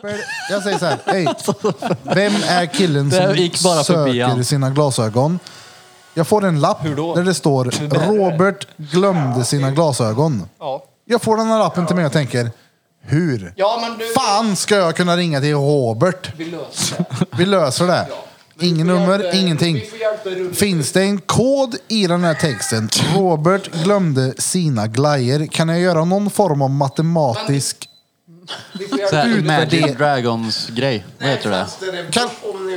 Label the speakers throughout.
Speaker 1: släpper... Jag säger så här. Hej. Vem är killen
Speaker 2: Det
Speaker 1: som
Speaker 2: gick bara
Speaker 1: söker
Speaker 2: förbi han.
Speaker 1: sina glasögon? Jag får en lapp
Speaker 3: Hur då?
Speaker 1: där det står Robert glömde sina glasögon.
Speaker 4: Ja.
Speaker 1: Jag får den här lappen till mig och tänker, hur
Speaker 4: Ja, men du...
Speaker 1: fan ska jag kunna ringa till Robert?
Speaker 4: Vi löser det.
Speaker 1: Vi löser det. Ingen
Speaker 4: Vi får
Speaker 1: nummer,
Speaker 4: hjälpa-
Speaker 1: ingenting.
Speaker 4: Vi får hjälpa Rune.
Speaker 1: Finns det en kod i den här texten? Robert glömde sina glajjor. Kan jag göra någon form av matematisk...
Speaker 4: Vi får
Speaker 2: Så
Speaker 4: hjälpa
Speaker 2: här,
Speaker 1: Ut med det.
Speaker 2: Imagine Dragons grej. Vad heter det?
Speaker 1: Kan,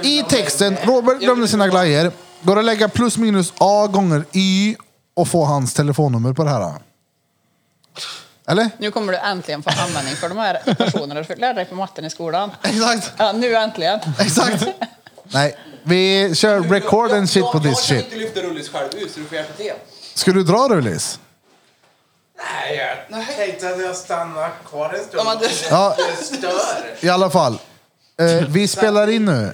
Speaker 1: I texten, Robert glömde sina glajjor. Går det att lägga plus minus A gånger Y och få hans telefonnummer på det här? Eller?
Speaker 5: Nu kommer du äntligen få användning för de här personerna. Du fick lära dig på matten i skolan.
Speaker 1: Exakt,
Speaker 5: Ja, nu äntligen.
Speaker 1: exakt. Nej, vi kör record and shit på this
Speaker 4: Jag
Speaker 1: shit.
Speaker 4: kan inte lyfta Rullis själv ut, så du får hjälpa till.
Speaker 1: Ska du dra Rullis?
Speaker 3: Nej, jag tänkte att jag stannar kvar en stund.
Speaker 4: Ja, men du...
Speaker 1: Ja,
Speaker 3: Det stör.
Speaker 1: I alla fall. Eh, vi spelar in nu.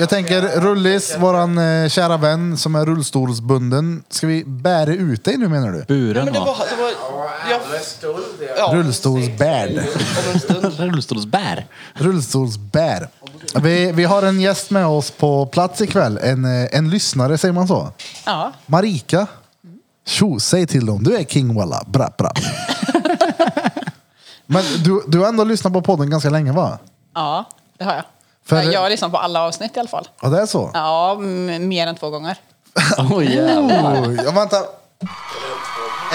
Speaker 1: Jag tänker Rullis, våran eh, kära vän som är rullstolsbunden. Ska vi bära ut dig nu menar du?
Speaker 2: Buren
Speaker 4: Men det
Speaker 2: va?
Speaker 4: var... Det var jag,
Speaker 3: Det är stund. jag-
Speaker 4: ja,
Speaker 1: Rullstolsbärd.
Speaker 4: om en stund.
Speaker 2: Rullstolsbär.
Speaker 1: Rullstolsbär. Vi, vi har en gäst med oss på plats ikväll. En, eh, en lyssnare, säger man så?
Speaker 5: Ja,
Speaker 1: Marika. Tjo, säg till dem. Du är king walla. Bra, bra. Men du, du har ändå lyssnat på podden ganska länge va?
Speaker 5: ja det har jag.
Speaker 1: För-
Speaker 5: jag har lyssnat på alla avsnitt i alla fall.
Speaker 1: Ja, det är så?
Speaker 5: Ja, m- mer än två gånger.
Speaker 2: Åh jävlar.
Speaker 1: Oj, ja, vänta.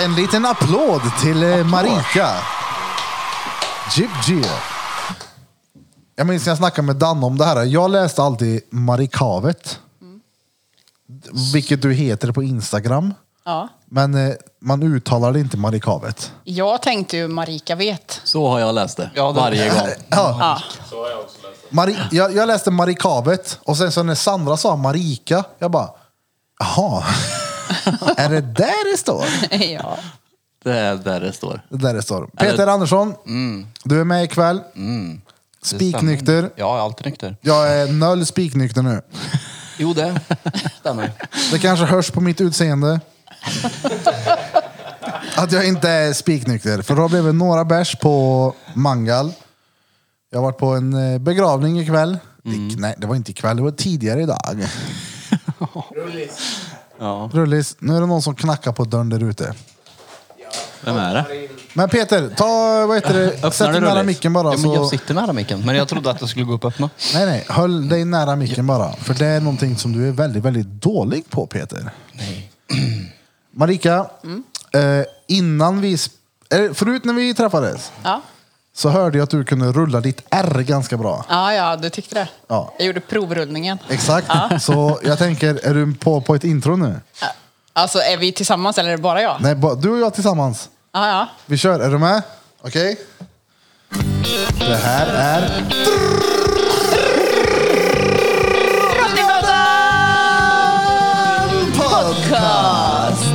Speaker 1: En liten applåd till eh, Marika. Jip Jip. Jag minns när jag snackade med Dan om det här. Jag läste alltid Marikavet. Vilket du heter på Instagram.
Speaker 5: Ja.
Speaker 1: Men eh, man uttalar det inte Marikavet.
Speaker 5: Jag tänkte ju Marika vet.
Speaker 2: Så har jag läst det.
Speaker 4: Ja, det-
Speaker 2: Varje gång.
Speaker 1: Ja,
Speaker 5: Ja,
Speaker 1: Mari jag, jag läste Marikavet och sen så när Sandra sa Marika, jag bara, jaha, är det där det står?
Speaker 5: ja.
Speaker 2: Det är där det står.
Speaker 1: Det där det står. Peter Andersson,
Speaker 4: Mm.
Speaker 1: du är med ikväll. Spiknykter.
Speaker 4: Ja, jag är alltid nykter.
Speaker 1: Jag är noll spiknykter nu.
Speaker 4: Jo, det stämmer.
Speaker 1: Det kanske hörs på mitt utseende. Att jag inte är spiknykter. För då blev det några bärs på Mangal. Jag har varit på en eh, begravning ikväll.
Speaker 4: Mm.
Speaker 1: Det, nej, det var inte ikväll. Det var tidigare idag.
Speaker 3: Rullis.
Speaker 1: Rullis, nu är det någon som knackar på dörren där ute.
Speaker 2: Vem är det?
Speaker 1: Men Peter, ta, vad heter det? Sätt dig
Speaker 2: du
Speaker 1: nära
Speaker 2: Rullis?
Speaker 1: micken bara.
Speaker 4: Ja, men jag
Speaker 1: så...
Speaker 4: sitter nära micken, men jag trodde att jag skulle gå upp och öppna.
Speaker 1: Nej, nej. Håll dig nära micken bara. För det är någonting som du är väldigt, väldigt dålig på, Peter. Marika, eh, innan vi... sp- eh, Förut när vi träffades
Speaker 5: Ja.
Speaker 1: så hörde jag att du kunde rulla ditt R ganska bra.
Speaker 5: ja, ja, du tyckte det.
Speaker 1: Ja.
Speaker 5: Jag gjorde provrullningen.
Speaker 1: Exakt. Så jag tänker, är du på, på ett intro nu?
Speaker 5: Ja. Alltså, är vi tillsammans eller är det bara jag?
Speaker 1: Nej, bara du och jag tillsammans.
Speaker 5: Ja, ja.
Speaker 1: Vi kör. Är du med? Okej? Det här är... Podcast!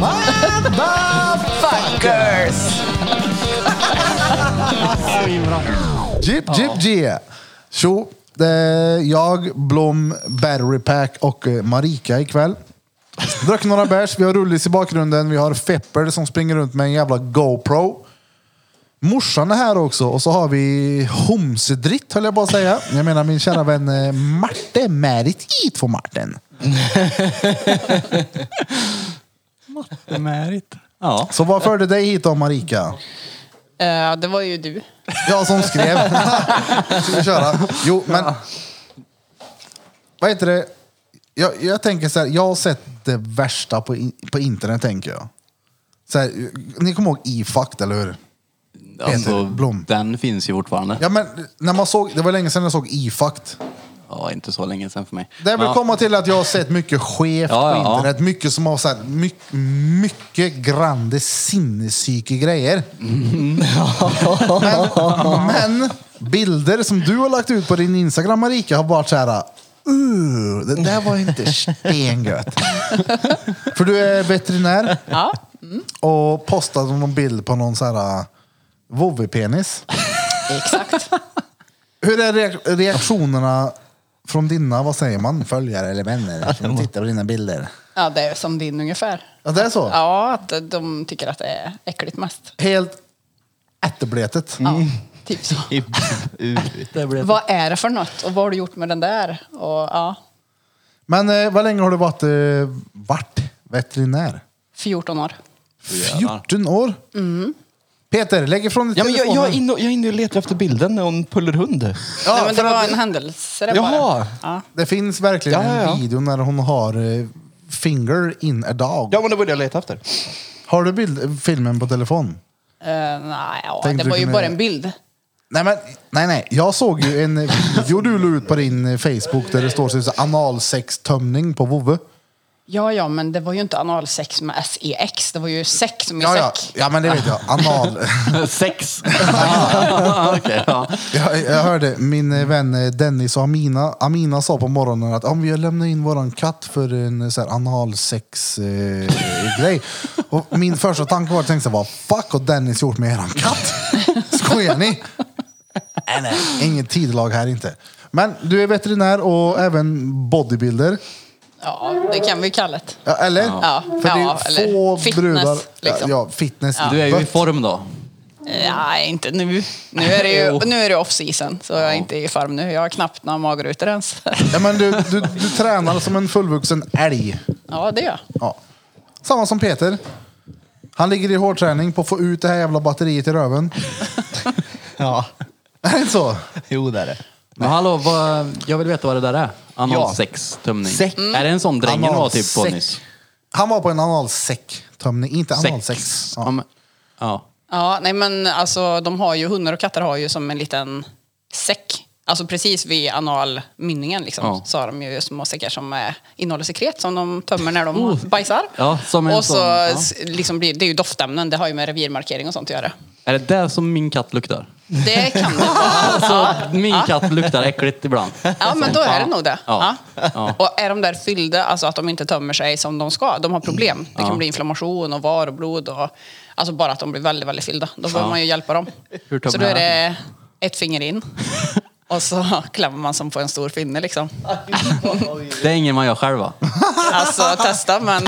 Speaker 5: Fuckers!
Speaker 1: Jip, jip, je. Tjo. Det är eh, jag, Blom, Battery Pack och eh, Marika ikväll. Drack några bärs, vi har Rullis i bakgrunden, vi har Fepper som springer runt med en jävla GoPro. Morsan är här också och så har vi homsedritt höll jag bara säga. Jag menar min kära vän eh, Marte, Märit i två Marten.
Speaker 2: Märigt. Ja.
Speaker 1: Så vad förde dig hit då Marika?
Speaker 5: Eh, det var ju du.
Speaker 1: Jag som skrev. Ska vi köra? Jo, men... Vad heter det? Jag, jag tänker så här, jag har sett det värsta på, in, på internet, tänker jag. Så här, ni kommer ihåg E-Fact, eller hur?
Speaker 2: Alltså,
Speaker 1: Blom.
Speaker 2: den finns ju fortfarande.
Speaker 1: Ja, men när man såg, det var länge sedan jag såg E-Fact.
Speaker 2: Ja, inte så länge sedan för mig.
Speaker 1: Det vill
Speaker 2: Ja.
Speaker 1: komma till att jag har sett mycket skevt
Speaker 2: Ja, ja,
Speaker 1: på
Speaker 2: ja.
Speaker 1: internet. Mycket som har så här, mycket, mycket grande sinnessyke grejer. Men, men bilder som du har lagt ut på din Instagram Marika har varit så här. Uh, det där var inte stengött. För du är veterinär
Speaker 5: Ja.
Speaker 1: och postade någon bild på någon så här äh, vovvepenis.
Speaker 5: Exakt.
Speaker 1: Hur är reak- reaktionerna från dina, vad säger man, följare eller vänner som tittar på dina bilder?
Speaker 5: Ja, det är som din ungefär.
Speaker 1: Ja, det är så?
Speaker 5: Ja, att de tycker att det är äckligt mest.
Speaker 1: Helt ätterbletet.
Speaker 5: Ja, Typ så.
Speaker 2: I huvudet. Det blev
Speaker 5: Vad är det för något och vad har du gjort med den där? Och, ja,
Speaker 1: Men eh, vad länge har du varit, eh, varit veterinär?
Speaker 5: 14 år.
Speaker 2: Jävlar.
Speaker 1: 14 år? Peter, lägg ifrån dig
Speaker 4: Mm. Ja, men jag,
Speaker 1: telefonen.
Speaker 4: jag, är inne och, jag är inne och letar efter bilden och en pullerhund.
Speaker 1: Ja,
Speaker 5: Nej, men det
Speaker 1: för att
Speaker 5: var
Speaker 1: det-
Speaker 5: en händelse det
Speaker 4: Jaha.
Speaker 5: bara. Ja.
Speaker 1: Det finns verkligen
Speaker 4: Ja, ja, ja.
Speaker 1: en video när hon har eh, finger in a dog.
Speaker 4: Ja, men det var det jag letade efter.
Speaker 1: Har du bild, filmen på telefon?
Speaker 5: Eh, nej, ja,
Speaker 1: Tänkte
Speaker 5: det
Speaker 1: du
Speaker 5: var ju
Speaker 1: kunde-
Speaker 5: bara en bild. Nej,
Speaker 1: Nej, men, nej, nej. Jag såg ju en video du la ut på din eh, Facebook där det står så här, analsextömning på vovve.
Speaker 5: Ja, ja, men det var ju inte analsex med sex. Det var ju sex med
Speaker 1: Ja, ja.
Speaker 5: säck.
Speaker 1: ja, men det vet jag. Anal.
Speaker 2: Sex! Ah, Okej, ja.
Speaker 1: Jag, jag hörde min eh, vän eh, Dennis och Amina, Amina sa på morgonen att om vi lämnar in våran katt för en eh, så här, analsex eh, grej. Och min första tanke var att tänka så här, vad fuck har Dennis gjort med eran katt? Skojar ni? Nej, nej. Inget tidlag här inte. Men du är veterinär och även bodybuilder.
Speaker 5: Ja, det kan vi kalla det.
Speaker 1: Ja, eller?
Speaker 5: Ja.
Speaker 1: För det är
Speaker 5: Ja, eller
Speaker 1: få
Speaker 5: fitness,
Speaker 1: brudar.
Speaker 5: liksom.
Speaker 1: Ja, fitness.
Speaker 2: Du är ju i
Speaker 1: But-
Speaker 2: form då.
Speaker 5: Nej, inte nu. Nu är det, ju,
Speaker 2: Jo.
Speaker 5: nu är det off season, så jag är inte i form nu. Jag har knappt några magrutor ens.
Speaker 1: ja, men du, du, du tränar som en fullvuxen älg.
Speaker 5: Ja, det gör jag.
Speaker 1: Ja. Samma som Peter. Han ligger i hårdträning på att få ut det här jävla batteriet i röven.
Speaker 4: Ja,
Speaker 1: Är det inte så?
Speaker 4: jo det är det.
Speaker 2: Men hallå, vad, jag vill veta vad det där är. Analsextömning.
Speaker 4: Sex.
Speaker 2: Är det en sån drängen du har typ på
Speaker 1: Analsex.
Speaker 2: nyss?
Speaker 1: Han var på en analsäcktömning, inte analsex.
Speaker 2: Ja.
Speaker 1: Ja.
Speaker 2: men- ja.
Speaker 5: Ja, nej men alltså de har ju, hundar och katter har ju som en liten säck. Alltså precis vid analmynningen liksom,
Speaker 2: Ja.
Speaker 5: så har de ju små säckar som eh, innehåller sekret som de tömmer när de bajsar.
Speaker 2: Oh. Ja, som en
Speaker 5: och så
Speaker 2: sån, ja.
Speaker 5: s- liksom blir, det är ju doftämnen, det har ju med revirmarkering och sånt att göra.
Speaker 2: Är det där som min katt luktar?
Speaker 5: Det kan det vara.
Speaker 2: Så min katt luktar äckligt ibland.
Speaker 5: Ja, men då är det nog det.
Speaker 2: Ja.
Speaker 5: Ja.
Speaker 2: Ja.
Speaker 5: Och är de där fyllda, alltså att de inte tömmer sig som de ska, de har problem. Det kan
Speaker 2: Ja.
Speaker 5: bli inflammation och var och blod och alltså bara att de blir väldigt, väldigt fyllda. Då behöver man ju hjälpa dem.
Speaker 2: Hur tömmer
Speaker 5: Så då är
Speaker 2: jag
Speaker 5: det ett finger in och så klämmer man som på en stor finne liksom.
Speaker 2: Det är ingen man gör själv va?
Speaker 5: Alltså testa, men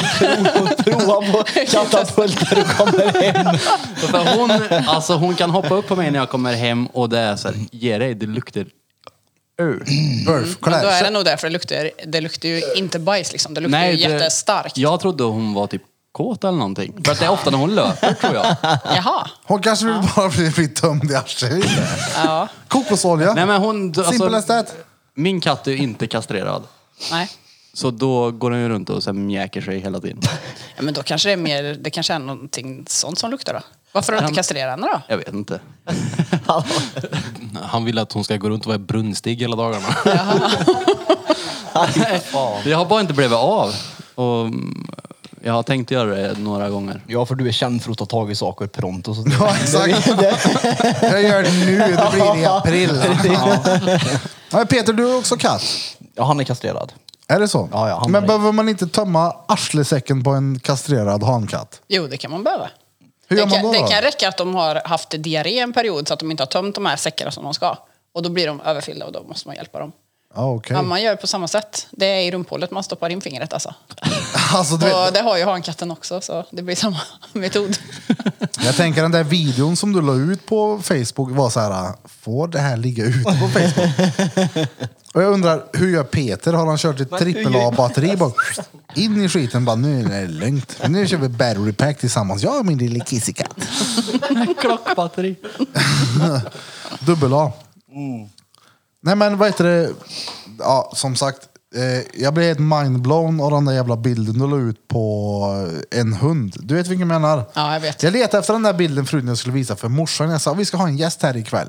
Speaker 4: Prova på katapult när du kommer hem.
Speaker 2: För hon, alltså, hon kan hoppa upp på mig när jag kommer hem och det är så här, ge dig, det luktar ur.
Speaker 1: Burf, kolla
Speaker 5: Mm. då är det
Speaker 1: här.
Speaker 5: nog därför det luktar, det luktar ju inte bajs liksom. Det luktar
Speaker 2: Nej,
Speaker 5: ju
Speaker 2: det-
Speaker 5: jättestarkt.
Speaker 2: Jag trodde hon var typ kåt eller någonting. För att det är ofta när hon löper tror jag.
Speaker 5: Jaha.
Speaker 1: Hon kanske vill bara bli, bli tömd i arslet.
Speaker 5: Ja.
Speaker 1: Kokosolja.
Speaker 2: Nej men alltså- hon...
Speaker 1: Simple as that.
Speaker 2: min katt är ju inte kastrerad.
Speaker 5: Nej.
Speaker 2: Så då går hon ju runt och så här mjäker sig hela tiden.
Speaker 5: Ja, men då kanske det är mer, det kanske är någonting sånt som luktar då. Varför har du inte kastrerat henne då?
Speaker 2: Jag vet inte.
Speaker 6: Han vill att hon ska gå runt och vara brunstig hela dagarna.
Speaker 2: Jag har bara inte blivit av. Och mm, jag har tänkt göra det några gånger.
Speaker 4: Ja, för du är känd för att ta tag i saker pronto. Så
Speaker 1: Ja, exakt. Jag gör det nu, det blir det i april. Ja. Peter, du är också katt.
Speaker 4: ja, han är kastrerad.
Speaker 1: Är det så?
Speaker 4: Ja, ja, han
Speaker 1: men
Speaker 4: var-
Speaker 1: behöver man inte tömma arslesäcken på en kastrerad hankatt?
Speaker 5: Jo, det kan man behöva.
Speaker 1: Hur gör
Speaker 5: det,
Speaker 1: man
Speaker 5: kan,
Speaker 1: då, då?
Speaker 5: det kan räcka att de har haft diarré en period så att de inte har tömt de här säckarna som de ska. Och då blir de överfyllda och då måste man hjälpa dem.
Speaker 1: Ja, okej.
Speaker 5: Ja, man gör på samma sätt. Det är i rumphålet man stoppar in fingret alltså.
Speaker 1: Alltså, du vet,
Speaker 5: Och det har ju hankatten också så det blir samma metod.
Speaker 1: Jag tänker den där videon som du la ut på Facebook var så här, får det här ligga ute på Facebook? Och jag undrar, hur gör Peter? Har han kört ett AAA-batteri bara in i skiten? Bara, nu är det lugnt. Nu kör vi battery pack tillsammans. Jag och min lille kissekatt.
Speaker 2: Klockbatteri.
Speaker 1: Dubbel A. Nej men vad heter det? Ja, som sagt. Eh, jag blev helt mindblown av den där jävla bilden du la ut på eh, en hund. Du vet vilken jag menar?
Speaker 5: Ja, jag vet.
Speaker 1: Jag letade efter den där bilden förut när jag skulle visa för morsan. Jag sa vi ska ha en gäst här ikväll.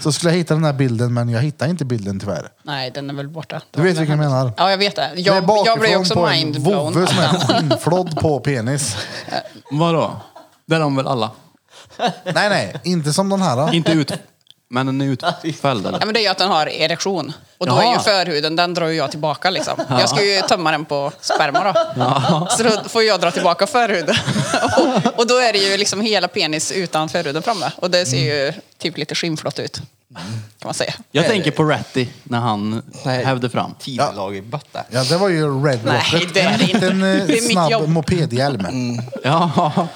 Speaker 1: Så skulle jag hitta den där bilden men jag hittade inte bilden tyvärr.
Speaker 5: Nej, den är väl borta.
Speaker 1: Du vet vilken jag menar?
Speaker 5: Ja, jag vet det.
Speaker 1: Det är
Speaker 5: Jag, jag blev
Speaker 1: bakifrån på
Speaker 5: också
Speaker 1: en
Speaker 5: mindblown.
Speaker 1: vovve som är skinnflodd på penis.
Speaker 2: Vadå? Det är de väl alla?
Speaker 1: Nej, nej, inte som den här. Då.
Speaker 2: Inte ut... Men den är utfälld eller?
Speaker 5: Ja, men det är ju att den har erektion. Och då är
Speaker 2: Jaha.
Speaker 5: ju förhuden, den drar ju jag tillbaka liksom. Jag ska ju tömma den på sperma då. Så då får jag dra tillbaka förhuden. Och, och då är det ju liksom hela penis utan förhuden framme. Och det ser ju
Speaker 2: Mm.
Speaker 5: typ lite skinnflott ut. Kan man säga.
Speaker 2: Jag tänker på Ratty när han
Speaker 4: Nej.
Speaker 2: hävde fram.
Speaker 4: Tidelag i bötta.
Speaker 1: Ja, det var ju Red
Speaker 5: Nej,
Speaker 1: Rocket.
Speaker 5: det är
Speaker 1: En
Speaker 5: det inte.
Speaker 1: liten eh,
Speaker 5: Det är mitt
Speaker 1: snabb
Speaker 5: jobb.
Speaker 1: mopedhjälm.
Speaker 2: Ja.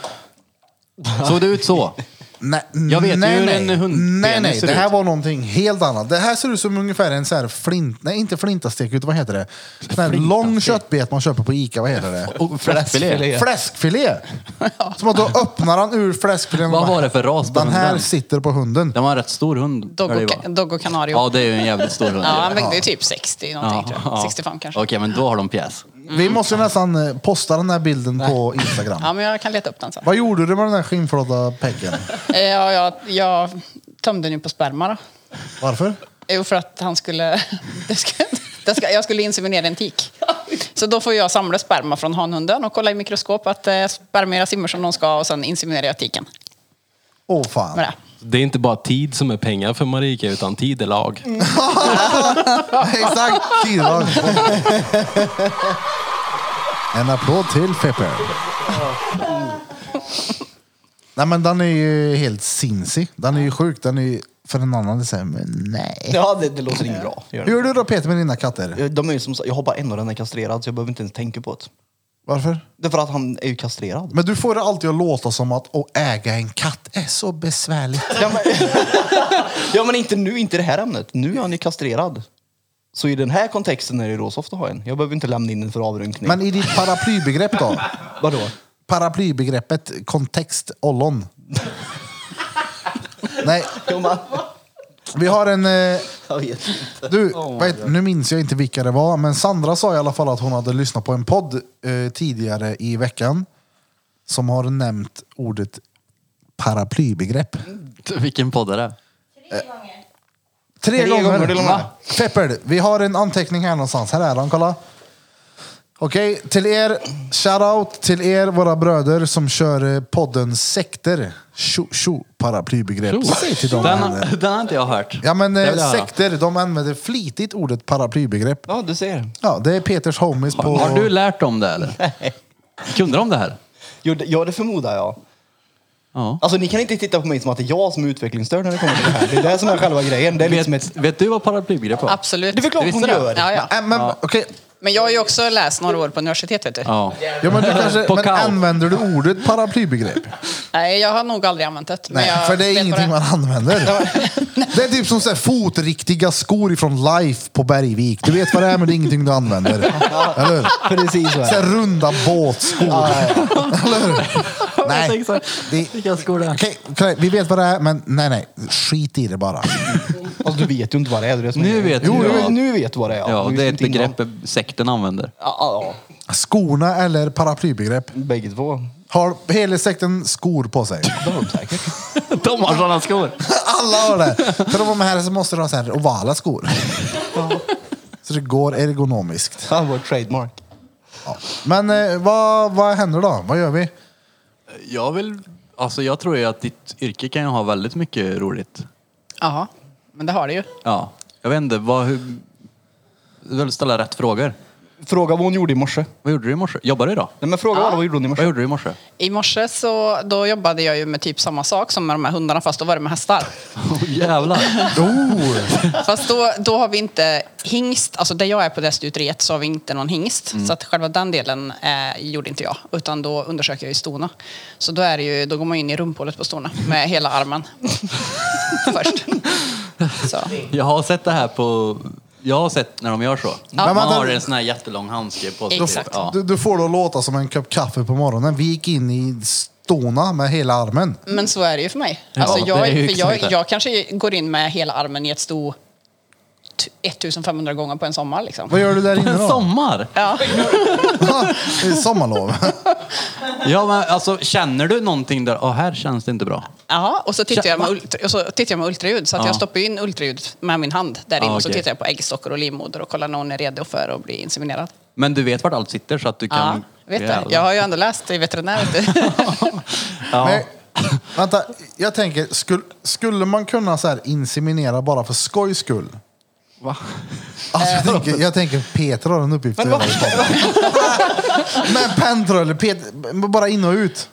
Speaker 2: Såg det ut så?
Speaker 1: Nej,
Speaker 2: Jag vet ju
Speaker 1: nej,
Speaker 2: hur
Speaker 1: nej.
Speaker 2: en hundpenis
Speaker 1: Nej, nej.
Speaker 2: ser
Speaker 1: Det här
Speaker 2: ut.
Speaker 1: var någonting helt annat. Det här ser ut som ungefär en så här flint... Nej, inte flintastek, utan vad heter det? Sån här lång köttbet man köper på Ica, vad heter det?
Speaker 2: Och fläskfilé.
Speaker 1: Fläskfilé! Som att då öppnar han ur fläskfilén. och
Speaker 2: Vad
Speaker 1: bara,
Speaker 2: var det för ras på
Speaker 1: Den här
Speaker 2: hunden?
Speaker 1: sitter på hunden.
Speaker 2: Den var en rätt stor hund. eller
Speaker 5: Doggo,
Speaker 2: det var.
Speaker 5: Doggo Canario.
Speaker 2: Ja, det är ju en jävligt stor hund.
Speaker 5: Ja, han vägde ju typ 60 någonting
Speaker 2: Ja,
Speaker 5: tror jag.
Speaker 2: ja.
Speaker 5: 65 kanske.
Speaker 2: Okej, men då har de pjäs.
Speaker 1: Vi måste nästan eh, posta den här bilden på Instagram.
Speaker 5: Ja, men jag kan leta upp den sen.
Speaker 1: Vad gjorde du med den här skinnflådda peggen?
Speaker 5: Eh, Ja, jag, jag tömde den ju på sperma då.
Speaker 1: Varför?
Speaker 5: Jo, för att han skulle... Det ska, det ska, jag skulle inseminera en tik. Så då får jag samla sperma från hanhunden och kolla i mikroskop att eh, spermierna simmar som de ska och sen inseminerar jag tiken.
Speaker 1: Åh fan.
Speaker 5: Med det.
Speaker 6: Det är inte bara tid som är pengar för Marika, utan tid är lag.
Speaker 4: Mm.
Speaker 1: Exakt! Kiran. En applåd till Pepper. Nej men den är ju helt sinsig. Den är ju sjuk. Den är ju för en annan. Det säger, men nej.
Speaker 4: Ja, det, det låter inte bra. Gör
Speaker 1: Hur
Speaker 4: det.
Speaker 1: gör du då Peter med dina katter?
Speaker 4: De är ju som, jag har bara en och den är kastrerad så jag behöver inte ens tänka på det.
Speaker 1: Varför?
Speaker 4: Det är för att han är ju kastrerad.
Speaker 1: Men du får det alltid att låta som att att äga en katt är så besvärligt.
Speaker 4: Ja men, ja, men inte nu, inte i det här ämnet. Nu är han ju kastrerad. Så i den här kontexten är det ju råsoft att ha en. Jag behöver inte lämna in den för avrunkning.
Speaker 1: Men i ditt paraplybegrepp då?
Speaker 4: vadå?
Speaker 1: Paraplybegreppet kontext ollon. Nej,
Speaker 4: Jo, men,
Speaker 1: vi har en... eh,
Speaker 4: jag vet inte.
Speaker 1: Du, vet, nu minns jag inte vilka det var, men Sandra sa i alla fall att hon hade lyssnat på en podd eh, tidigare i veckan som har nämnt ordet paraplybegrepp.
Speaker 2: Vilken podd är det?
Speaker 1: Tre,
Speaker 4: Tre
Speaker 1: gånger.
Speaker 4: gånger till och med.
Speaker 1: Va? Pepper, vi har en anteckning här någonstans. Här är den, kolla. Okej, till er, shoutout till er, våra bröder som kör eh, podden Sekter. Tjo, tjo, paraplybegrepp. Säg till dem.
Speaker 2: den,
Speaker 1: här.
Speaker 2: har- den har inte jag hört.
Speaker 1: Ja men
Speaker 2: Det
Speaker 1: eh,
Speaker 2: vill jag höra.
Speaker 1: sekter, de använder flitigt ordet paraplybegrepp.
Speaker 4: Ja, du ser.
Speaker 1: Ja, det är Peters homies på...
Speaker 2: Har du lärt dem det eller? Kunde de det här?
Speaker 4: Jo, det, ja, det förmodar jag.
Speaker 2: Ja.
Speaker 4: Alltså ni kan inte titta på mig som att det är jag som är utvecklingsstörd när det kommer till det här. Det är det som är själva grejen. Det är liksom ett...
Speaker 2: Vet, vet du vad paraplybegrepp var?
Speaker 5: Absolut.
Speaker 4: Det är väl klart hon
Speaker 2: Visste du?
Speaker 4: gör.
Speaker 5: Ja, ja.
Speaker 1: Nej, men okej.
Speaker 5: Men jag har ju också läst några år på universitet, vet du.
Speaker 2: Ja.
Speaker 1: Ja, men du kanske,
Speaker 2: På
Speaker 1: men
Speaker 2: kaos.
Speaker 1: använder du ordet paraplybegrepp?
Speaker 5: Nej, jag har nog aldrig använt det. men
Speaker 1: Nej,
Speaker 5: jag
Speaker 1: för det är
Speaker 5: vet vad
Speaker 1: ingenting man använder. Det är typ som så här fotriktiga skor ifrån Life på Bergvik. Du vet vad det är, men det är ingenting du använder. Eller hur?
Speaker 4: Precis så
Speaker 1: Så
Speaker 4: är
Speaker 1: här
Speaker 4: det.
Speaker 1: runda båtskor. Eller hur? Nej. Det,
Speaker 2: Vilka skor det är.
Speaker 1: okej, okej, vi vet vad det är, men nej, nej. Skit i det bara.
Speaker 4: Alltså, du vet ju inte vad det är. Det är det som
Speaker 2: Nu
Speaker 4: är grejen.
Speaker 2: vet
Speaker 4: jo,
Speaker 2: jag.
Speaker 4: jo, nu vet du vad det är.
Speaker 2: Ja, och
Speaker 4: Men
Speaker 2: det är ett
Speaker 4: just inte innan.
Speaker 2: begrepp sekten använder.
Speaker 4: Ja, ja,
Speaker 1: Skorna eller paraplybegrepp.
Speaker 4: ja. Bägge två.
Speaker 1: Har hela sekten skor på sig?
Speaker 4: Det har de säkert.
Speaker 2: De har sådana skor!
Speaker 1: Alla har det. För att vara med här så måste du ha så här ovala skor. Så det går ergonomiskt.
Speaker 4: Han var trademark.
Speaker 1: Ja. Men eh, vad, vad händer då? Vad gör vi?
Speaker 2: Jag vill... Alltså jag tror ju att ditt yrke kan ju ha väldigt mycket roligt.
Speaker 5: Jaha, men det har det ju.
Speaker 2: Ja. Jag vet inte, vad... Hur... Du vill ställa rätt frågor.
Speaker 4: Fråga vad hon gjorde i morse.
Speaker 2: Vad gjorde du i morse? Jobbar du idag?
Speaker 4: Nej men fråga vad vad gjorde hon i morse?
Speaker 2: Vad gjorde du i morse?
Speaker 5: I morse så då jobbade jag ju med typ samma sak som med de här hundarna, fast då var det med hästar.
Speaker 2: Oh, jävlar!
Speaker 1: Oh,
Speaker 5: Fast då, då har vi inte hingst, alltså där jag är på det stuteriet så har vi inte någon hingst.
Speaker 2: Mm.
Speaker 5: Så att själva den delen eh, gjorde inte jag, utan då undersöker jag ju stona. Så då, är det ju, då går man in i rumphålet på stona med hela armen. Först. Så.
Speaker 2: Jag har sett det här på... Jag har sett när de gör så. Man
Speaker 1: vänta.
Speaker 2: har en sån här jättelång handske på sig.
Speaker 5: Exakt.
Speaker 2: Ja.
Speaker 1: du, du får då låta som en kopp kaffe på morgonen. Vi gick in i stona med hela armen.
Speaker 5: Men så är det ju för mig.
Speaker 2: Ja,
Speaker 5: Alltså jag,
Speaker 2: det är ju
Speaker 5: för jag,
Speaker 2: exakt det.
Speaker 5: jag kanske går in med hela armen i ett sto t- 1500 gånger på en sommar. Liksom.
Speaker 1: Vad gör du där inne
Speaker 2: En
Speaker 1: då?
Speaker 2: sommar!
Speaker 5: Ja.
Speaker 1: Det är Sommarlov.
Speaker 2: Ja, men alltså känner du någonting där? Åh, här känns det inte bra.
Speaker 5: Ja, och så tittar,
Speaker 2: Tja,
Speaker 5: jag med
Speaker 2: va?
Speaker 5: ultra, och så tittar jag med ultraljud. Så att
Speaker 2: Ja.
Speaker 5: jag stoppar in ultraljud med min hand där inne.
Speaker 2: Ja,
Speaker 5: Och så
Speaker 2: okej.
Speaker 5: tittar jag på äggstockar och livmoder och kollar när hon är redo för att bli inseminerad.
Speaker 2: Men du vet vart allt sitter så att du
Speaker 5: Ja,
Speaker 2: kan...
Speaker 5: vet det.
Speaker 2: Jävlar.
Speaker 5: Jag har ju ändå läst i veterinär. vet du.
Speaker 1: Men, vänta, jag tänker, skulle, skulle man kunna så här inseminera bara för skojs skull?
Speaker 2: Va?
Speaker 1: Alltså, jag, tänker, jag tänker Peter har en uppgift att göra i podden. Men pentroller, Peter, bara in och ut.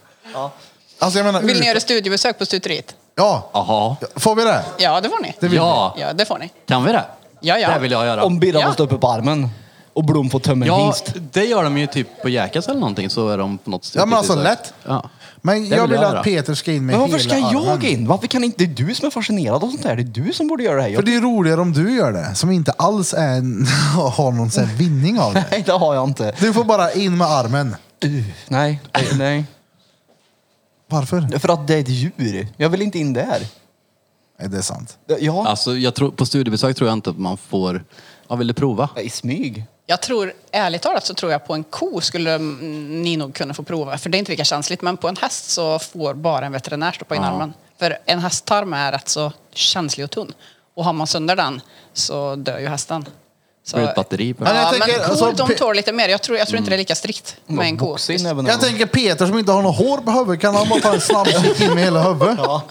Speaker 1: Alltså jag menar,
Speaker 5: Vill ni
Speaker 1: ut-
Speaker 5: göra studiebesök på stuteriet?
Speaker 1: Ja.
Speaker 2: Jaha.
Speaker 1: Får vi det?
Speaker 5: Ja, det får ni.
Speaker 1: Det vill
Speaker 2: Ja.
Speaker 5: Ja, det får ni.
Speaker 2: Kan vi det?
Speaker 5: Ja, ja.
Speaker 2: Det vill jag göra.
Speaker 4: Om Birra
Speaker 5: Ja.
Speaker 4: får stå uppe på armen och Blom får tömma en
Speaker 2: ja,
Speaker 4: hingst.
Speaker 2: det gör de ju typ på Jäkas eller någonting så är de på något
Speaker 1: Ja men alltså
Speaker 2: studiebesök.
Speaker 1: lätt.
Speaker 2: Ja.
Speaker 1: Men
Speaker 2: Det
Speaker 1: jag
Speaker 2: vill
Speaker 1: vill
Speaker 2: jag
Speaker 1: att
Speaker 2: höra.
Speaker 1: Peter ska in med
Speaker 4: Men varför ska
Speaker 1: hela
Speaker 4: jag
Speaker 1: armen.
Speaker 4: in? Varför kan inte det är du som är fascinerad av sånt här? Det är du som borde göra det här.
Speaker 1: För
Speaker 4: Jag,
Speaker 1: det är roligare om du gör det, som inte alls är, en- har någon sån här vinning av det.
Speaker 4: nej, det har jag inte.
Speaker 1: Du får bara in med armen.
Speaker 4: Uh, nej, nej, nej.
Speaker 1: Varför?
Speaker 4: För att det är ett djur. Jag vill inte in där.
Speaker 1: Är det är sant?
Speaker 4: Ja,
Speaker 2: Alltså, jag tror, på studiebesök tror jag inte att man får... Ja, vill du prova?
Speaker 4: i smyg.
Speaker 5: Jag tror, ärligt talat, så tror jag på en ko skulle mm, ni nog kunna få prova. För det är inte lika känsligt. Men på en häst så får bara en veterinär stoppa in
Speaker 2: Ja.
Speaker 5: armen. För en hästtarm är rätt så känslig och tunn. Och har man sönder den så dör ju hästen. Så,
Speaker 2: Får du ett batteri på Mm.
Speaker 1: Men jag
Speaker 5: Ja, men
Speaker 1: tänker,
Speaker 5: kor
Speaker 1: alltså,
Speaker 5: de
Speaker 1: pe- Mm.
Speaker 5: tål lite mer. Jag tror, jag tror inte det är lika strikt med en ko.
Speaker 4: Boxa in även
Speaker 1: Jag tänker Peter som inte har något hår på huvudet, kan han bara ta en snabb kick in med hela huvudet?
Speaker 4: Ja.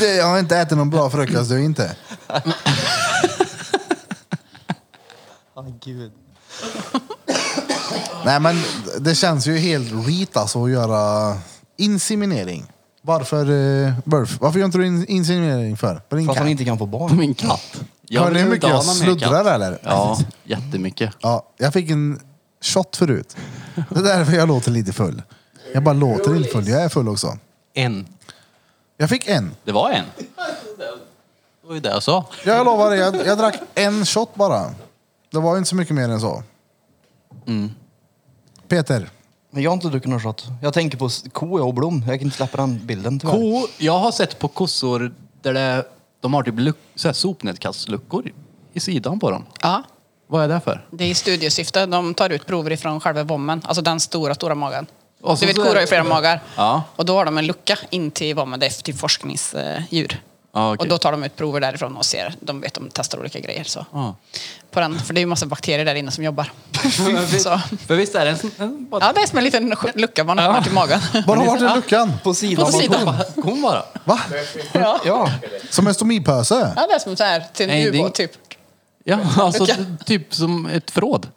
Speaker 1: Det, jag har inte ätit någon bra frukost, du inte.
Speaker 4: Ah, gud.
Speaker 1: Nej men det känns ju helt reet alltså att göra inseminering. Varför, eh, Burf, varför gör inte du in, inseminering för? På din
Speaker 4: För att han
Speaker 1: katt?
Speaker 4: inte kan få
Speaker 2: På
Speaker 4: barn.
Speaker 2: min katt.
Speaker 1: Hör ni
Speaker 2: vill
Speaker 1: hur
Speaker 2: inte
Speaker 1: mycket
Speaker 2: ha
Speaker 1: jag
Speaker 2: någon mer katt.
Speaker 1: sluddrar, eller?
Speaker 2: Ja, jättemycket.
Speaker 1: Ja, jag fick en shot förut. Det är därför jag låter lite full. Jag bara låter inte full, jag är full också.
Speaker 2: En.
Speaker 1: Jag fick en.
Speaker 2: Det var en. Det var ju det jag sa.
Speaker 1: Jag lovar dig, jag, jag drack en shot bara. Det var ju inte så mycket mer än så.
Speaker 4: Mm.
Speaker 1: Peter,
Speaker 4: Men jag har inte druckit någon shot. Jag tänker på s- ko och Blom. Jag kan inte släppa den bilden tyvärr.
Speaker 2: Ko, jag har sett på kossor där det, de har typ luck, så här sopnedkastluckor i sidan på dem.
Speaker 5: Ja,
Speaker 2: Vad är det för?
Speaker 5: det är i studiesyfte. De tar ut prover ifrån själva bommen. Alltså den stora, stora magen.
Speaker 2: Och så-
Speaker 5: du vet,
Speaker 2: så är
Speaker 5: kor har
Speaker 2: det-
Speaker 5: ju flera magar.
Speaker 2: Ja.
Speaker 5: Och då har de en lucka in till bommen. Det är till forskningsdjur.
Speaker 2: Ja, okej.
Speaker 5: Och då tar de ut prover därifrån och ser. De vet de testar olika grejer. Så.
Speaker 2: Ja.
Speaker 5: På den, för det är ju massa bakterier där inne som jobbar. så.
Speaker 2: För visst är det en, sån- en bara,
Speaker 5: Ja, det är som en liten lucka man öppnar till magen.
Speaker 1: var har varit i luckan?
Speaker 4: På sidan.
Speaker 5: På
Speaker 4: av
Speaker 5: sidan.
Speaker 4: kon.
Speaker 2: Kom bara.
Speaker 1: Va?
Speaker 5: ja.
Speaker 4: Ja.
Speaker 1: Som en stomipöse?
Speaker 5: ja, det är som så här till en
Speaker 2: Nej, det är-
Speaker 5: ubåt typ.
Speaker 2: Ja, alltså typ som ett förråd.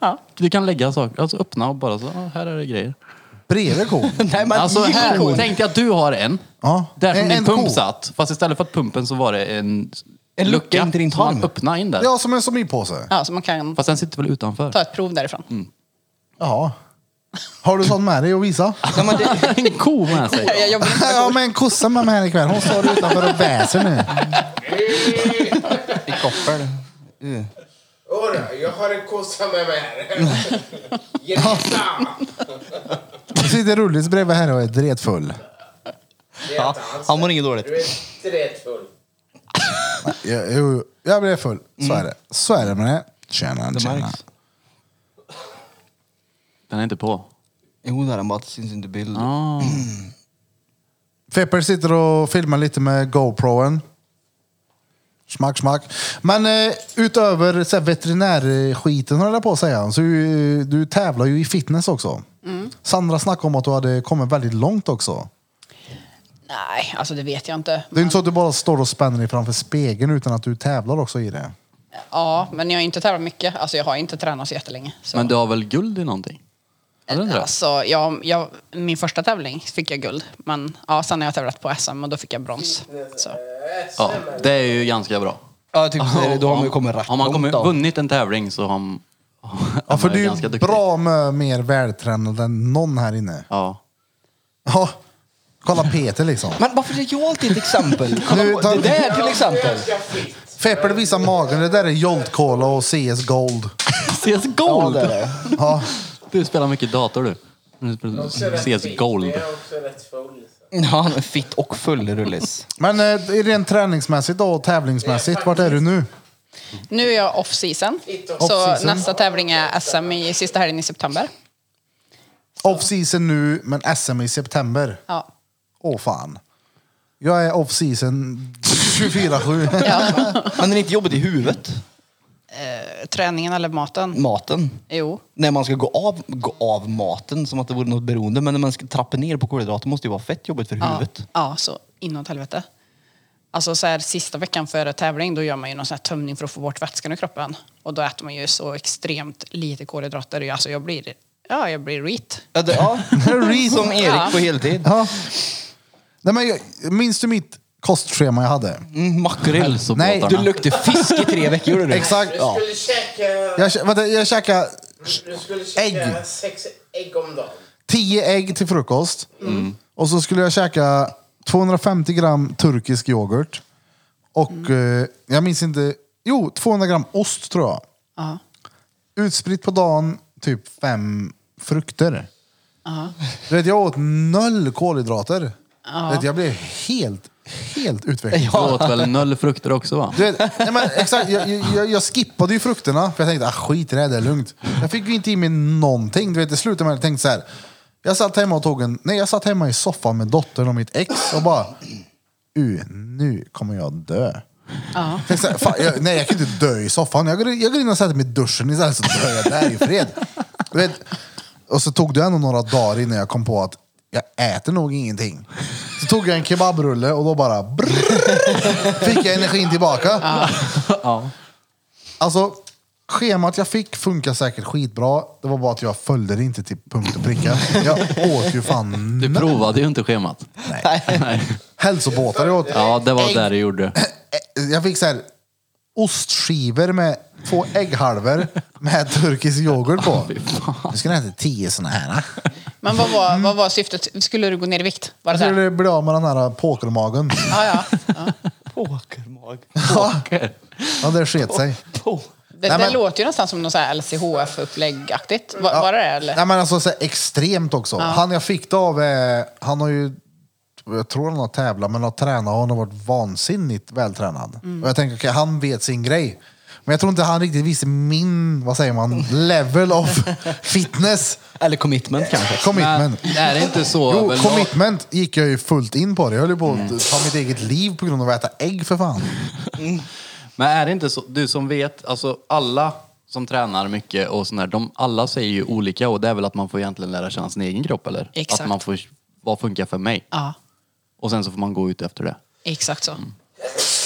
Speaker 5: Ja.
Speaker 2: Du kan lägga saker, alltså öppna och bara så, ah, här är det grejer.
Speaker 1: Bredvid kon?
Speaker 4: Nej men
Speaker 2: alltså
Speaker 4: i
Speaker 2: här,
Speaker 4: kon.
Speaker 2: tänkte jag att du har en.
Speaker 1: Ja.
Speaker 2: Där som
Speaker 1: En-
Speaker 2: din
Speaker 1: en
Speaker 2: pump
Speaker 1: ko.
Speaker 2: satt. Fast istället för att pumpen så var det en,
Speaker 4: En lucka in till din
Speaker 2: som man
Speaker 4: tarm.
Speaker 2: öppnade in där.
Speaker 1: Ja, som en stomipåse.
Speaker 5: Ja, så man kan
Speaker 2: Fast den sitter väl utanför?
Speaker 5: ta ett prov därifrån.
Speaker 2: Mm.
Speaker 1: Ja. Har du sånt med dig att visa?
Speaker 4: Nej, men det,
Speaker 2: en ko med sig.
Speaker 5: Jag jobbar inte
Speaker 1: Ja, men kossan med mig här ikväll. Hon står utanför och väser nu.
Speaker 4: I koppel. Uh.
Speaker 3: Jodå, jag har en kossa med mig här. Jätta!
Speaker 1: Det sitter Rullis bredvid här och är dretfull.
Speaker 4: Ja, han mår inget dåligt.
Speaker 3: Du är trätfull.
Speaker 1: Jag, jo, jag blir full. Så är det. Så är det med det. Tjena,
Speaker 4: Mm. Det
Speaker 1: tjena.
Speaker 4: märks.
Speaker 2: Den är inte på.
Speaker 4: Jo, där är den bara. Det syns inte bild.
Speaker 2: Ah.
Speaker 1: Fepper sitter och filmar lite med GoProen. Smack, smack. Men eh, utöver så här, veterinärskiten höll jag på att säga, så du, du tävlar ju i fitness också. Sandra snackade om att du hade kommit väldigt långt också.
Speaker 5: Nej, alltså det vet jag inte.
Speaker 1: Det är inte så att du bara står och spänner dig framför spegeln utan att du tävlar också i det.
Speaker 5: Ja, men jag har inte tävlat mycket. Alltså jag har inte tränat så jättelänge. Så.
Speaker 2: Men du har väl guld i någonting? Eller inte det?
Speaker 5: Alltså, jag, jag, min första tävling fick jag guld. Men ja, sen har jag tävlat på SM och då fick jag brons. Så.
Speaker 2: Ja, det är ju ganska bra.
Speaker 4: Ja, jag tyckte det. Då har man ju kommit rätt
Speaker 2: Har man
Speaker 4: långt
Speaker 2: kommit,
Speaker 4: då.
Speaker 2: vunnit en tävling så har man...
Speaker 1: Ja, för
Speaker 2: man
Speaker 1: du är
Speaker 2: ganska
Speaker 1: ju
Speaker 2: duktig.
Speaker 1: bra med mer vältränad än någon här inne.
Speaker 2: Ja.
Speaker 1: Ja, kolla Peter liksom.
Speaker 4: Men varför är jag alltid ett exempel?
Speaker 1: Nu
Speaker 4: Kolla på,
Speaker 1: tar-
Speaker 4: det där till exempel.
Speaker 3: Jag fit.
Speaker 1: Fepper visar magen, det där är Jolt Cola och CS Gold.
Speaker 2: CS
Speaker 4: Ja,
Speaker 2: Gold!
Speaker 4: det är det.
Speaker 1: Ja.
Speaker 2: du spelar mycket dator du.
Speaker 3: Också rätt
Speaker 2: CS
Speaker 3: fit,
Speaker 2: Gold.
Speaker 3: men Jag är också rätt full. så.
Speaker 4: Ja, han är fitt och full Rullis.
Speaker 1: Men eh, rent träningsmässigt då och tävlingsmässigt, vart är du nu?
Speaker 5: Nu är jag off season. Så
Speaker 1: Off-season.
Speaker 5: nästa tävling är SM i sista helgen i september.
Speaker 1: Off season nu, men SM i september.
Speaker 5: Ja.
Speaker 1: Åh fan. Jag är off season 24-7.
Speaker 5: Ja.
Speaker 4: Men det är inte jobbigt i huvudet?
Speaker 5: Träningen eller maten?
Speaker 4: Maten?
Speaker 5: Jo.
Speaker 4: När man ska gå av, gå av maten, som att det vore något beroende, men när man ska trappa ner på kolhydrater måste det ju vara fett jobbigt för
Speaker 5: Ja,
Speaker 4: huvudet.
Speaker 5: ja så inåt helvete. Alltså så här, sista veckan före tävling då gör man ju någon sån här tömning för att få bort vätskan ur kroppen. Och då äter man ju så extremt lite kolhydrater. Alltså jag blir, ja, jag blir reet.
Speaker 4: Ja, det, ja. som
Speaker 5: Ja.
Speaker 4: Erik på heltid.
Speaker 1: Ja. Nej, men jag, minns du mitt kostschema jag hade?
Speaker 4: Mm, makrill.
Speaker 1: Nej,
Speaker 2: Hälsobåtarna.
Speaker 4: Du luktade fisk i tre veckor gjorde du.
Speaker 1: Exakt.
Speaker 3: Du
Speaker 1: Ja.
Speaker 3: skulle käka...
Speaker 1: Jag, kä- vänta, jag käkade
Speaker 3: Du skulle käka
Speaker 1: Ägg.
Speaker 3: sex ägg om dagen.
Speaker 1: 10 ägg till frukost. Och så skulle jag käka 250 gram turkisk yoghurt. Och eh, jag minns inte. Jo, 200 gram ost tror jag.
Speaker 5: Ja.
Speaker 1: Utspritt på dagen, typ fem frukter. Du vet, jag åt noll kolhydrater. Du vet, jag blev helt, helt utvecklad.
Speaker 2: Du åt väl noll frukter också va?
Speaker 1: Du vet, nej men, exakt, jag, jag- jag, jag skippade ju frukterna för jag tänkte ah, skit i det, här, det är lugnt. Jag fick ju inte i mig någonting. Du vet, det slutade med att jag tänkte så här. Jag satt hemma och tog en, nej jag satt hemma i soffan med dottern och mitt ex och bara, "U, nu kommer jag dö.
Speaker 5: Ja.
Speaker 1: Tänkte Så här, fan, jag, nej jag kan inte dö i soffan. Jag går, in- jag går in och sätter mig i duschen istället så dör jag där i fred. Du vet, och så tog det ändå några dagar innan jag kom på att jag äter nog ingenting. Så tog jag en kebabrulle och då bara brrr, fick jag energin tillbaka. Alltså, schemat jag fick funkar säkert skitbra. Det var bara att jag följde det inte till punkt och pricka. Jag åt ju fan
Speaker 2: Du provade ju inte schemat.
Speaker 1: nej.
Speaker 2: Nej.
Speaker 1: hälsobåtar. Jag åt
Speaker 2: Ja, det var
Speaker 1: Ägg.
Speaker 2: det du gjorde.
Speaker 1: Eh, Jag fick så här ostskivor med två ägghalvor med turkisk yoghurt på. Nu ska ni äta tio såna här.
Speaker 5: Men vad var, vad var syftet? Skulle du gå ner i vikt? Var det
Speaker 1: Mm. Jag
Speaker 5: så här?
Speaker 1: skulle bli av med den här pokermagen.
Speaker 5: Ja, ja. ja.
Speaker 4: Pokermag.
Speaker 1: Ja, det sket sig.
Speaker 4: Po-
Speaker 5: Det,
Speaker 1: Nej,
Speaker 5: det
Speaker 1: men-
Speaker 5: låter ju nästan som något så här LCHF-uppläggaktigt. Var, var det det eller?
Speaker 1: Nej, men alltså, så här, extremt också. Han jag fick det av, eh, han har ju, jag tror han har tävlat, men har tränat och han har varit vansinnigt vältränad.
Speaker 2: Mm.
Speaker 1: Och jag tänker, okej, han vet sin grej. Men jag tror inte han riktigt visste min, vad säger man, level of fitness.
Speaker 4: Eller commitment kanske.
Speaker 1: Commitment.
Speaker 2: Men är det inte så? Mm.
Speaker 1: Jo,
Speaker 2: väl-
Speaker 1: commitment gick jag ju fullt in på. Det. Jag höll ju på att ta mitt eget liv på grund av att äta ägg för fan.
Speaker 2: Men är det inte så, du som vet, alltså alla som tränar mycket och sådär, de alla säger ju olika och det är väl att man får egentligen lära känna sin egen kropp eller?
Speaker 5: Exakt.
Speaker 2: Att man får, vad funkar för mig?
Speaker 5: Ja,
Speaker 2: Och sen så får man gå ut efter det.
Speaker 5: exakt så.
Speaker 1: Mm.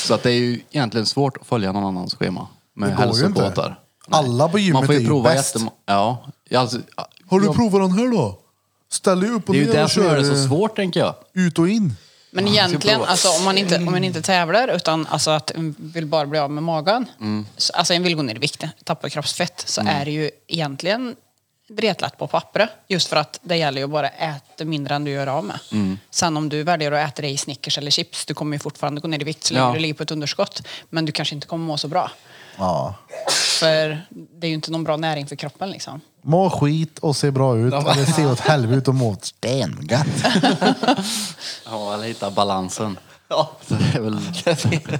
Speaker 2: Så att det är ju egentligen svårt att följa någon annans schema med
Speaker 1: Det går ju inte.
Speaker 2: hälsobåtar. Nej.
Speaker 1: Alla på gymmet
Speaker 2: Man får
Speaker 1: är
Speaker 2: ju
Speaker 1: ju
Speaker 2: prova
Speaker 1: bäst.
Speaker 2: jättema- Ja. Alltså,
Speaker 1: Har du
Speaker 2: ja,
Speaker 1: provat den här då? Ställ dig upp och
Speaker 2: Det är ju
Speaker 1: ner
Speaker 2: det
Speaker 1: och
Speaker 2: som gör
Speaker 1: kör
Speaker 2: det så
Speaker 1: eh,
Speaker 2: svårt tänker jag.
Speaker 1: ut och in.
Speaker 5: Men egentligen,
Speaker 2: prova.
Speaker 5: alltså, om, man inte, om man inte tävlar utan alltså, att en vill bara bli av med magen,
Speaker 1: Mm.
Speaker 5: så, alltså en vill gå ner i vikt, tappa kroppsfett, så är det ju egentligen dretlätt på pappret. Just för att det gäller ju att bara äta mindre än du gör av med.
Speaker 1: Mm.
Speaker 5: Sen om du väljer att äta dig i Snickers eller chips, du kommer ju fortfarande gå ner i vikt så länge
Speaker 2: Ja.
Speaker 5: du ligger på ett underskott. Men du kanske inte kommer må så bra.
Speaker 1: Ja.
Speaker 5: För det är ju inte någon bra näring för kroppen liksom.
Speaker 1: Må skit och se bra ut. Eller se åt helvete ut och må stengött.
Speaker 2: Ja, eller hitta balansen.
Speaker 4: Ja.
Speaker 2: Så det är väl...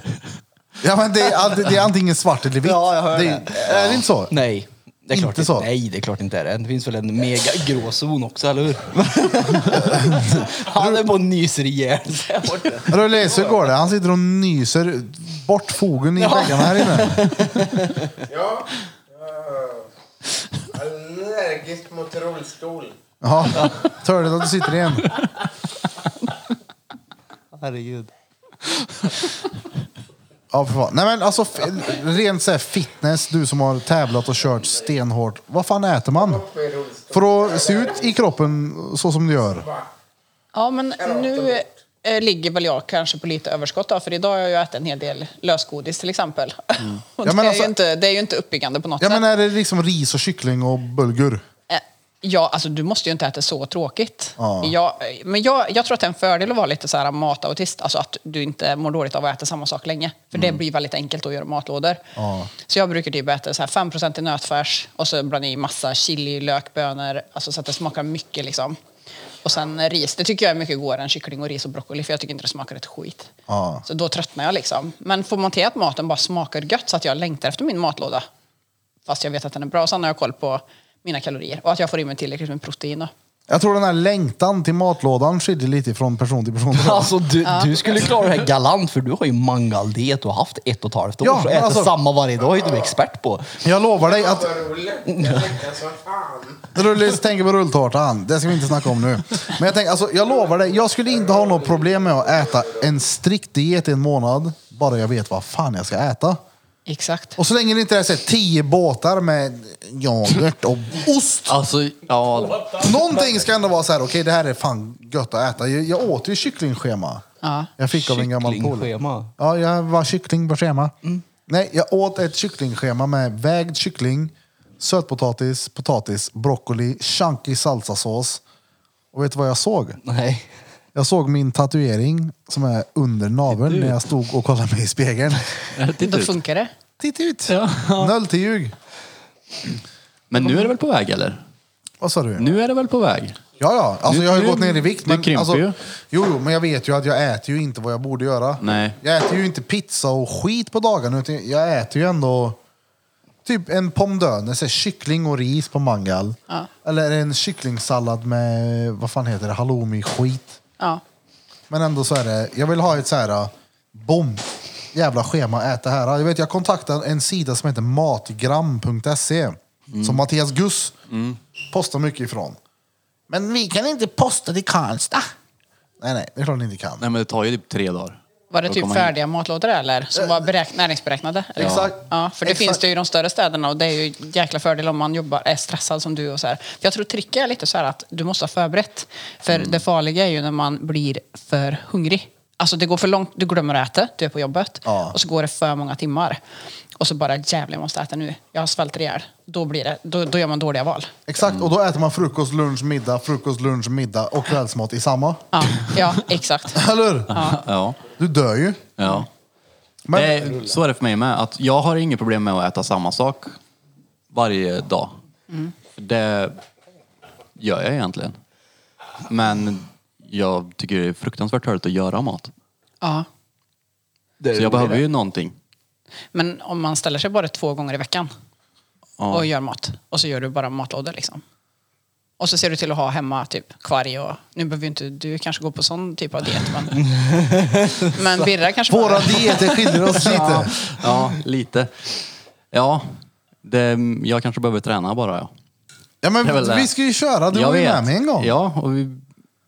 Speaker 1: Ja, men det, är, alltid- det är antingen svart eller vitt.
Speaker 4: Ja, jag hör
Speaker 1: det. Är det inte så?
Speaker 4: Nej. Det är
Speaker 1: Inte
Speaker 4: klart inte
Speaker 1: så?
Speaker 4: Nej, det är klart inte är det. Det finns väl en mega gråzon också, eller hur? Han är på och nyser ihjäl sig här borta.
Speaker 1: Rulleser går det. Han sitter och nyser bort fogen i väggarna här inne.
Speaker 3: Ja. Eh, Allergisk mot rullstol.
Speaker 1: Ja, törligt att du sitter igen.
Speaker 4: Herregud.
Speaker 1: Ja, för fan. Nej, men alltså, f- rent så här fitness, du som har tävlat och kört stenhårt. Vad fan äter man?
Speaker 3: Med rullstol.
Speaker 1: För att se ut i kroppen så som du gör.
Speaker 5: Ja, men nu eh, ligger väl jag kanske på lite överskott då, för idag har jag ju ätit en hel del lösgodis till exempel. och
Speaker 1: Ja, men
Speaker 5: det,
Speaker 1: alltså-
Speaker 5: är ju inte, det är ju inte uppbyggande på något
Speaker 1: Ja,
Speaker 5: sätt.
Speaker 1: men är det liksom ris och kyckling och bulgur?
Speaker 5: Eh, Ja, alltså du måste ju inte äta så tråkigt.
Speaker 1: Ja.
Speaker 5: Jag, men jag, jag tror att det är en fördel att vara lite så här matautist, alltså att du inte mår dåligt av att äta samma sak länge. För det blir väldigt enkelt att göra matlådor.
Speaker 1: Mm. Ja.
Speaker 5: Så jag brukar typ äta så här 5 i nötfärs och så blandar jag i massa chili, lök, bönor, alltså så att det smakar mycket liksom. Och sen ris, det tycker jag är mycket godare än kyckling och ris och broccoli för jag tycker inte det smakar ett skit.
Speaker 1: Ja.
Speaker 5: Så då tröttnar jag liksom. Men får man till att maten bara smakar gött så att jag längtar efter min matlåda fast jag vet att den är bra. Sen har jag koll på mina kalorier och att jag får i mig tillräckligt med protein. Då.
Speaker 1: Jag tror den här längtan till matlådan skiljer lite från person till person.
Speaker 4: Alltså du, du skulle klara det här galant för du har ju mangaldiet och haft ett och ett halvt år.
Speaker 1: Ja,
Speaker 4: så
Speaker 1: men
Speaker 4: äter
Speaker 1: alltså-
Speaker 4: samma varje dag är du expert på.
Speaker 1: Jag lovar dig att
Speaker 3: Vad roligt. Jag tänkte så fan.
Speaker 1: Rullis tänker på rulltårtan. Det ska vi inte snacka om nu. Men jag, tänker, alltså, jag lovar dig, jag skulle inte ha något problem med att äta en strikt diet i en månad. Bara jag vet vad fan jag ska äta.
Speaker 5: Exakt.
Speaker 1: Och så länge det inte är så här, tio båtar med yoghurt och ost.
Speaker 2: Alltså, ja.
Speaker 1: Någonting ska ändå vara så här, okej det här är fan gött att äta. Jag, jag åt ju kycklingschema.
Speaker 5: Ja.
Speaker 1: Jag fick av en gammal polare.
Speaker 4: Kycklingschema.
Speaker 1: Ja, jag var kyckling på schema. Nej, jag åt ett kycklingschema med vägd kyckling, sötpotatis, potatis, broccoli, chunky salsasås, Och vet du vad jag såg?
Speaker 4: Nej.
Speaker 1: Jag såg min tatuering som är under naveln när jag stod och kollade mig i spegeln.
Speaker 5: Då funkar det.
Speaker 1: Titta ut!
Speaker 6: Ja.
Speaker 1: Noll till ljug.
Speaker 2: Men nu är det väl på väg eller?
Speaker 1: Vad sa du?
Speaker 2: Nu är det väl på väg?
Speaker 1: Ja, ja. Alltså,
Speaker 2: Du-
Speaker 1: jag har ju
Speaker 2: du-
Speaker 1: gått ner i vikt.
Speaker 2: du
Speaker 1: Men,
Speaker 2: krymper
Speaker 1: alltså,
Speaker 2: ju.
Speaker 1: Jo, jo, men jag vet ju att jag äter ju inte vad jag borde göra.
Speaker 2: Nej.
Speaker 1: Jag äter ju inte pizza och skit på dagarna. Utan jag äter ju ändå typ en pommes döner, så här kyckling och ris på mangal.
Speaker 5: Ja.
Speaker 1: Eller en kycklingsallad med, vad fan heter det, halloumi-skit.
Speaker 5: Ja.
Speaker 1: Men ändå så är det, jag vill ha ett så här, äh, bom, jävla schema, ät det här. Jag vet, jag kontaktade en sida som heter matgram.se,
Speaker 2: Mm.
Speaker 1: som Mattias Guss postar mycket ifrån. Men vi kan inte posta till Karlstad. Nej, nej, det är klart ni inte kan.
Speaker 2: Nej men det tar ju typ tre dagar.
Speaker 5: Var det
Speaker 2: Då
Speaker 5: typ
Speaker 2: kommer man-
Speaker 5: färdiga matlådor eller? Som var beräk- näringsberäknade? eller?
Speaker 1: Exakt.
Speaker 5: Ja, för det
Speaker 1: Exakt.
Speaker 5: finns det ju i de större städerna och det är ju en jäkla fördel om man jobbar, är stressad som du och så här. För jag tror tricket är lite så här att du måste ha förberett. För det farliga är ju när man blir för hungrig. Alltså det går för långt, du glömmer att äta, du är på jobbet
Speaker 1: Ja.
Speaker 5: och så går det för många timmar. Och så bara jävlar jag måste äta nu, jag svälter ihjäl. Då, blir det, då, då gör man dåliga val.
Speaker 1: Exakt, och då äter man frukost, lunch, middag, frukost, lunch, middag och kvällsmat i samma.
Speaker 5: Ja, ja exakt.
Speaker 1: Eller hur?
Speaker 2: Ja.
Speaker 1: Du dör ju.
Speaker 2: ja.
Speaker 1: Men,
Speaker 2: det, så är det för mig med. Att jag har inget problem med att äta samma sak varje dag. För Det gör jag egentligen. Men jag tycker det är fruktansvärt tråkigt att göra mat.
Speaker 5: Ja.
Speaker 4: Det är
Speaker 2: Så jag
Speaker 4: roligt.
Speaker 2: behöver ju någonting.
Speaker 5: Men om man ställer sig bara två gånger i veckan
Speaker 2: Ja.
Speaker 5: och gör mat och så gör du bara matlådor liksom. Och så ser du till att ha hemma typ kvarg och nu behöver ju inte du kanske gå på sån typ av diet men, men Birra kanske
Speaker 1: våra
Speaker 5: bara,
Speaker 1: dieter skiljer oss lite.
Speaker 2: Ja, lite. Ja, det, jag kanske behöver träna bara. Ja.
Speaker 1: Ja, men
Speaker 2: Det är väl det.
Speaker 1: vi ska ju köra, du
Speaker 2: jag
Speaker 1: var ju med mig en gång.
Speaker 2: Ja, och vi,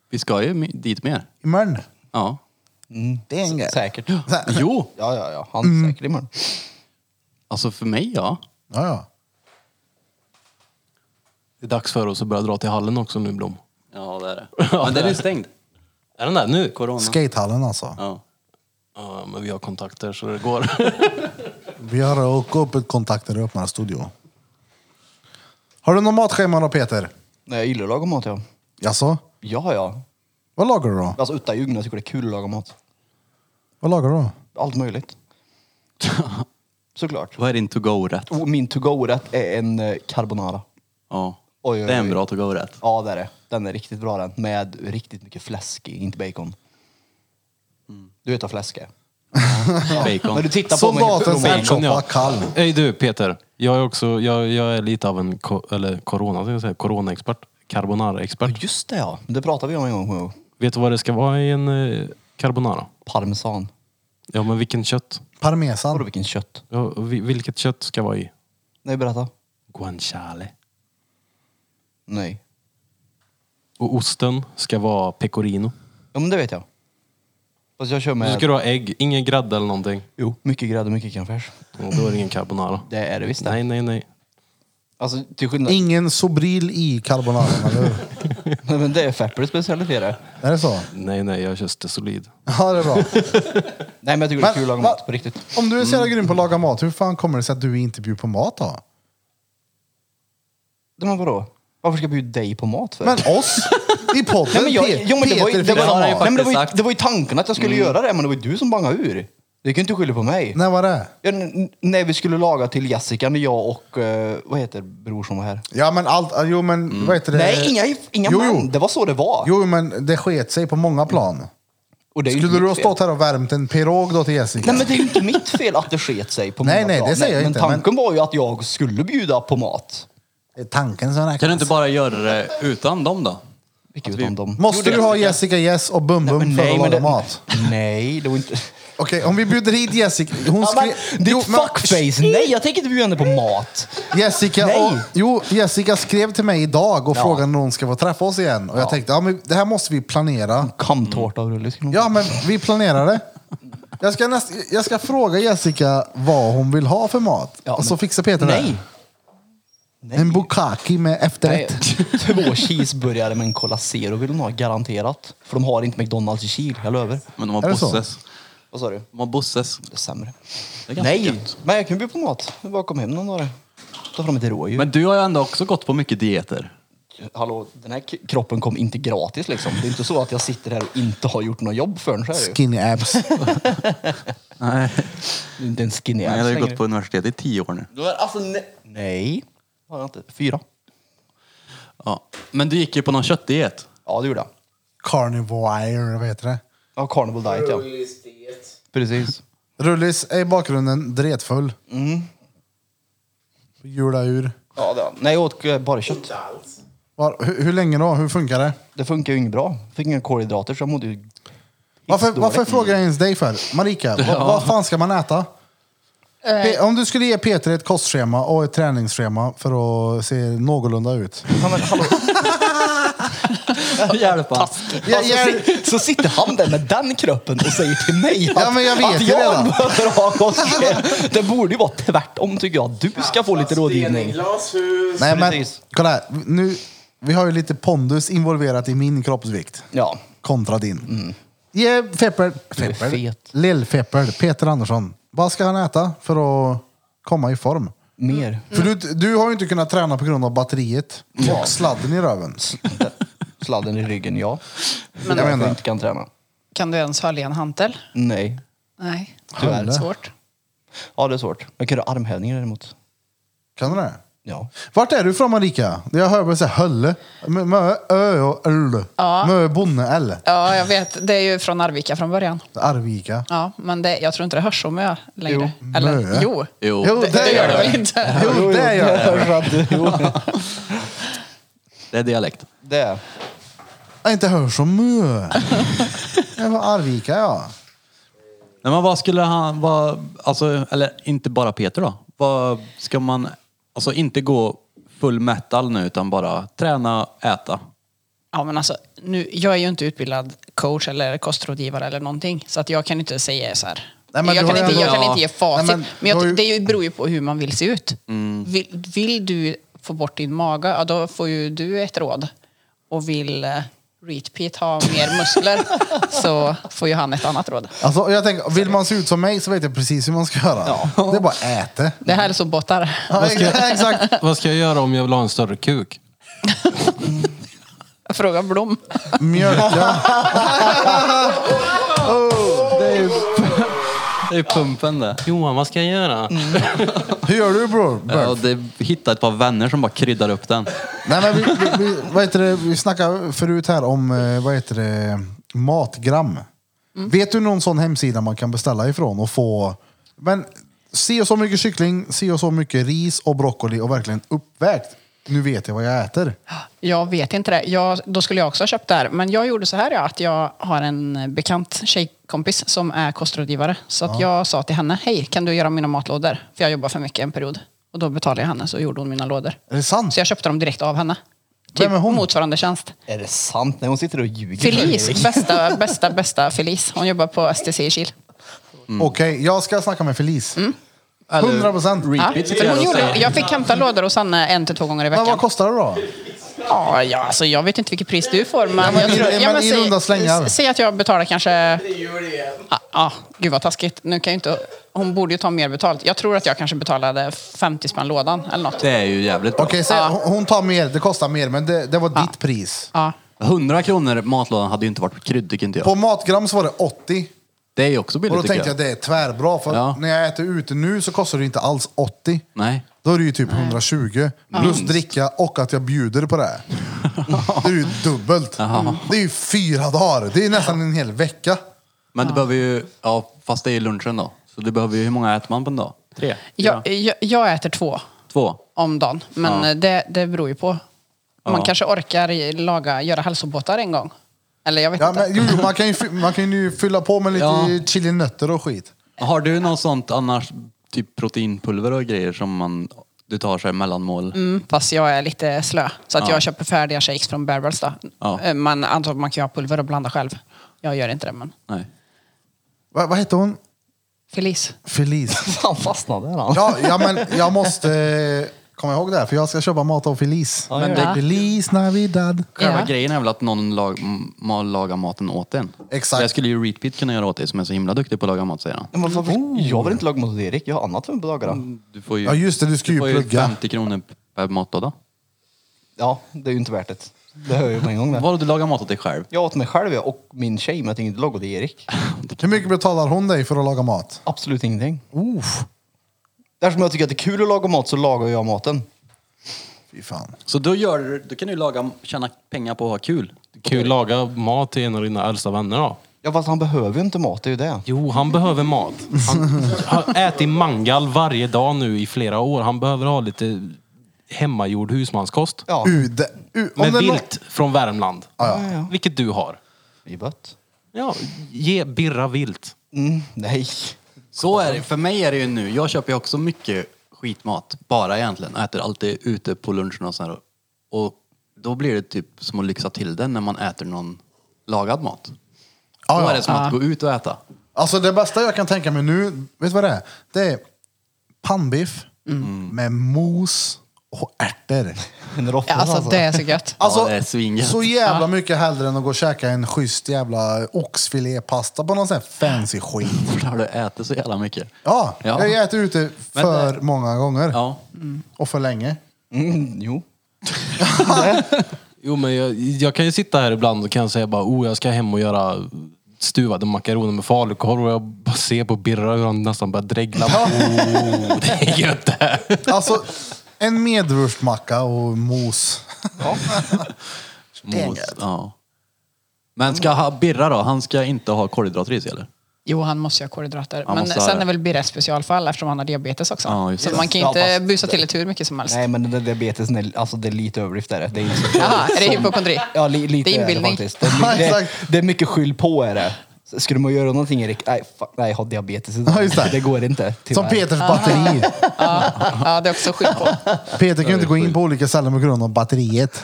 Speaker 2: vi ska ju mi- dit mer.
Speaker 1: Imorgon.
Speaker 2: Ja.
Speaker 1: Det är en grej.
Speaker 4: Mm,
Speaker 1: Mm.
Speaker 4: Säkert.
Speaker 2: Jo,
Speaker 4: Ja, ja, ja. Han är säker imorgon.
Speaker 2: alltså för mig ja.
Speaker 1: Ja, ja.
Speaker 6: Det är dags för oss att börja dra till hallen också nu Blom.
Speaker 2: Ja, det är det. Men den är stängd.
Speaker 6: Är den där nu?
Speaker 2: Corona.
Speaker 1: Skatehallen alltså.
Speaker 2: Ja.
Speaker 6: Ja, men vi har kontakter så det går.
Speaker 1: Vi har åkt upp ett kontakter och öppnar studio. Har du något matschema då Peter?
Speaker 4: Nej, jag gillar att laga mat, ja.
Speaker 1: Jaså?
Speaker 4: Ja, ja.
Speaker 1: Vad lagar du då?
Speaker 4: Alltså utan ljugna tycker det är kul att laga mat.
Speaker 1: Vad lagar du då?
Speaker 4: Allt möjligt. Såklart.
Speaker 2: Vad är din to-go-rätt?
Speaker 4: Och Oh, min to-go-rätt är en eh, carbonara.
Speaker 2: Ja.
Speaker 4: Oj, oj,
Speaker 2: Det är en
Speaker 4: oj.
Speaker 2: bra to-go-rätt.
Speaker 4: Ja, det är det. Den är riktigt bra den. Med riktigt mycket fläsk i, inte bacon. Du vet vad fläsk är?
Speaker 2: Bacon.
Speaker 4: Men du tittar på mig helt
Speaker 1: Soldatens
Speaker 4: roligt.
Speaker 1: ärtsoppa
Speaker 6: Bacon, ja.
Speaker 1: kall.
Speaker 6: Hej du Peter, jag är också, jag, jag är lite av en, ko- eller corona, ska jag säga, coronaexpert. Carbonara-expert.
Speaker 4: Just det ja, det pratade vi om en gång. kommer jag ihåg.
Speaker 6: Vet du vad det ska vara i en eh, carbonara?
Speaker 4: Parmesan.
Speaker 6: Ja men vilken kött?
Speaker 4: Vadå
Speaker 1: Parmesan.
Speaker 4: vilken kött?
Speaker 6: Ja, och vi- vilket kött ska vara i?
Speaker 4: Nej, berätta.
Speaker 6: Guanciale.
Speaker 4: Nej.
Speaker 6: Och osten ska vara pecorino.
Speaker 4: Ja, men det vet jag. Fast jag kör
Speaker 6: Och så
Speaker 4: med...
Speaker 6: ska du ha ägg, ingen grädde eller någonting.
Speaker 4: Jo, mycket grädde, mycket crème fraîche.
Speaker 6: Och då är det ingen carbonara.
Speaker 4: Det är det visst det.
Speaker 6: Nej, nej, nej.
Speaker 4: Alltså till skillnad...
Speaker 1: Ingen Sobril i carbonara, eller hur?
Speaker 4: Nej, men det är Feppers specialitet
Speaker 1: Är det så?
Speaker 6: Nej, nej, jag kör det solid.
Speaker 1: Ja, det är bra.
Speaker 4: Nej men jag tycker det
Speaker 1: Men,
Speaker 4: är kul att laga
Speaker 1: va-
Speaker 4: mat på riktigt.
Speaker 1: Om du är så jävla grym på att laga mat, hur fan kommer det sig att du inte bjuder på mat då?
Speaker 4: Det men vadå? Varför ska jag bjuda dig på mat för?
Speaker 1: Men oss? I podden?
Speaker 4: nej, men jag,
Speaker 1: Pe-
Speaker 4: jo, men det, var ju,
Speaker 1: Peter
Speaker 4: det,
Speaker 1: fixar
Speaker 4: var,
Speaker 2: har jag
Speaker 4: nej,
Speaker 1: mat.
Speaker 4: men
Speaker 2: faktiskt
Speaker 4: det, var ju,
Speaker 2: sagt.
Speaker 4: det var ju tanken att jag skulle
Speaker 1: Mm.
Speaker 4: göra det, men det var ju du som bangade ur. Du kan ju inte skylla på mig.
Speaker 1: När var det?
Speaker 4: Ja, n- n- när vi skulle laga till Jessica, när jag och, eh, vad heter bror som var här?
Speaker 1: Ja men allt, jo men vad heter det?
Speaker 4: Nej, inga, inga
Speaker 1: Eh, jo,
Speaker 4: män.
Speaker 1: Jo.
Speaker 4: Det var så det var.
Speaker 1: jo men det sket sig på många plan.
Speaker 4: och det är ju
Speaker 1: Skulle
Speaker 4: inte
Speaker 1: du ha
Speaker 4: mitt fel.
Speaker 1: stått här och värmt en pirog då till Jessica?
Speaker 4: Nej men det är ju inte mitt fel att det sket sig på
Speaker 1: Nej,
Speaker 4: mina
Speaker 1: nej,
Speaker 4: plan.
Speaker 1: det säger jag inte,
Speaker 4: Men tanken var ju att jag skulle bjuda på mat.
Speaker 1: Det är tanken som räknas.
Speaker 2: Kan du inte bara göra det utan dem då?
Speaker 4: Vilket utan dem.
Speaker 1: Måste du ha Jessica Yes och Bum Bum för att laga mat?
Speaker 4: Nej, det var inte...
Speaker 1: Okej, om vi bjuder hit Jessica. Hon
Speaker 4: Ja, men,
Speaker 1: skrev...
Speaker 4: ditt
Speaker 1: Jo, men-
Speaker 4: fuckface! Nej, jag tänker inte bjuda henne på mat.
Speaker 1: Jessica,
Speaker 4: Nej.
Speaker 1: och, jo, Jessica skrev till mig idag och frågade när hon ska få träffa oss igen. Och jag tänkte, ja, men det här måste vi planera.
Speaker 4: Kamtårta av rulle skulle hon-
Speaker 1: Ja, men vi planerar det. Jag ska, näst, jag ska fråga Jessica vad hon vill ha för mat.
Speaker 4: Ja,
Speaker 1: och så
Speaker 4: men-
Speaker 1: fixar Peter
Speaker 4: Nej!
Speaker 1: det. En bukkake med
Speaker 4: Nej,
Speaker 1: efterrätt.
Speaker 4: två cheeseburgare med en Cola Zero vill de ha garanterat. För de har inte McDonalds i Kil, jag lovar.
Speaker 2: Men de har
Speaker 1: Är det så?
Speaker 2: Bosses.
Speaker 4: Vad sa du?
Speaker 2: De har Bosses.
Speaker 4: Det är sämre.
Speaker 2: Det är ganska
Speaker 4: Nej,
Speaker 2: gött.
Speaker 4: men jag kan bjuda på mat. Jag bara kom hem någon dag. Ta fram ett rådjur.
Speaker 2: Men du har ju ändå också gått på mycket dieter.
Speaker 4: hallå, den här k- kroppen kom inte gratis liksom. Det är inte så att jag sitter här och inte har gjort något jobb förrän så är det ju.
Speaker 1: Skinny abs.
Speaker 2: Nej,
Speaker 4: Det är en skinny
Speaker 2: jag
Speaker 4: ass
Speaker 2: har ju
Speaker 4: längre.
Speaker 2: gått på universitet i tio år nu.
Speaker 4: Du har alltså nej. Nej. Har jag inte. Fyra.
Speaker 2: Ja. Men du gick ju på någon köttdiet.
Speaker 4: Ja, det gjorde jag.
Speaker 1: Carnivore, vad heter det?
Speaker 4: Ja, carnival diet ja. Precis.
Speaker 1: Rullis är i bakgrunden dretfull. Mm. Jula ur.
Speaker 4: Ja, det var. Nej, jag åt eh, bara kött.
Speaker 1: Var, hur, hur länge då? Hur funkar det?
Speaker 4: Det funkar ju inget bra. Fick inga kolhydrater så jag mådde ju...
Speaker 1: Varför,
Speaker 4: Skitdåligt.
Speaker 1: varför frågar jag ens dig för? Marika, vad, vad fan ska man äta? Pe- Om du skulle ge Peter ett kostschema och ett träningsschema för att se någorlunda ut.
Speaker 4: Ja, men, hallå.
Speaker 2: Hjälp alltså.
Speaker 1: Jag,
Speaker 4: Alltså,
Speaker 1: jag,
Speaker 4: si- Så sitter han där med den kroppen och säger till mig att,
Speaker 1: Ja, men jag vet
Speaker 4: att
Speaker 1: ju
Speaker 4: jag
Speaker 1: redan.
Speaker 4: behöver ha kostschema. Det borde ju vara tvärtom tycker jag. Du ska få lite rådgivning.
Speaker 3: Glashus.
Speaker 1: nej men,
Speaker 4: precis.
Speaker 1: kolla här. Nu, vi har ju lite pondus involverat i min kroppsvikt
Speaker 4: Ja.
Speaker 1: kontra din. Ge Feppel, Feppel,
Speaker 4: Mm. fet.
Speaker 1: Lill-Feppel, Peter Andersson. Vad ska han äta för att komma i form?
Speaker 4: Mer.
Speaker 1: För du, du har ju inte kunnat träna på grund av batteriet och sladden i röven.
Speaker 4: Sladden i ryggen, ja.
Speaker 1: Men-
Speaker 4: Men jag
Speaker 1: menar-
Speaker 4: inte kan träna.
Speaker 5: Kan du ens hölja en hantel?
Speaker 4: Nej.
Speaker 5: Nej,
Speaker 1: Tyvärr.
Speaker 5: svårt.
Speaker 4: Ja, det är svårt. Jag kan göra armhävningar däremot.
Speaker 1: Kan du det?
Speaker 4: Ja.
Speaker 1: Vart är du från Marika? Jag hör bara säga hölle. M- Mö, ö och öl.
Speaker 5: Ja.
Speaker 1: Mö, bonne, äll.
Speaker 5: Ja, jag vet. Det är ju från Arvika från början.
Speaker 1: Arvika.
Speaker 5: Ja, men det, jag tror inte det hörs så mycket längre. Eller,
Speaker 1: Mö.
Speaker 5: jo.
Speaker 2: Jo.
Speaker 1: Jo,
Speaker 5: Det, det gör det väl inte?
Speaker 1: Jo, det gör det.
Speaker 2: Det är dialekt.
Speaker 4: Det.
Speaker 1: Jag inte hör som mö. Det var Arvika ja.
Speaker 2: Nej, men vad skulle han, vad, alltså, eller inte bara Peter då. Vad ska man, alltså inte gå full metal nu utan bara träna, äta.
Speaker 5: Ja, men alltså, nu, jag är ju inte utbildad coach eller kostrådgivare eller någonting, så att jag kan inte säga så här.
Speaker 1: Nej, men
Speaker 5: jag,
Speaker 1: du
Speaker 5: kan
Speaker 1: har ju
Speaker 5: inte, jag
Speaker 1: ändå-
Speaker 5: kan inte ge facit,
Speaker 1: Nej, men
Speaker 5: men,
Speaker 1: du
Speaker 5: jag,
Speaker 1: har ju- Mm.
Speaker 5: det är ju- beror ju på hur man vill se ut. Vill, vill du få bort din mage, ja, då får ju du ett råd. Och vill eh, Reet-Pete ha mer muskler så får ju han ett annat råd.
Speaker 1: Alltså, jag tänker, vill man se ut som mig så vet jag precis hur man ska göra. Det är bara äta.
Speaker 5: Det här är hälsobottar.
Speaker 1: Ja, exakt.
Speaker 6: Vad ska jag göra om jag vill ha en större kuk?
Speaker 5: Fråga Blom.
Speaker 1: Mjölka.
Speaker 2: Det är ju det är pumpen det.
Speaker 6: Johan, vad ska jag göra?
Speaker 1: Mm. Hur gör du bror?
Speaker 2: Ja, det hitta ett par vänner som bara kryddar upp den.
Speaker 1: Nej, men vi, vi, vi, vad heter det? vi snackade förut här om eh, vad heter det? matgram. Vet du någon sån hemsida man kan beställa ifrån och få men se och så mycket kyckling, se och så mycket ris och broccoli och verkligen uppvägt. Nu vet jag vad jag äter.
Speaker 5: Jag vet inte det. Jag, då skulle jag också ha köpt det här. Men jag gjorde så här, ja, att jag har en bekant tjejkompis som är kostrådgivare. Så att jag sa till henne, hej, kan du göra mina matlådor? För jag jobbar för mycket en period. Och då betalade jag henne, så gjorde hon mina lådor.
Speaker 1: Är det sant?
Speaker 5: Så jag köpte dem direkt av henne. Typ
Speaker 1: Vem är hon?
Speaker 5: motsvarande tjänst.
Speaker 4: Är det sant? Nej, hon sitter och ljuger. för dig.
Speaker 5: Felice, bästa, bästa, bästa Felice. Hon jobbar på STC i Kil.
Speaker 1: Okej, jag ska snacka med Felice. 100 procent.
Speaker 5: Ja,
Speaker 1: Men
Speaker 2: Repeat
Speaker 5: för hon gjorde, jag fick hämta lådor hos henne en till två gånger i
Speaker 1: vad
Speaker 5: veckan.
Speaker 1: kostar det då?
Speaker 5: Ja, ja, alltså jag vet inte vilket pris du får, men...
Speaker 1: men
Speaker 5: jag
Speaker 1: i-
Speaker 5: tror-
Speaker 1: men i
Speaker 5: säg-
Speaker 1: runda slängar.
Speaker 5: s- Säg att jag betalar kanske
Speaker 3: Det gör det igen.
Speaker 5: Ja, ah, gud vad taskigt. Nu kan ju inte, hon borde ju ta mer betalt. Jag tror att jag kanske betalade 50 spänn lådan eller något.
Speaker 2: Det är ju jävligt bra.
Speaker 1: Okej, säg- hon- hon tar mer, det kostar mer, men det, det var ditt pris.
Speaker 5: Ja.
Speaker 2: 100 kronor matlådan hade ju inte varit krydd tycker inte jag.
Speaker 1: På matgram så var det 80.
Speaker 2: Det är ju också
Speaker 1: Och
Speaker 2: billigt
Speaker 1: då
Speaker 2: tycker
Speaker 1: tänkte jag
Speaker 2: jag.
Speaker 1: det är tvärbra, för
Speaker 2: Ja.
Speaker 1: när jag äter ute nu så kostar det inte alls 80.
Speaker 2: Nej.
Speaker 1: Då är det ju typ 120 plus dricka och att jag bjuder på det. här. Det är ju dubbelt. Det är ju fyra dagar. Det är nästan en hel vecka.
Speaker 2: Men du behöver ju, ja fast det är ju lunchen då. Så du behöver ju, hur många äter man på en dag? Tre?
Speaker 5: Jag, jag, jag äter två
Speaker 2: Två?
Speaker 5: om dagen, men
Speaker 2: Ja.
Speaker 5: det, det beror ju på. Man
Speaker 2: Ja.
Speaker 5: kanske orkar i- laga, göra hälsobåtar en gång. Eller jag vet
Speaker 1: Ja,
Speaker 5: inte.
Speaker 1: men, jo, jo, man, kan ju, fy- man kan ju fylla på med lite
Speaker 2: Ja.
Speaker 1: chilinötter och skit.
Speaker 2: Har du något sånt annars, typ proteinpulver och grejer som man, du tar sig mellanmål?
Speaker 5: Mm, fast jag är lite slö. Så att
Speaker 2: Ja.
Speaker 5: jag köper färdiga shakes från Barrels då.
Speaker 2: Ja.
Speaker 5: Eh, Man antar att man kan ju ha pulver och blanda själv. Jag gör inte det, men
Speaker 2: Nej.
Speaker 1: Va, vad hette hon?
Speaker 5: Felice.
Speaker 1: Felice.
Speaker 4: Han fastnade där han.
Speaker 1: Ja, ja, men jag måste eh, komma ihåg det här, för jag ska köpa mat av Felice.
Speaker 4: Men
Speaker 1: Ja.
Speaker 5: det-
Speaker 1: Felice Navidad.
Speaker 2: Själva
Speaker 5: Ja.
Speaker 2: grejen är väl att någon lag, m- ma- lagar maten åt en.
Speaker 1: Exakt.
Speaker 2: Det skulle ju Reatpit kunna göra åt dig som är så himla duktig på att laga mat säger han.
Speaker 4: Men varför-
Speaker 1: Oh.
Speaker 4: Jag vill inte laga mat åt Erik. Jag har annat för mig på dagarna.
Speaker 2: Du får ju,
Speaker 1: Ja, just det, du ska ju
Speaker 2: får ju
Speaker 1: plugga.
Speaker 2: 50 kronor per matlåda.
Speaker 4: Ja, det är ju inte värt det. Det hör jag ju på en gång. Där.
Speaker 2: Vadå, du lagar mat åt dig själv?
Speaker 4: Jag åt mig själv jag och min tjej, men jag tänkte inte laga det Erik.
Speaker 1: Hur mycket betalar hon dig för att laga mat?
Speaker 4: Absolut ingenting.
Speaker 1: Oof.
Speaker 4: Eftersom jag tycker att det är kul att laga mat så lagar jag maten.
Speaker 1: Fy fan.
Speaker 2: Så då, gör, du- då kan du laga, tjäna pengar på att ha kul.
Speaker 6: Kan ju laga mat till en av dina äldsta vänner då.
Speaker 4: Ja, fast han behöver ju inte mat, det är ju det.
Speaker 6: Jo, han behöver mat. Han har ätit mangal varje dag nu i flera år. Han behöver ha lite hemmagjord husmanskost.
Speaker 4: Ja,
Speaker 5: Mm.
Speaker 1: UD. U, om
Speaker 6: Med
Speaker 1: det är nå-
Speaker 6: vilt från Värmland.
Speaker 1: Ja, ja.
Speaker 6: Vilket du har.
Speaker 4: i bött.
Speaker 6: Ja, ge Birra vilt.
Speaker 4: Mm, nej.
Speaker 2: Så är det. För mig är det ju nu. Jag köper ju också mycket skitmat. Bara egentligen. Jag äter alltid ute på lunchen och sådär. Och då blir det typ som att lyxa till den när man äter någon lagad mat.
Speaker 1: Ja,
Speaker 2: Då
Speaker 1: ja.
Speaker 2: är det som att gå ut och äta.
Speaker 1: Alltså det bästa jag kan tänka mig nu, vet du vad det är? Det är pannbiff
Speaker 2: Mm.
Speaker 1: med mos och ärtor.
Speaker 4: En råtta
Speaker 5: Ja, alltså,
Speaker 4: alltså.
Speaker 5: det är så gött.
Speaker 1: Alltså,
Speaker 2: det är svingött.
Speaker 1: så jävla mycket hellre än att gå och käka en schysst jävla oxfilépasta på någon sån här fancy skit.
Speaker 2: För då har du ätit så jävla mycket.
Speaker 1: Ja,
Speaker 2: Ja.
Speaker 1: jag äter ute för många gånger.
Speaker 2: Ja.
Speaker 1: Och för länge.
Speaker 4: Mm, jo.
Speaker 6: Jo, men jag, jag kan ju sitta här ibland och kan säga bara, oh, jag ska hem och göra stuvade makaroner med falukorv och jag bara ser på Birra hur han nästan börjar dregla. Oh, det är gött det här.
Speaker 1: Alltså, en medvurstmacka och mos.
Speaker 2: Mos, ja. Men ska ha Birra då? Han ska inte ha kolhydrater i sig eller?
Speaker 5: Jo, han måste ju ha kolhydrater.
Speaker 2: Han
Speaker 5: Men
Speaker 2: måste ha
Speaker 5: sen
Speaker 2: det.
Speaker 5: är väl Birre ett specialfall eftersom han har diabetes också.
Speaker 2: Ja, just
Speaker 5: så
Speaker 2: det.
Speaker 5: man kan ju
Speaker 4: Ja,
Speaker 5: inte
Speaker 4: fast-
Speaker 5: busa till det hur mycket som helst.
Speaker 4: Nej, men den där diabetesen, är, alltså det är lite överdrift där. Det är inte så
Speaker 5: Jaha, är det hypokondri?
Speaker 4: Ja, li, lite
Speaker 5: Det är
Speaker 4: det
Speaker 5: inbildning.
Speaker 4: faktiskt. Det är, det, det,
Speaker 1: Exakt.
Speaker 4: det är mycket skyll på är det. Skulle man göra någonting Erik? Nej, fuck, nej jag har diabetes idag.
Speaker 1: Ja, just det.
Speaker 4: det går inte.
Speaker 1: Som
Speaker 4: tyvärr.
Speaker 1: Peters batteri.
Speaker 5: Ja, ja, det är också skit på.
Speaker 1: Peter kan ju inte gå in på olika ställen på grund av batteriet.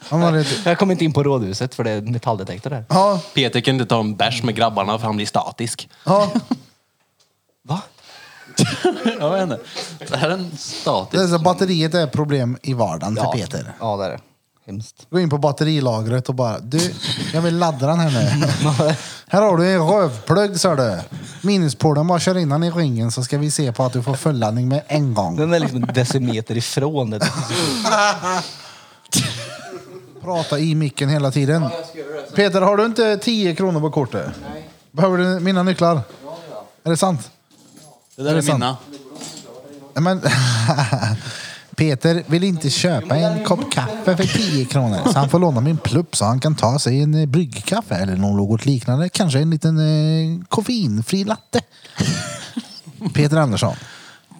Speaker 1: Han har ett,
Speaker 4: Jag kom inte in på rådhuset för det är en metalldetektor där.
Speaker 1: ja,
Speaker 6: Peter kan inte ta en bärs med grabbarna för han blir statisk.
Speaker 1: ja,
Speaker 4: Va?
Speaker 2: Jag vet inte. Det här är en
Speaker 1: det är
Speaker 2: statisk...
Speaker 1: så, batteriet är ett problem i vardagen för Peter.
Speaker 4: Ja, det är det. Hemskt.
Speaker 1: Gå in på batterilagret och bara, du, jag vill ladda den här nu. Här har du en rövplugg sa du. Minuspolen, bara kör in den i ringen så ska vi se på att du får fulladdning med en gång.
Speaker 4: Den är liksom en decimeter ifrån det.
Speaker 1: Prata i micken hela tiden. Peter, har du inte 10 kronor på kortet? Nej. Behöver du mina nycklar? Ja, Är det sant?
Speaker 2: Det där är
Speaker 1: sant.
Speaker 2: mina.
Speaker 1: Nej, Men Peter vill inte köpa en kopp kaffe för 10 kronor så han får låna min plupp så han kan ta sig en eh, bryggkaffe eller något liknande. Kanske en liten eh, koffeinfri latte. Peter Andersson.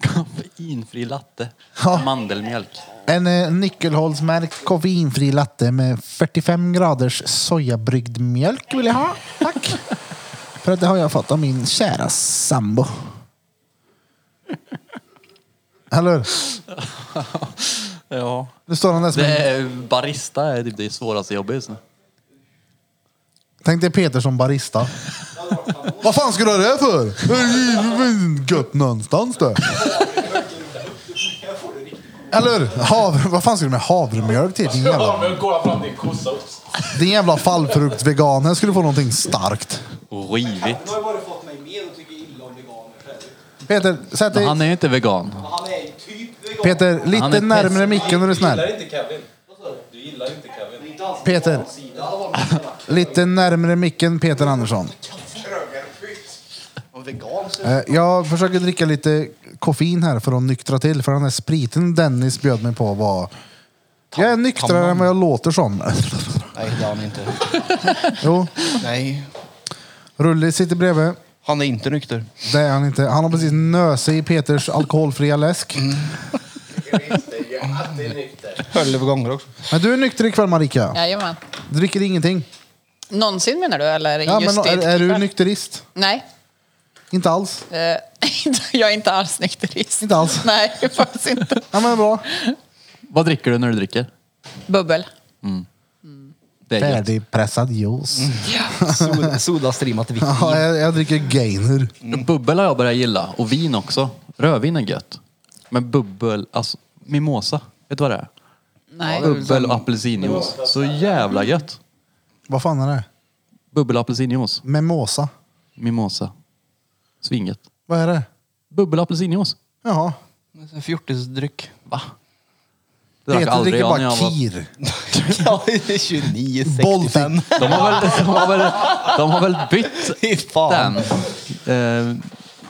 Speaker 2: Koffeinfri latte.
Speaker 1: Ja.
Speaker 2: Mandelmjölk.
Speaker 1: En eh, nyckelhålsmärkt koffeinfri latte med 45 graders sojabryggd mjölk vill jag ha. Tack. För att det har jag fått av min kära sambo. Eller hur?
Speaker 2: Ja.
Speaker 1: Nu står han där som
Speaker 2: Det
Speaker 1: en
Speaker 2: är, barista är typ det svåraste jobbet just nu.
Speaker 1: Tänk dig Peter som barista. Vad fan ska du ha det för? Det är ju Gött någonstans det. Eller havre, vad fan ska du med havremjölk till? Din jävla,
Speaker 6: går fram till en kossa också.
Speaker 1: din jävla fallfruktveganer skulle få någonting starkt.
Speaker 2: Rivigt.
Speaker 4: har bara fått mig med och tycker illa om veganer.
Speaker 1: Peter, sätt dig.
Speaker 2: Han är ju inte vegan.
Speaker 4: Han är ju typ vegan.
Speaker 1: Peter,
Speaker 2: Han
Speaker 1: lite
Speaker 2: är
Speaker 1: närmare
Speaker 2: pest.
Speaker 1: micken är du snäll.
Speaker 7: inte Kevin. Du gillar inte Kevin.
Speaker 1: Peter, lite närmare micken Peter Andersson. Eh, Jag försöker dricka lite koffein här för att nyktra till. För den här spriten Dennis bjöd mig på var... Jag är nyktrare än vad jag låter som.
Speaker 4: Nej, det är han inte.
Speaker 1: Jo,
Speaker 4: Nej,
Speaker 1: Rulli sitter bredvid.
Speaker 4: han är inte nykter.
Speaker 1: Det är han inte. Han har precis nöse i Peters alkoholfria läsk.
Speaker 4: Själv gånger också.
Speaker 1: Men du är nykter ikväll Marika.
Speaker 5: Jajamän.
Speaker 1: Du dricker ingenting.
Speaker 5: Någonsin menar du? Eller
Speaker 1: Ja, men
Speaker 5: just
Speaker 1: är,
Speaker 5: det
Speaker 1: är du
Speaker 5: ikväll?
Speaker 1: nykterist?
Speaker 5: Nej.
Speaker 1: Inte alls.
Speaker 5: Eh, jag är inte alls nykterist.
Speaker 1: Inte alls.
Speaker 5: Nej, faktiskt inte.
Speaker 1: Ja, men bra.
Speaker 2: Vad dricker du när du dricker?
Speaker 5: Bubbel.
Speaker 2: Det är gött.
Speaker 1: Färdigpressad juice.
Speaker 4: Soda, soda streamat vitt.
Speaker 1: Mm. Ja, jag, jag dricker gainer.
Speaker 2: Bubbel har jag börjat gilla. Och vin också. Rödvin är gött. Men bubbel, alltså mimosa. Vet du vad det är?
Speaker 5: Nej.
Speaker 2: Bubbel och apelsinjuice. Så jävla gött.
Speaker 1: Vad fan är det?
Speaker 2: Bubbel och apelsinjuice.
Speaker 1: Mimosa.
Speaker 2: Mimosa. Svinget.
Speaker 1: Vad är det?
Speaker 2: Bubbel och apelsinjuice.
Speaker 1: Jaha.
Speaker 4: Fjortisdryck.
Speaker 2: Va? Det drack
Speaker 1: Peter
Speaker 2: aldrig
Speaker 1: dricker
Speaker 2: jag när
Speaker 1: bara
Speaker 2: jag var...
Speaker 1: kir.
Speaker 4: Ja, det är 29, 65.
Speaker 1: Baltic.
Speaker 2: De har väl, de har väl, de har väl bytt
Speaker 4: Fy
Speaker 2: den.
Speaker 4: fan.
Speaker 2: Eh,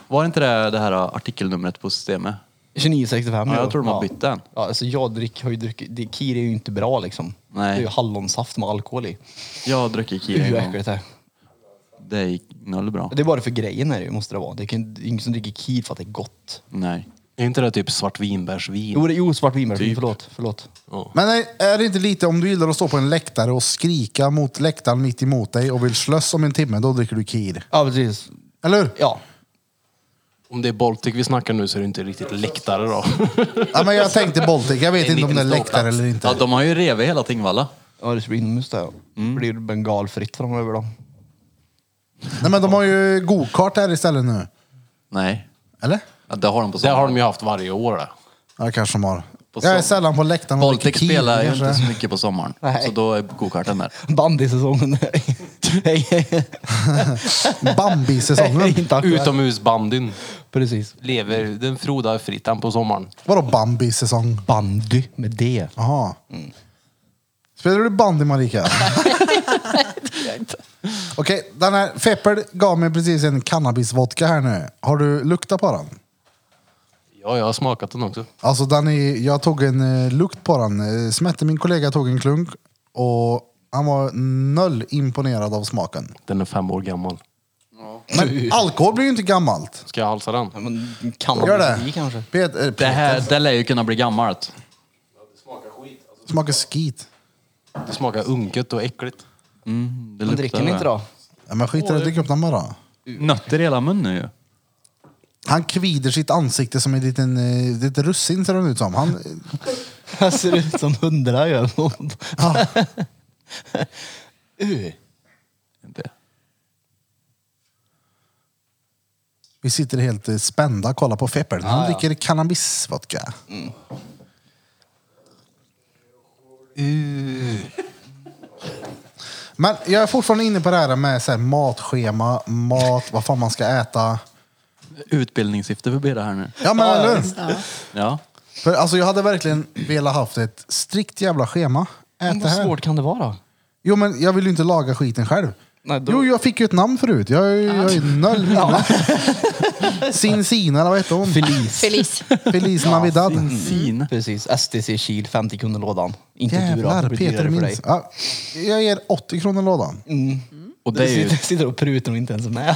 Speaker 2: var det inte det, det här artikelnumret på systemet?
Speaker 4: 29, 65.
Speaker 2: Ja, jag tror de har bytt den.
Speaker 4: Ja, alltså jag drick, har ju druckit, det, kir är ju inte bra liksom.
Speaker 2: Nej.
Speaker 4: Det är ju hallonsaft med alkohol i.
Speaker 2: Jag har druckit
Speaker 4: Hur
Speaker 2: kir en gång.
Speaker 4: äckligt det är.
Speaker 2: Det gick noll bra.
Speaker 4: Det är bara för grejen är det ju, måste det vara. Det kan det är ingen som dricker kir för att det är gott.
Speaker 2: Nej.
Speaker 6: Är inte det typ svartvinbärsvin?
Speaker 4: Jo, det, jo svart vinbärsvin,
Speaker 2: Typ.
Speaker 4: förlåt. förlåt.
Speaker 1: Men är- är det inte lite om du gillar att stå på en läktare och skrika mot läktaren mitt emot dig och vill slåss om en timme, då dricker du kir.
Speaker 4: Ja, precis.
Speaker 1: Eller hur?
Speaker 4: Ja.
Speaker 6: Om det är Baltic vi snackar nu så är det inte riktigt läktare då.
Speaker 1: Ja, men jag tänkte Baltic, jag vet
Speaker 6: Det är
Speaker 1: inte om det är
Speaker 6: en liten
Speaker 1: läktare
Speaker 6: ståplats.
Speaker 1: eller
Speaker 2: Ja,
Speaker 1: inte.
Speaker 2: de har ju revit hela Tingvalla.
Speaker 4: Ja, det blir liksom inomhus där. Mm. Blir det bengalfritt framöver då?
Speaker 1: Nej men de har ju gokart här istället nu.
Speaker 2: Nej,
Speaker 1: Eller?
Speaker 2: ja, det har de på
Speaker 6: Det har
Speaker 2: sommaren.
Speaker 6: de ju haft varje år. Där.
Speaker 1: Ja kanske de har.
Speaker 2: På
Speaker 1: Jag är
Speaker 2: sommaren.
Speaker 1: sällan på läktaren och
Speaker 2: Baltic
Speaker 1: dricker kir,
Speaker 2: spelar ju
Speaker 1: kanske.
Speaker 2: inte så mycket på sommaren.
Speaker 4: Nej.
Speaker 2: Så då är gokarten där.
Speaker 4: Bandysäsongen.
Speaker 1: Bambi-säsongen.
Speaker 4: Inte aktuell.
Speaker 6: Utomhusbandyn
Speaker 4: Precis.
Speaker 6: lever, den frodar fritt den på sommaren.
Speaker 1: Vadå Bambi-säsong?
Speaker 4: Bandy med det.
Speaker 1: Jaha.
Speaker 2: Mm.
Speaker 1: Spelar du bandy Marika? Okej, den här Feppel gav mig precis en cannabisvodka här nu. Har du luktat på den?
Speaker 6: Ja, jag har smakat den också.
Speaker 1: Alltså den är, jag tog en eh, lukt på den. Eh, Smette, min kollega, tog en klunk och han var noll imponerad av smaken.
Speaker 6: Den är fem år gammal.
Speaker 1: Men alkohol blir ju inte gammalt.
Speaker 6: Ska jag halsa den?
Speaker 4: Men kan
Speaker 1: Gör
Speaker 4: man
Speaker 1: det?
Speaker 4: kanske?
Speaker 1: Peter, eh,
Speaker 2: Det här
Speaker 1: Peter
Speaker 2: det lär ju kunna bli gammalt.
Speaker 1: smakar skit.
Speaker 6: Det smakar unket och äckligt.
Speaker 2: Mm, det
Speaker 4: Men
Speaker 2: luktar
Speaker 4: dricker ni inte
Speaker 2: det.
Speaker 4: då?
Speaker 1: Ja, men skit i det, drick upp den bara.
Speaker 2: Nötter i hela munnen ju.
Speaker 1: Han kvider sitt ansikte som en liten, eh, liten russin ser han ut som. Han,
Speaker 4: Jag ser ut som hundra gör.
Speaker 1: ja.
Speaker 4: Uh.
Speaker 2: Inte.
Speaker 1: Vi sitter helt eh, spända och kollar på Feppel. Han dricker cannabisvodka. Men jag är fortfarande inne på det här med så här matschema, mat, vad fan man ska äta.
Speaker 2: Utbildningssyfte förbi det här nu.
Speaker 1: Ja men eller hur?
Speaker 2: Ja.
Speaker 1: För alltså jag hade verkligen velat haft ett strikt jävla schema. Ät det
Speaker 4: Mm, Vad
Speaker 1: här.
Speaker 4: svårt kan det vara?
Speaker 1: Jo men jag vill ju inte laga skiten själv.
Speaker 4: Nej, då-
Speaker 1: Jo jag fick ju ett namn förut. Jag är jag är noll minne. Sinsina eller vad hette hon?
Speaker 4: Felice.
Speaker 5: Feliz.
Speaker 1: Feliz Navidad.
Speaker 2: Mm. Sin.
Speaker 4: Precis, STC Kil 50 kronor lådan. Inte du då,
Speaker 1: Jävlar,
Speaker 4: det blir
Speaker 1: Peter
Speaker 4: dyrare för
Speaker 1: minns.
Speaker 4: dig.
Speaker 1: Ja, jag ger 80 kronor lådan.
Speaker 2: Mm. Och det
Speaker 4: Du
Speaker 2: är ju,
Speaker 4: sitter, sitter och prutar och inte ens är med.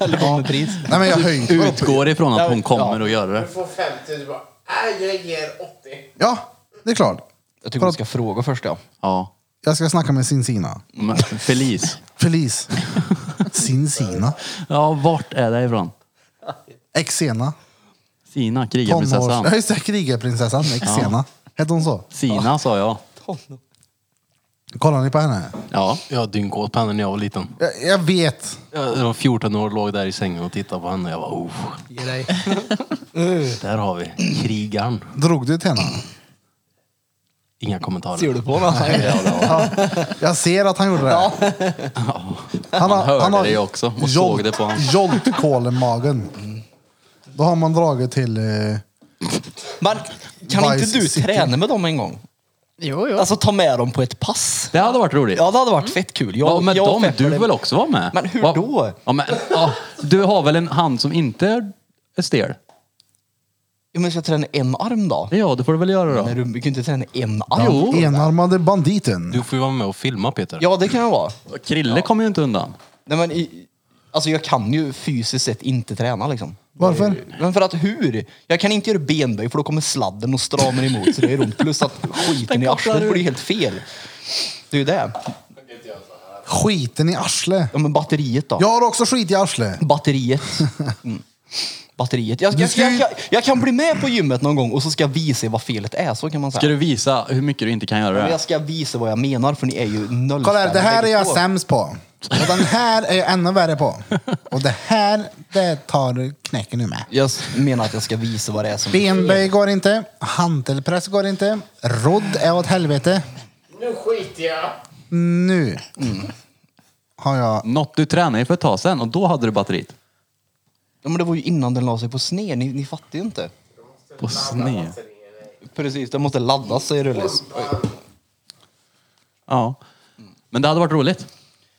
Speaker 4: Eller kommer med pris.
Speaker 1: Nej men jag höjer upp.
Speaker 2: utgår ifrån att hon
Speaker 4: Ja.
Speaker 2: kommer att göra
Speaker 3: Du
Speaker 2: det.
Speaker 3: får 50, du bara nej jag ger 80.
Speaker 1: Ja, det är klart.
Speaker 4: Jag tycker du ska fråga först ja.
Speaker 2: Ja.
Speaker 1: Jag ska snacka med Sinsina.
Speaker 2: Men, Feliz.
Speaker 1: Feliz. Sinsina.
Speaker 2: Ja, vart är det ifrån?
Speaker 1: Exena.
Speaker 2: Sina, krigarprinsessan.
Speaker 1: Tonårs... Ja just det, krigarprinsessan. Exena. Hette hon så?
Speaker 2: Sina sa jag.
Speaker 1: Kollar ni på henne?
Speaker 2: Ja.
Speaker 6: Jag har dyngkåt på henne när jag var liten.
Speaker 1: Jag, jag vet.
Speaker 6: Jag jag var 14 år låg där i sängen och tittade på henne och jag var oh.
Speaker 4: Ge dig.
Speaker 6: Där har vi krigaren.
Speaker 1: Drog du till henne?
Speaker 6: Inga kommentarer.
Speaker 4: Ser du på honom?
Speaker 1: Jag ser att han gjorde det. Han har,
Speaker 2: hörde det ju också och såg det på Mm. han.
Speaker 1: Joltkålemagen. Då har man dragit till... Eh,
Speaker 4: Men kan
Speaker 1: Vice
Speaker 4: inte du
Speaker 1: City.
Speaker 4: träna med dem en gång?
Speaker 5: Jo, jo.
Speaker 4: Alltså ta med dem på ett pass.
Speaker 2: Det hade varit roligt.
Speaker 4: Ja, det hade varit fett kul. Jag,
Speaker 2: Ja, men
Speaker 4: jag och
Speaker 2: de,
Speaker 4: Peppe,
Speaker 2: du
Speaker 4: det-
Speaker 2: vill också vara med?
Speaker 4: Men hur
Speaker 2: Va-
Speaker 4: då?
Speaker 2: Ja, men, ja, du har väl en hand som inte är stel?
Speaker 4: Ja, men ska jag träna en arm då?
Speaker 2: Ja, det får du väl göra då.
Speaker 4: Nej, du kan ju inte träna en arm.
Speaker 2: Jo.
Speaker 1: enarmade banditen.
Speaker 6: Du får ju vara med och filma Peter.
Speaker 4: Ja, det kan jag vara.
Speaker 2: Krille kommer ju inte undan.
Speaker 4: Nej, men i, alltså jag kan ju fysiskt sett inte träna liksom.
Speaker 1: Varför?
Speaker 4: Men för att hur? Jag kan inte göra benböj för då kommer sladden och stramar emot så det är ont. Plus att skiten i arslet blir helt fel. Det är ju det.
Speaker 1: Skiten i arslet.
Speaker 4: Ja men batteriet då?
Speaker 1: Jag har också skit i arslet.
Speaker 4: Batteriet. Mm. Batteriet. Jag, jag,
Speaker 1: ska
Speaker 4: jag,
Speaker 1: ju-
Speaker 4: jag, jag kan bli med på gymmet någon gång och så ska jag visa er vad felet är. Så kan man säga.
Speaker 2: Ska du visa hur mycket du inte kan göra
Speaker 4: Men
Speaker 2: det?
Speaker 4: jag ska visa vad jag menar för ni är ju nollställda
Speaker 1: Kolla här, det här är
Speaker 4: bägge
Speaker 1: jag
Speaker 4: två.
Speaker 1: sämst på. Och den här är jag ännu värre på. Och det här, det tar du knäcken nu med.
Speaker 4: Jag s- menar att jag ska visa vad det är som...
Speaker 1: Benböj går inte, hantelpress går inte, rodd är åt helvete.
Speaker 3: Nu skiter jag.
Speaker 1: Nu har jag...
Speaker 2: Något du tränade i för ett tag sedan och då hade du batteriet.
Speaker 4: Ja, men det var ju innan den la sig på sned. Ni, ni fattar ju inte.
Speaker 2: På sned.
Speaker 4: Precis, den måste laddas säger Rullis.
Speaker 2: Ja. Men det hade varit roligt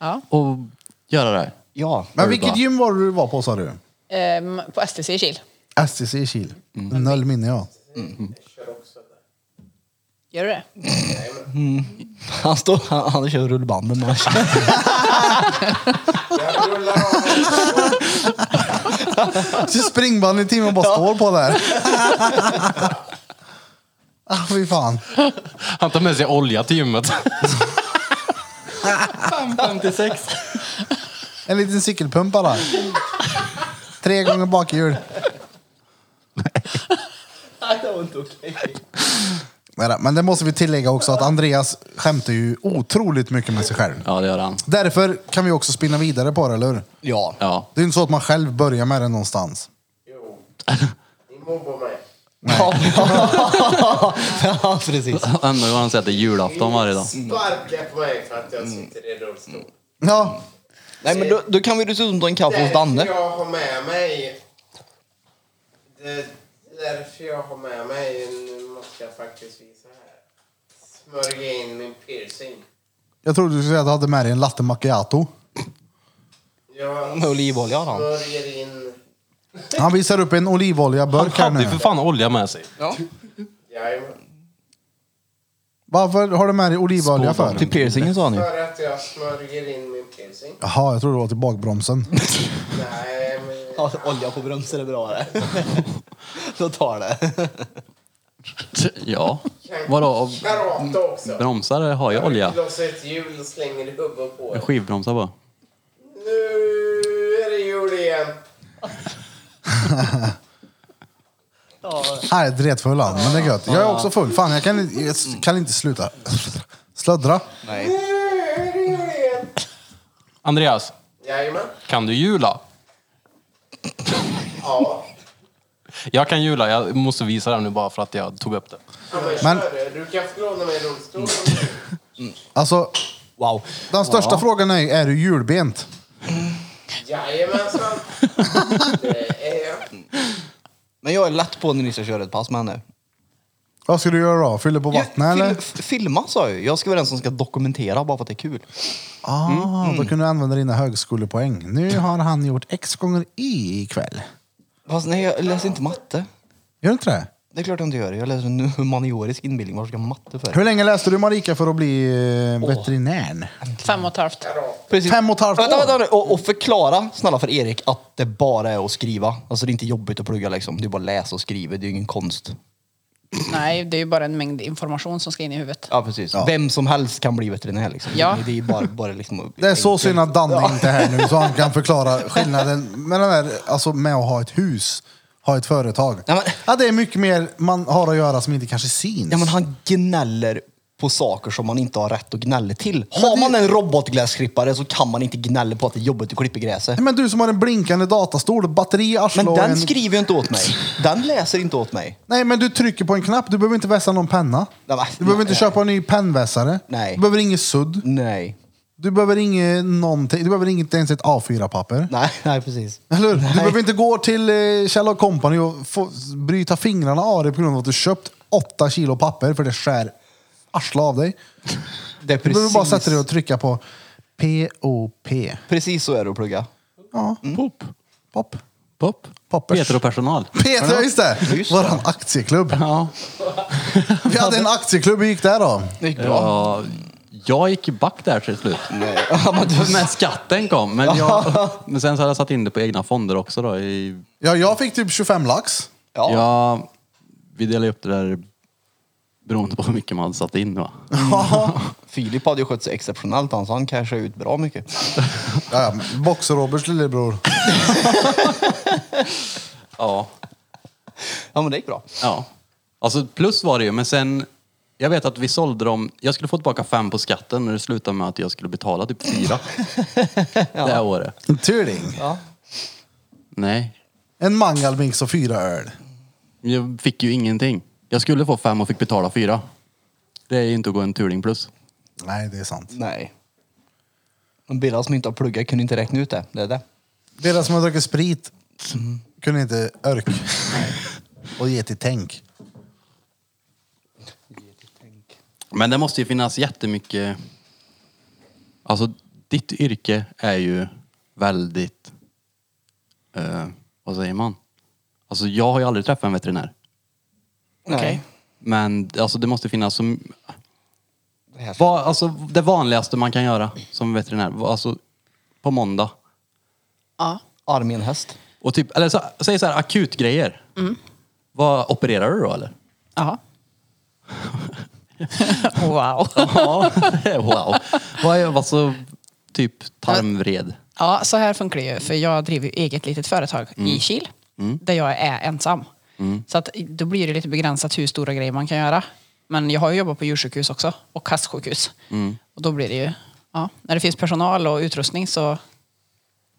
Speaker 5: Ja.
Speaker 2: att göra det här.
Speaker 4: Ja.
Speaker 2: Urban.
Speaker 1: Men vilket gym var det du var på sa du?
Speaker 5: Ehm, på STC i Kil.
Speaker 1: STC i Kil. Noll minne jag.
Speaker 5: Gör du det?
Speaker 4: Han, står, han, han kör rullbanden. men han-
Speaker 3: Jag rullar av
Speaker 1: Så springband i timmen och bara står på där. ah, fy fan.
Speaker 6: Han tar med sig olja till gymmet.
Speaker 4: 56.
Speaker 1: En liten cykelpump bara. Tre gånger bakhjul.
Speaker 4: Nej, det var inte okej.
Speaker 1: Nej, Men det måste vi tillägga också att Andreas skämtar ju otroligt mycket med sig själv.
Speaker 2: Ja, det gör han.
Speaker 1: Därför kan vi också spinna vidare på det, eller hur?
Speaker 4: Ja.
Speaker 2: Ja.
Speaker 1: Det är ju inte så att man själv börjar med det någonstans.
Speaker 3: Ni mobbar mig.
Speaker 4: Ja. ja, precis.
Speaker 2: Ändå har han sett det är julafton varje dag.
Speaker 3: Sparka på mig för att jag sitter i rullstol.
Speaker 1: Ja,
Speaker 4: Nej, men då, då kan vi dessutom ta en kaffe hos Danne.
Speaker 3: jag har med mig... Det är därför jag har med mig... Nu måste jag faktiskt visa här. Smörja in min piercing.
Speaker 1: jag trodde du skulle säga att du hade med dig en latte macchiato.
Speaker 3: Jag
Speaker 4: Med olivolja har han.
Speaker 3: smörjer in...
Speaker 1: Han visar upp en olivoljaburk här
Speaker 6: Han hade ju
Speaker 1: nu.
Speaker 6: för fan olja med sig.
Speaker 3: Jajamän.
Speaker 1: Varför har du med dig olivolja för?
Speaker 4: Till piercingen sa han ju.
Speaker 3: För att jag smörjer in min piercing.
Speaker 1: Jaha, jag trodde det var till bakbromsen.
Speaker 3: Nej, men...
Speaker 4: Ja, olja på bromsen är bra det. Då tar det.
Speaker 2: Ja.
Speaker 3: Kan-
Speaker 2: Vadå?
Speaker 3: Karate också.
Speaker 2: Bromsar har ju olja.
Speaker 3: Lossar ett hjul och slänger i huvudet på er.
Speaker 2: Skivbromsar bara.
Speaker 3: Nu är det jul igen.
Speaker 1: Nej, dretfull han, men det är gött. Jag är också full. Fan, jag kan, jag kan inte sluta slöddra.
Speaker 4: Nej.
Speaker 3: Nu är det jul igen.
Speaker 6: Andreas,
Speaker 3: Jajamän.
Speaker 6: kan du jula?
Speaker 3: Ja.
Speaker 6: Jag kan jula, jag måste visa det här nu bara för att jag tog upp det.
Speaker 3: Ja, Men,
Speaker 1: Men-
Speaker 3: kör det. du kan få låna mig rullstolen.
Speaker 1: Alltså,
Speaker 4: Wow.
Speaker 1: den största frågan är är du julbent?
Speaker 3: Jajamensan. Det är jag.
Speaker 4: Men jag är lätt på när ni ska köra ett pass med henne.
Speaker 1: Vad ska du göra då? Fylla på vattnet
Speaker 4: Jag-
Speaker 1: eller?
Speaker 4: fil- f- Filma sa jag ju. Jag ska vara den som ska dokumentera bara för att det är kul. Mm.
Speaker 1: Ah, då kan du använda dina högskolepoäng. Nu har han gjort X gånger Y ikväll.
Speaker 4: Fast nej, jag läser inte matte.
Speaker 1: Gör du inte det?
Speaker 4: Det är klart jag inte gör. Jag läser en humaniorisk inbildning. Varför ska jag matte för?
Speaker 1: Hur länge läste du Marika för att bli eh, veterinär?
Speaker 5: Fem och ett halvt.
Speaker 4: Precis.
Speaker 1: Fem och ett halvt
Speaker 4: Vänta,
Speaker 1: år?
Speaker 4: vänta, vänta. Och, och förklara snälla för Erik att det bara är att skriva. Alltså det är inte jobbigt att plugga liksom. Det är bara läsa och skriva. Det är ju ingen konst.
Speaker 5: Nej, det är ju bara en mängd information som ska in i huvudet.
Speaker 4: Ja precis. Vem som helst kan bli veterinär liksom.
Speaker 5: Ja.
Speaker 4: Det, det är bara, bara liksom...
Speaker 1: Det är så synd att Danne inte är här nu så han kan förklara skillnaden mellan det här, alltså med att ha ett hus, ha ett företag.
Speaker 4: Ja, men-
Speaker 1: Ja, det är mycket mer man har att göra som inte kanske syns.
Speaker 4: Ja men han gnäller på saker som man inte har rätt att gnälla till.
Speaker 1: Men
Speaker 4: Har
Speaker 1: det-
Speaker 4: man en robotgräsklippare så kan man inte gnälla på att det är jobbigt att klippa gräset.
Speaker 1: Nej, men du som har en blinkande datastol, batteri i arslet
Speaker 4: Men
Speaker 1: och en...
Speaker 4: den skriver ju inte åt mig. Den läser inte åt mig.
Speaker 1: Nej, men du trycker på en knapp. Du behöver inte vässa någon penna.
Speaker 4: Nej, va?
Speaker 1: Du behöver inte
Speaker 4: Nej.
Speaker 1: köpa en ny pennvässare.
Speaker 4: Nej.
Speaker 1: Du behöver ingen sudd.
Speaker 4: Nej.
Speaker 1: Du behöver inget någonting. Du behöver inte ens ett A4-papper.
Speaker 4: Nej, nej precis.
Speaker 1: Eller hur? Du behöver inte gå till eh, Kjell Company och få bryta fingrarna av dig på grund av att du köpt åtta kilo papper för det skär arslet av dig.
Speaker 4: Det är
Speaker 1: Du behöver
Speaker 4: precis,
Speaker 1: bara sätta dig och trycka på POP.
Speaker 4: precis så är det att plugga.
Speaker 1: Ja.
Speaker 4: Mm.
Speaker 2: Pop.
Speaker 1: Pop.
Speaker 2: Pop.
Speaker 1: Poppers.
Speaker 2: Peter och personal.
Speaker 1: Peter, ja, just det!
Speaker 4: Just det.
Speaker 1: Våran aktieklubb.
Speaker 2: Ja.
Speaker 1: Vi hade en aktieklubb, hur gick det då?
Speaker 4: Det gick bra.
Speaker 2: ja. Jag gick ju back där till slut.
Speaker 4: Nej. Ja, men du-
Speaker 2: Men skatten kom. Men, jag, men sen så hade jag satt in det på egna fonder också då. I,
Speaker 1: Ja, jag fick typ 25 lax.
Speaker 4: Ja.
Speaker 2: ja, vi delade upp det där beroende på hur mycket man hade satt in va.
Speaker 4: Mm. Filip hade ju skött sig exceptionellt han, så han cashade ut bra mycket.
Speaker 1: Ja, ja, men Boxer-Roberts lillebror.
Speaker 2: Ja.
Speaker 4: Ja men det gick bra.
Speaker 2: Ja. Alltså plus var det ju, men sen... Jag vet att vi sålde dem... Jag skulle få tillbaka fem på skatten och det slutade med att jag skulle betala typ fyra. Det här året.
Speaker 1: En turing.
Speaker 4: Ja.
Speaker 2: Nej.
Speaker 1: En mangalmix och fyra öl.
Speaker 2: Men Jag fick ju ingenting. Jag skulle få fem och fick betala fyra. Det är ju inte att gå en turning plus.
Speaker 1: Nej, det är sant.
Speaker 4: Nej. Men Birra som inte har pluggat kunde inte räkna ut det. Det är det.
Speaker 1: Deras som har druckit sprit kunde inte örk och ge till tänk.
Speaker 2: Men det måste ju finnas jättemycket... Alltså, ditt yrke är ju väldigt... Eh, vad säger man? Alltså, jag har ju aldrig träffat en veterinär.
Speaker 4: Okej.
Speaker 2: Men alltså, det måste finnas som...
Speaker 4: Det här ska-
Speaker 2: Va, alltså, det vanligaste man kan göra som veterinär. Va- Alltså, på måndag.
Speaker 5: Ja.
Speaker 4: Arm i en häst.
Speaker 2: Och typ, eller så, säg så här, akutgrejer.
Speaker 5: Mm.
Speaker 2: Vad opererar du då eller?
Speaker 5: Jaha. wow.
Speaker 2: Ja, wow. Vad är alltså typ tarmvred?
Speaker 5: Ja, så här funkar det ju. För jag driver ju eget litet företag i Kil. Där jag är ensam. Så att, då blir det lite begränsat hur stora grejer man kan göra. Men jag har ju jobbat på djursjukhus också. Och kastsjukhus. Och då blir det ju... Ja, när det finns personal och utrustning så...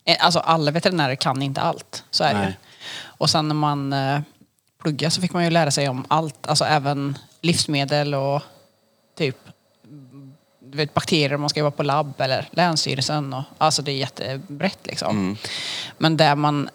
Speaker 5: eh, Alltså alla veterinärer kan inte allt. Så är det ju.
Speaker 2: Nej.
Speaker 5: Och sen när man eh, pluggade så fick man ju lära sig om allt. Alltså även livsmedel och typ du vet, bakterier man ska jobba på labb eller länsstyrelsen. Och, alltså det är jättebrett liksom.
Speaker 2: Mm.
Speaker 5: Men där, man,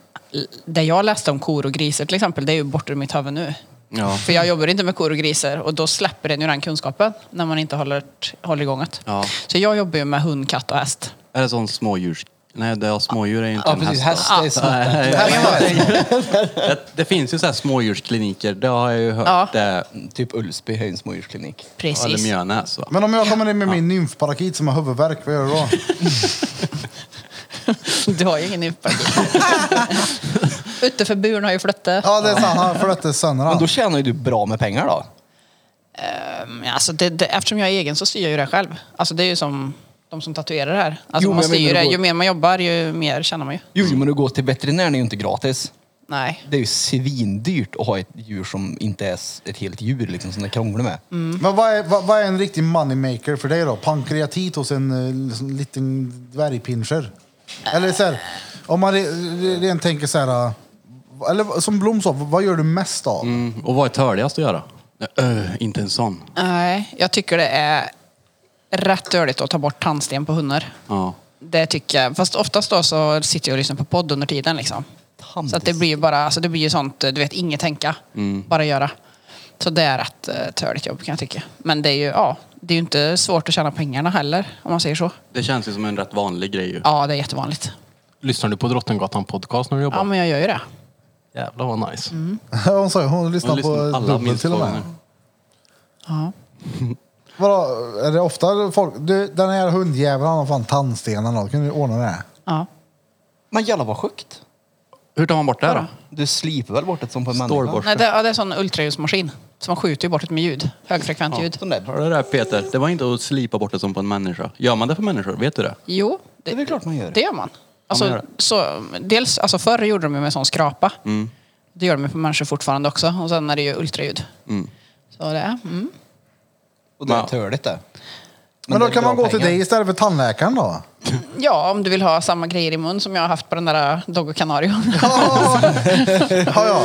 Speaker 5: där jag läste om kor och grisar till exempel, det är ju borta ur mitt huvud nu.
Speaker 2: Ja.
Speaker 5: För jag jobbar inte med kor och grisar och då släpper den ju den kunskapen när man inte håller, håller igång det.
Speaker 2: Ja.
Speaker 5: Så jag jobbar ju med hund, katt och häst.
Speaker 2: Är det sån smådjurs... Nej, det är smådjur är ju inte
Speaker 4: Ja
Speaker 2: en
Speaker 4: precis, häst
Speaker 2: häst.
Speaker 4: är snabbt.
Speaker 2: Nej,
Speaker 1: Här kan man-
Speaker 2: det, det finns ju så här smådjurskliniker, det har jag ju hört.
Speaker 5: Ja.
Speaker 2: Det,
Speaker 4: Typ Ulsby höjdens smådjursklinik.
Speaker 2: eller
Speaker 5: Precis.
Speaker 2: Mjölnäs va?
Speaker 1: Men om jag kommer in med min nymfparakit som har huvudvärk, vad gör du då?
Speaker 5: Du har ju ingen nyparti. Utanför buren har ju flyttat.
Speaker 1: Ja, det är sant. Han flötte sönder
Speaker 4: Men då
Speaker 1: han.
Speaker 4: tjänar ju du bra med pengar då.
Speaker 5: Mm, Alltså det, det, eftersom jag är egen så styr jag ju det själv. Alltså det är ju som de som tatuerar här. Alltså
Speaker 4: Jo, men
Speaker 5: man
Speaker 4: jag
Speaker 5: styr ju
Speaker 4: menar
Speaker 5: det.
Speaker 4: då-
Speaker 5: Ju mer man jobbar ju mer tjänar man ju.
Speaker 4: Jo, men att gå till veterinären är ju inte gratis.
Speaker 5: Nej.
Speaker 4: Det är ju svindyrt att ha ett djur som inte är s- ett helt djur liksom, som det krånglar med.
Speaker 2: Mm.
Speaker 1: Men vad är, vad, vad är en riktig moneymaker för dig då? Pankreatit hos en eh, liksom, liten dvärgpinscher? Eller så här, om man re- re- rent tänker så här... eh, Eller som Blom sa, vad gör du mest av?
Speaker 2: Mm, och vad är törligast att göra? Öh, inte en sån.
Speaker 5: Nej, jag tycker det är rätt dåligt att ta bort tandsten på hundar.
Speaker 2: Ja.
Speaker 5: Det tycker jag. Fast oftast då så sitter jag och lyssnar på podd under tiden liksom. Så att det blir ju bara, alltså det blir ju sånt, du vet, inget tänka.
Speaker 4: Mm.
Speaker 5: Bara göra. Så det är rätt eh, törligt jobb kan jag tycka. Men det är ju, ja, det är ju inte svårt att tjäna pengarna heller, om man säger så.
Speaker 2: Det känns ju som en rätt vanlig grej ju.
Speaker 5: Ja, det är jättevanligt.
Speaker 6: Lyssnar du på Drottninggatan podcast när du jobbar?
Speaker 5: Ja, men Mm. jag gör ju det.
Speaker 6: Jävlar vad nice.
Speaker 1: Hon sa ju, hon lyssnar
Speaker 2: Man
Speaker 1: på
Speaker 2: alla
Speaker 1: dubbel
Speaker 2: minst
Speaker 1: till och
Speaker 2: två
Speaker 1: med.
Speaker 2: gånger.
Speaker 5: Ja.
Speaker 1: Vadå, är det ofta folk... Du, den här hundjäveln han har fan tandstenar då. Kan du ordna det?
Speaker 5: ja.
Speaker 4: Men jävlar vad sjukt.
Speaker 2: Hur tar man bort det här då?
Speaker 4: Du sliper väl bort det som på en människa?
Speaker 2: Stålborste.
Speaker 5: Nej, det, ja, det är en sån ultraljudsmaskin. Så man skjuter ju bort det med ljud. Högfrekvent ljud.
Speaker 4: Sån där.
Speaker 2: Hör du det där Peter? Det var inte att slipa bort det som på en människa. Gör man det för människor? Vet du det?
Speaker 5: Jo,
Speaker 4: Det är väl klart man gör.
Speaker 5: Det gör man. Alltså,
Speaker 2: man gör
Speaker 5: så, dels, alltså förr gjorde de ju med sån skrapa.
Speaker 4: Mm.
Speaker 5: Det gör de ju på människor fortfarande också. Och sen är det ju ultraljud.
Speaker 2: Mm.
Speaker 5: Så det är, mm.
Speaker 4: Och det är
Speaker 2: Ja.
Speaker 4: törligt det.
Speaker 1: Men,
Speaker 4: det
Speaker 1: då
Speaker 4: är
Speaker 1: kan
Speaker 4: bra
Speaker 1: man gå till
Speaker 4: pengar.
Speaker 1: dig istället för tandläkaren då?
Speaker 5: Ja, om du vill ha samma grejer i mun som jag har haft på den där äh, Doggo Canario.
Speaker 1: Ja, ja.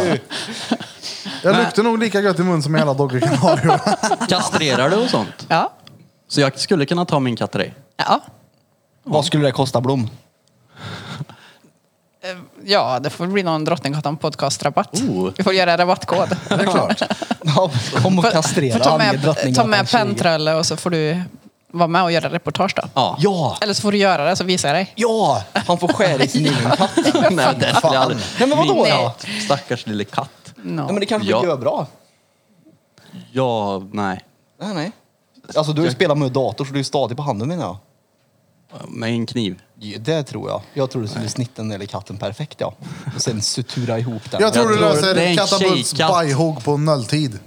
Speaker 1: Jag luktar nog lika gött i mun som hela Dogge Canario.
Speaker 2: Kastrerar du och sånt?
Speaker 5: ja.
Speaker 2: Så jag skulle kunna ta min katt till dig?
Speaker 5: Ja.
Speaker 4: Vad skulle det kosta Blom?
Speaker 5: ja, det får bli någon Drottninggatan podcast-rabatt.
Speaker 2: Oh.
Speaker 5: Vi får göra en rabattkod.
Speaker 1: Det är klart.
Speaker 4: Ja, Kom och kastrera
Speaker 5: ta
Speaker 4: arga
Speaker 5: med, ta
Speaker 4: drottninggatan
Speaker 5: med
Speaker 4: 20.
Speaker 5: pentrölle och så får du vara med och göra reportage då.
Speaker 2: Ja.
Speaker 4: Ja!
Speaker 5: Eller så får du göra det så visar jag dig.
Speaker 4: Ja! Han får skära i sin egen katt.
Speaker 2: Nej, men det skulle jag aldrig.
Speaker 4: Nej, men vadå
Speaker 2: Min
Speaker 4: då?
Speaker 2: Stackars lille katt.
Speaker 5: No.
Speaker 4: Nej, men det kanske
Speaker 2: Ja.
Speaker 4: ja. gör bra.
Speaker 2: Ja, nej.
Speaker 4: Nej, nej. Alltså du har ju spelat med dator så du är stadig på handen menar jag.
Speaker 2: Med en kniv.
Speaker 4: Ja, Det tror jag. Jag tror du skulle snitta den där katten perfekt ja. Och sen sutura ihop den.
Speaker 1: Jag tror du
Speaker 2: tror det är
Speaker 1: löser
Speaker 2: en
Speaker 1: Katabults
Speaker 2: tjejkatt.
Speaker 1: bajhugg på nolltid.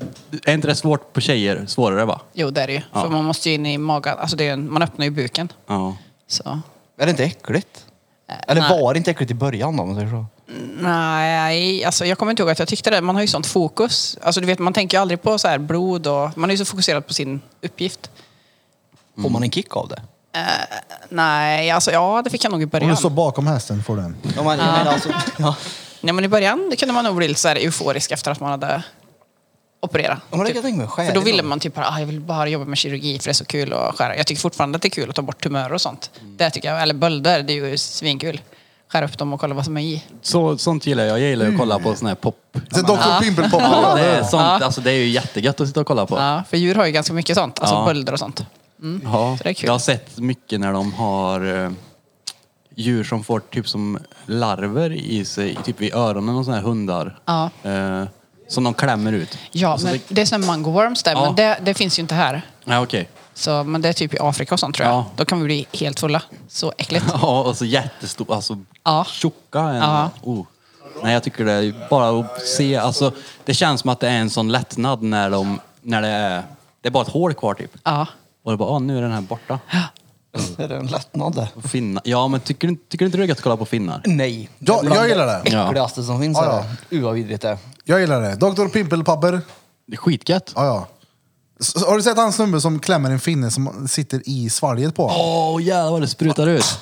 Speaker 2: Är inte det svårt på tjejer? Svårare va?
Speaker 5: Jo, det är det ju.
Speaker 2: Ja.
Speaker 5: För man måste ju in i magen. Alltså det är ju en, man öppnar ju buken.
Speaker 2: Ja.
Speaker 5: Så.
Speaker 4: Är det inte äckligt? Eller
Speaker 5: nej.
Speaker 4: var det inte äckligt i början då, om man säger så?
Speaker 5: Nej, alltså jag kommer inte ihåg att jag tyckte det. Man har ju sånt fokus. Alltså du vet, man tänker ju aldrig på så här blod och... Man är ju så fokuserad på sin uppgift.
Speaker 4: Får man en kick av det?
Speaker 5: Nej, alltså ja, det fick jag nog i
Speaker 1: Om
Speaker 5: början.
Speaker 1: du står bakom hästen får du en.
Speaker 4: Ja, men, men alltså, ja.
Speaker 5: Nej, men i början det kunde man nog bli lite så här euforisk efter att man hade opererat.
Speaker 4: Ja, men det kan jag tänka mig.
Speaker 5: För då
Speaker 4: Skäligt
Speaker 5: ville
Speaker 4: då.
Speaker 5: man typ bara, ah, jag vill bara jobba med kirurgi för det är så kul
Speaker 4: Mm.
Speaker 5: att skära. Jag tycker fortfarande att det är kul att ta bort tumörer och sånt. Det tycker jag, eller bölder, det är ju svinkul. skär upp dem och kollar vad som är i.
Speaker 2: Så, sånt gillar jag. Jag gillar att kolla på sån här pop.
Speaker 1: Sen dock och pimpelpoppar.
Speaker 2: Ja, det, är
Speaker 1: över.
Speaker 2: sånt, alltså, det är ju jättegött att sitta och kolla på.
Speaker 5: Ja, för djur har ju ganska mycket sånt, alltså
Speaker 2: Ja.
Speaker 5: bölder och sånt. Mm.
Speaker 2: Ja.
Speaker 5: Så det är kul.
Speaker 2: Jag har sett mycket när de har eh, djur som får typ som larver i sig, typ vid öronen och såna här hundar.
Speaker 5: Ja.
Speaker 2: Eh, som de klämmer ut.
Speaker 5: Ja,
Speaker 2: Alltså,
Speaker 5: men
Speaker 2: det-
Speaker 5: det är såna mango worms där,
Speaker 2: Ja.
Speaker 5: men det, det finns ju inte här.
Speaker 2: Ja, okej.
Speaker 5: Så, men det är typ i Afrika och sånt tror jag.
Speaker 2: Ja.
Speaker 5: Då kan vi bli helt fulla. Så äckligt.
Speaker 2: Ja, och så jättestor, alltså
Speaker 5: Ja.
Speaker 2: tjocka. En,
Speaker 5: Ja.
Speaker 2: oh. Nej, jag tycker det är bara att se, alltså det känns som att det är en sån lättnad när de, när det är, det är bara ett hål kvar typ.
Speaker 5: Ja.
Speaker 2: Och det bara, ah, nu är den här borta.
Speaker 4: Är det en lättnad det?
Speaker 2: Finna. Ja, men tycker, du- tycker du inte det är gött att kolla på finnar?
Speaker 4: Nej.
Speaker 1: Ja,
Speaker 4: är bland
Speaker 1: jag gillar det.
Speaker 2: Ja.
Speaker 4: äckligaste som finns.
Speaker 1: Ja,
Speaker 4: är
Speaker 1: ja.
Speaker 4: det. Uh vad vidrigt det är.
Speaker 1: Jag gillar det. Doktor Pimpelpapper.
Speaker 2: Det är skitgött.
Speaker 1: Ja, ja. S- Har du sett hans snubbe som klämmer en finne som sitter i svalget på?
Speaker 2: Åh jävlar vad det sprutar ut.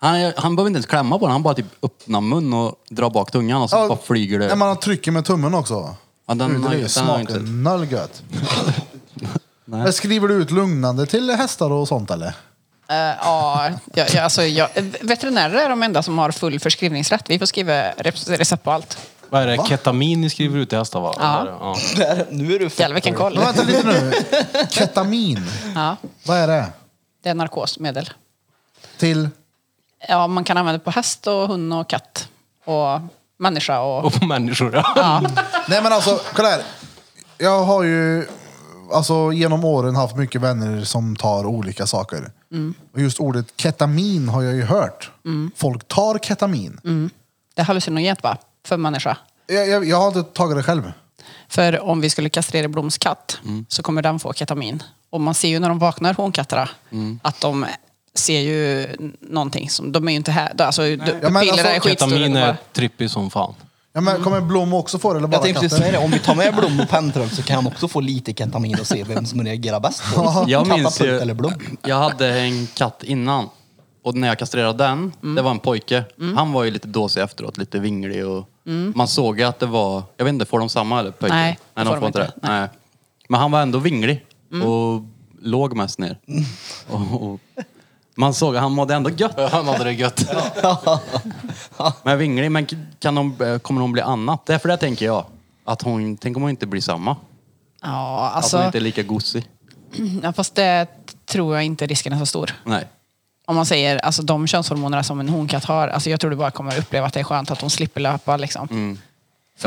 Speaker 2: Han, han behöver inte ens klämma på den, han bara typ öppnar mun och drar bak tungan och så bara flyger det.
Speaker 1: När man trycker med tummen också.
Speaker 2: Ja, den
Speaker 1: Hur, Mm, det
Speaker 2: har-
Speaker 1: är ju
Speaker 2: den har jag inte sett.
Speaker 1: smaken noll gött. Men Skriver du ut lugnande till hästar och sånt eller?
Speaker 5: Eh, ja, jag, jag, alltså, jag, veterinärer är de enda som har full förskrivningsrätt. Vi får skriva rep- recept på allt.
Speaker 6: Vad är det? Ketamin ni skriver ut till hästar va?
Speaker 5: Ja.
Speaker 6: Eller? Ja.
Speaker 4: Där, nu är du
Speaker 5: Jävlar vilken koll.
Speaker 1: Men vänta lite nu. Ketamin.
Speaker 5: Ja,
Speaker 1: Vad är det?
Speaker 5: det är narkosmedel.
Speaker 1: Till?
Speaker 5: Ja, man kan använda det på häst och hund och katt. Och människa och...
Speaker 6: Och på människor ja.
Speaker 1: Nej men alltså, kolla här. Jag har ju alltså, genom åren haft mycket vänner som tar olika saker. Och just ordet ketamin har jag ju hört. Folk tar ketamin.
Speaker 5: Det är hallucinogent va? För människa.
Speaker 1: Jag, jag, jag har inte tagit det själv.
Speaker 5: För om vi skulle kastrera Bloms katt
Speaker 2: Mm.
Speaker 5: så kommer den få ketamin. Och man ser ju när de vaknar, honkatterna,
Speaker 2: Mm.
Speaker 5: att de ser ju någonting. Som, de är ju inte här. Alltså, ja, pupillerna
Speaker 1: alltså,
Speaker 5: är skitstora.
Speaker 6: Ketamin
Speaker 5: de
Speaker 6: är
Speaker 5: bara-
Speaker 6: trippig som fan.
Speaker 1: Ja, men, kommer Blom också få det eller
Speaker 4: Jag
Speaker 1: bara
Speaker 4: tänkte
Speaker 1: katter?
Speaker 4: just säga det, om vi tar med Blom och Pentrump så kan han också få lite ketamin och se vem som reagerar bäst på det.
Speaker 2: Jag minns
Speaker 4: Katapult eller
Speaker 2: ju,
Speaker 4: Blom.
Speaker 2: jag hade en katt innan. Och när jag kastrerade den, det var en pojke. Han var ju lite dåsig efteråt, lite vinglig och man såg ju att det var, jag vet inte, får de samma eller pojken?
Speaker 5: Nej,
Speaker 2: Nej de får inte det. Nej. Men han var ändå vinglig och låg mest ner. Och, och, man såg att han mådde ändå gött.
Speaker 6: Han hade det gött.
Speaker 2: Men vinglig, men kan de, eh, kommer hon bli annat? Därför det tänker jag. Att hon, tänk om hon inte blir samma.
Speaker 5: Ja,
Speaker 2: att
Speaker 5: alltså, mm,
Speaker 2: hon inte är lika gosig.
Speaker 5: ja, fast det tror jag inte risken är så stor.
Speaker 2: Nej.
Speaker 5: Om man säger alltså, de könshormonerna som en honkatt har, alltså, jag tror du bara kommer uppleva att det är skönt att hon slipper löpa. Liksom. För hon,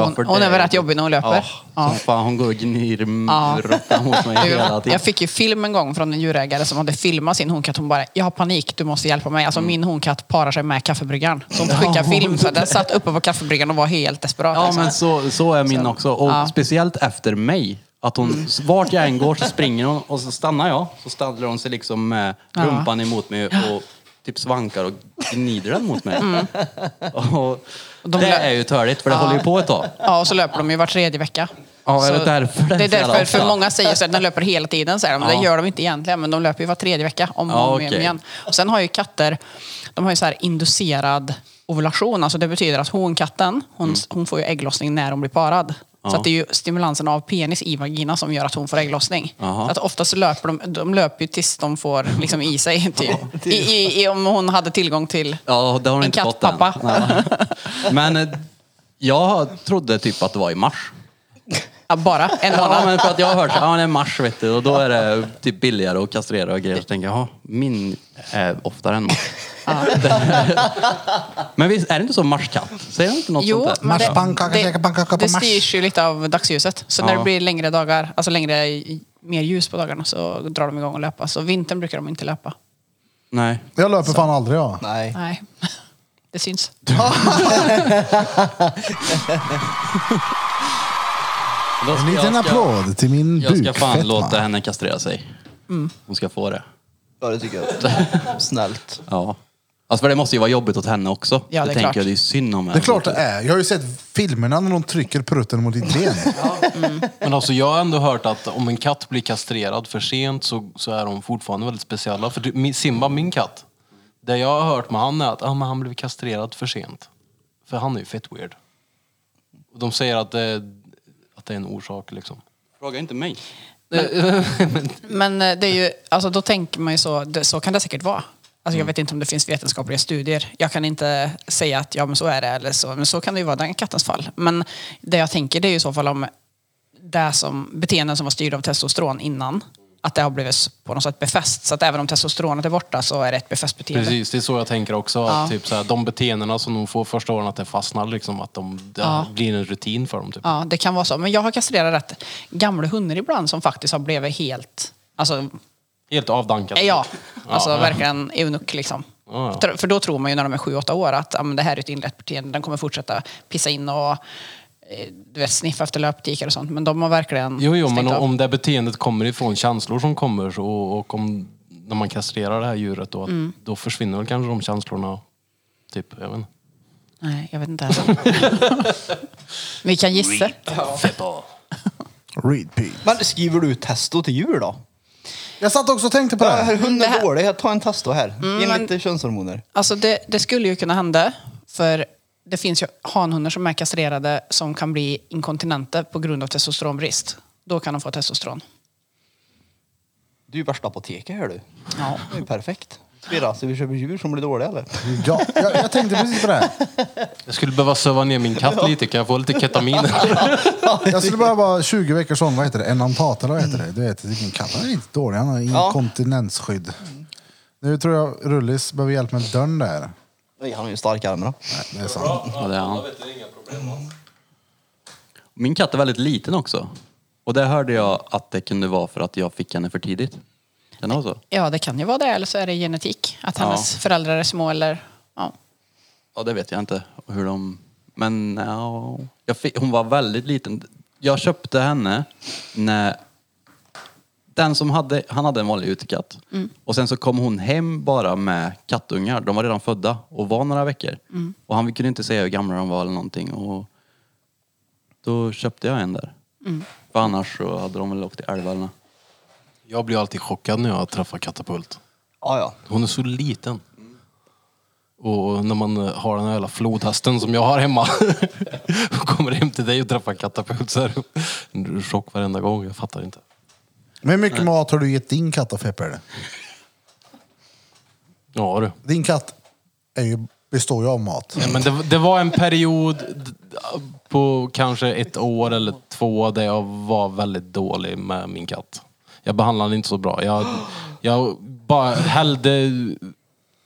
Speaker 2: Mm. för
Speaker 5: hon
Speaker 2: det-
Speaker 5: är väl rätt jobbig när hon löper.
Speaker 2: Ja,
Speaker 5: Ja.
Speaker 2: som fan, hon går och gnir
Speaker 5: Ja.
Speaker 2: råttan mot mig hela tiden.
Speaker 5: Jag fick ju film en gång från en djurägare som hade filmat sin honkatt. Hon bara, jag har panik, du måste hjälpa mig.
Speaker 2: Mm.
Speaker 5: Alltså min honkatt parar sig med kaffebryggaren. Så hon skickade film. Så den satt uppe på kaffebryggaren och var helt desperat.
Speaker 2: Ja,
Speaker 5: liksom.
Speaker 2: men så, så är min
Speaker 5: Så-
Speaker 2: också. Och
Speaker 5: ja. Mm.
Speaker 2: speciellt efter mig. Att hon, Vart jag än går så springer hon och så stannar jag. Så stannar hon sig liksom med
Speaker 5: Ja.
Speaker 2: rumpan emot mig och typ svankar och gnider den mot mig. Och
Speaker 5: Mm. De
Speaker 2: det
Speaker 5: lä-
Speaker 2: är ju törligt för det håller ju på ett tag.
Speaker 5: Ja, och så löper de ju var tredje vecka.
Speaker 2: Ja, är det
Speaker 5: Så
Speaker 2: därför det är
Speaker 5: det är
Speaker 2: så jävla
Speaker 5: därför,
Speaker 2: ofta?
Speaker 5: för många säger så att de löper hela tiden, säger de. men
Speaker 2: Ja.
Speaker 5: det gör de inte egentligen, men de löper ju var tredje vecka om och
Speaker 2: Ja,
Speaker 5: om
Speaker 2: okej.
Speaker 5: igen. Och sen har ju katter, de har ju så här inducerad ovulation, alltså det betyder att honkatten, hon,
Speaker 2: Mm.
Speaker 5: hon får ju ägglossning när hon blir parad. Så att det är ju stimulansen av penis i vagina som gör att hon får ägglossning.
Speaker 2: Jaha.
Speaker 5: Så att oftast så löper de, de löper ju tills de får liksom i sig, typ. I, i, i, om hon hade tillgång till...
Speaker 2: Ja, det har hon
Speaker 5: En
Speaker 2: inte fått
Speaker 5: kattpappa.
Speaker 2: än. Nej. Men eh, jag trodde typ att det var i mars.
Speaker 5: Ja, bara en
Speaker 2: Ja,
Speaker 5: månad.
Speaker 2: men för att jag har hört att ja, det är mars vet du, och då är det typ billigare att kastrera och grejer. Så tänker jag, jaha, min är oftare än mars. men visst, är det inte så marskatt? Säger de inte något
Speaker 5: Jo,
Speaker 2: sånt där?
Speaker 5: men det,
Speaker 1: Marspannkaka, käka pannkaka på
Speaker 5: det, det
Speaker 1: mars.
Speaker 5: styrs ju lite av dagsljuset. Så när
Speaker 2: Ja.
Speaker 5: det blir längre dagar, alltså längre, i- mer ljus på dagarna så drar de igång och löpa. Så vintern brukar de inte löpa.
Speaker 2: Nej.
Speaker 1: Jag löper fan aldrig jag.
Speaker 4: Nej.
Speaker 5: Nej, det syns.
Speaker 2: Då
Speaker 1: En
Speaker 2: ska-
Speaker 1: liten
Speaker 2: jag ska-
Speaker 1: applåd till min
Speaker 2: Jag ska
Speaker 1: buk.
Speaker 2: fan
Speaker 1: Fett,
Speaker 2: låta
Speaker 1: man.
Speaker 2: henne kastrera sig.
Speaker 5: Mm.
Speaker 2: Hon ska få det.
Speaker 4: Ja, det tycker jag. Snällt.
Speaker 2: Ja. Alltså för det måste ju vara jobbigt åt henne också.
Speaker 5: Ja, det är
Speaker 2: tänker
Speaker 5: klart.
Speaker 2: jag, det är synd om henne.
Speaker 1: Det är klart det är. Jag har ju sett filmerna när de trycker prutten mot ditt ben.
Speaker 6: Men alltså jag har ändå hört att om en katt blir kastrerad för sent så, så är de fortfarande väldigt speciella. För du- min- Simba, min katt, det jag har hört med han är att ah, men han blev kastrerad för sent. För han är ju fett weird. Och de säger att det, att det är en orsak liksom.
Speaker 2: Fråga inte mig.
Speaker 5: Men eh, det är ju, alltså då tänker man ju så, det, så kan det säkert vara. Alltså jag vet inte om det finns vetenskapliga studier. Jag kan inte säga att ja, men så är det eller så. Men så kan det ju vara i den kattens fall. Men det jag tänker det är ju i så fall om det som, beteenden som var styrda av testosteron innan, att det har blivit på något sätt befäst. Så att även om testosteronet är borta så är det ett befäst beteende.
Speaker 6: Precis, det är så jag tänker också.
Speaker 5: Ja.
Speaker 6: Typ så här, de beteendena som de får första åren, att det fastnar liksom. Att de, det
Speaker 5: Ja.
Speaker 6: blir en rutin för dem. Typ.
Speaker 5: Ja, det kan vara så. Men jag har kastrerat rätt gamla hundar ibland som faktiskt har blivit helt... Alltså,
Speaker 6: Helt avdankat.
Speaker 5: ja. Alltså
Speaker 6: Ja.
Speaker 5: verkligen eunuck liksom.
Speaker 6: Ja, ja.
Speaker 5: Tr- För då tror man ju när de är sju, åtta år att ja, men det här är ett inlett beteende. Den kommer fortsätta pissa in och eh, du vet, sniffa efter löptikar och sånt. Men de har verkligen
Speaker 6: Jo, jo, men
Speaker 5: stängt av.
Speaker 6: om det beteendet kommer ifrån känslor som kommer så, och om, när man kastrerar det här djuret då, att-
Speaker 4: Mm.
Speaker 6: då försvinner väl kanske de känslorna. Typ, jag vet inte.
Speaker 5: Nej, jag vet inte. heller. Vi kan gissa.
Speaker 1: Read Pete.
Speaker 4: Men skriver du ut testo till djur då?
Speaker 1: Jag satt också och tänkte på det.
Speaker 4: Ja,
Speaker 1: här.
Speaker 4: här, hunden
Speaker 5: Det här- Mm,
Speaker 4: är dålig, ta en testo här. Ge mig
Speaker 5: men-
Speaker 4: lite könshormoner.
Speaker 5: Alltså det, det skulle ju kunna hända. För det finns ju hanhundar som är kastrerade som kan bli inkontinenta på grund av testosteronbrist. Då kan de få testosteron.
Speaker 4: Du är ju värsta apoteket här du.
Speaker 5: Ja.
Speaker 4: Det är ju perfekt. Spira, så vi köper djur som blir dåliga eller?
Speaker 1: Ja, jag, jag tänkte precis på det. Här.
Speaker 6: Jag skulle behöva söva ner min katt lite. Kan jag få lite ketamin?
Speaker 1: Jag skulle bara vara 20 veckor sån, vad heter det? Enantat eller vad heter det? Du vet, vilken katt. Han är inte dålig, han har
Speaker 4: Ja.
Speaker 1: inkontinensskydd. Nu tror jag Rullis behöver hjälp med dörren där.
Speaker 4: Nej, han har ju starka armar. då.
Speaker 1: Nej, det är sant.
Speaker 2: Ja, det är han.
Speaker 7: Jag vet det är inga problem. va?
Speaker 2: Min katt är väldigt liten också. Och det hörde jag att det kunde vara för att jag fick henne för tidigt. Den har så?
Speaker 5: ja, det kan ju vara det. Eller så är det genetik. Att
Speaker 2: Ja.
Speaker 5: hennes föräldrar är små eller... Ja.
Speaker 2: Ja, det vet jag inte hur de... Men ja, jag fick, hon var väldigt liten. Jag köpte henne när... Den som hade, han hade en vanlig utekatt. Och sen så kom hon hem bara med kattungar. De var redan födda och var några veckor. Och han kunde inte säga hur gamla de var eller någonting. Och då köpte jag en där. För annars så hade de väl åkt till älvarna.
Speaker 6: jag blir alltid chockad när jag träffar Katapult.
Speaker 4: Ja, ja.
Speaker 6: Hon är så liten. Och när man eh, har den här jävla flodhästen som jag har hemma och kommer hem till dig och träffar katapult så är det en chock varenda gång. Jag fattar inte.
Speaker 1: Men hur mycket mat har du gett din katt och Pepper?
Speaker 6: Ja du.
Speaker 1: Din katt är ju, består ju av mat.
Speaker 6: Ja, men det, det var en period d- på kanske ett år eller två där jag var väldigt dålig med min katt. Jag behandlade den inte så bra. Jag, jag bara hällde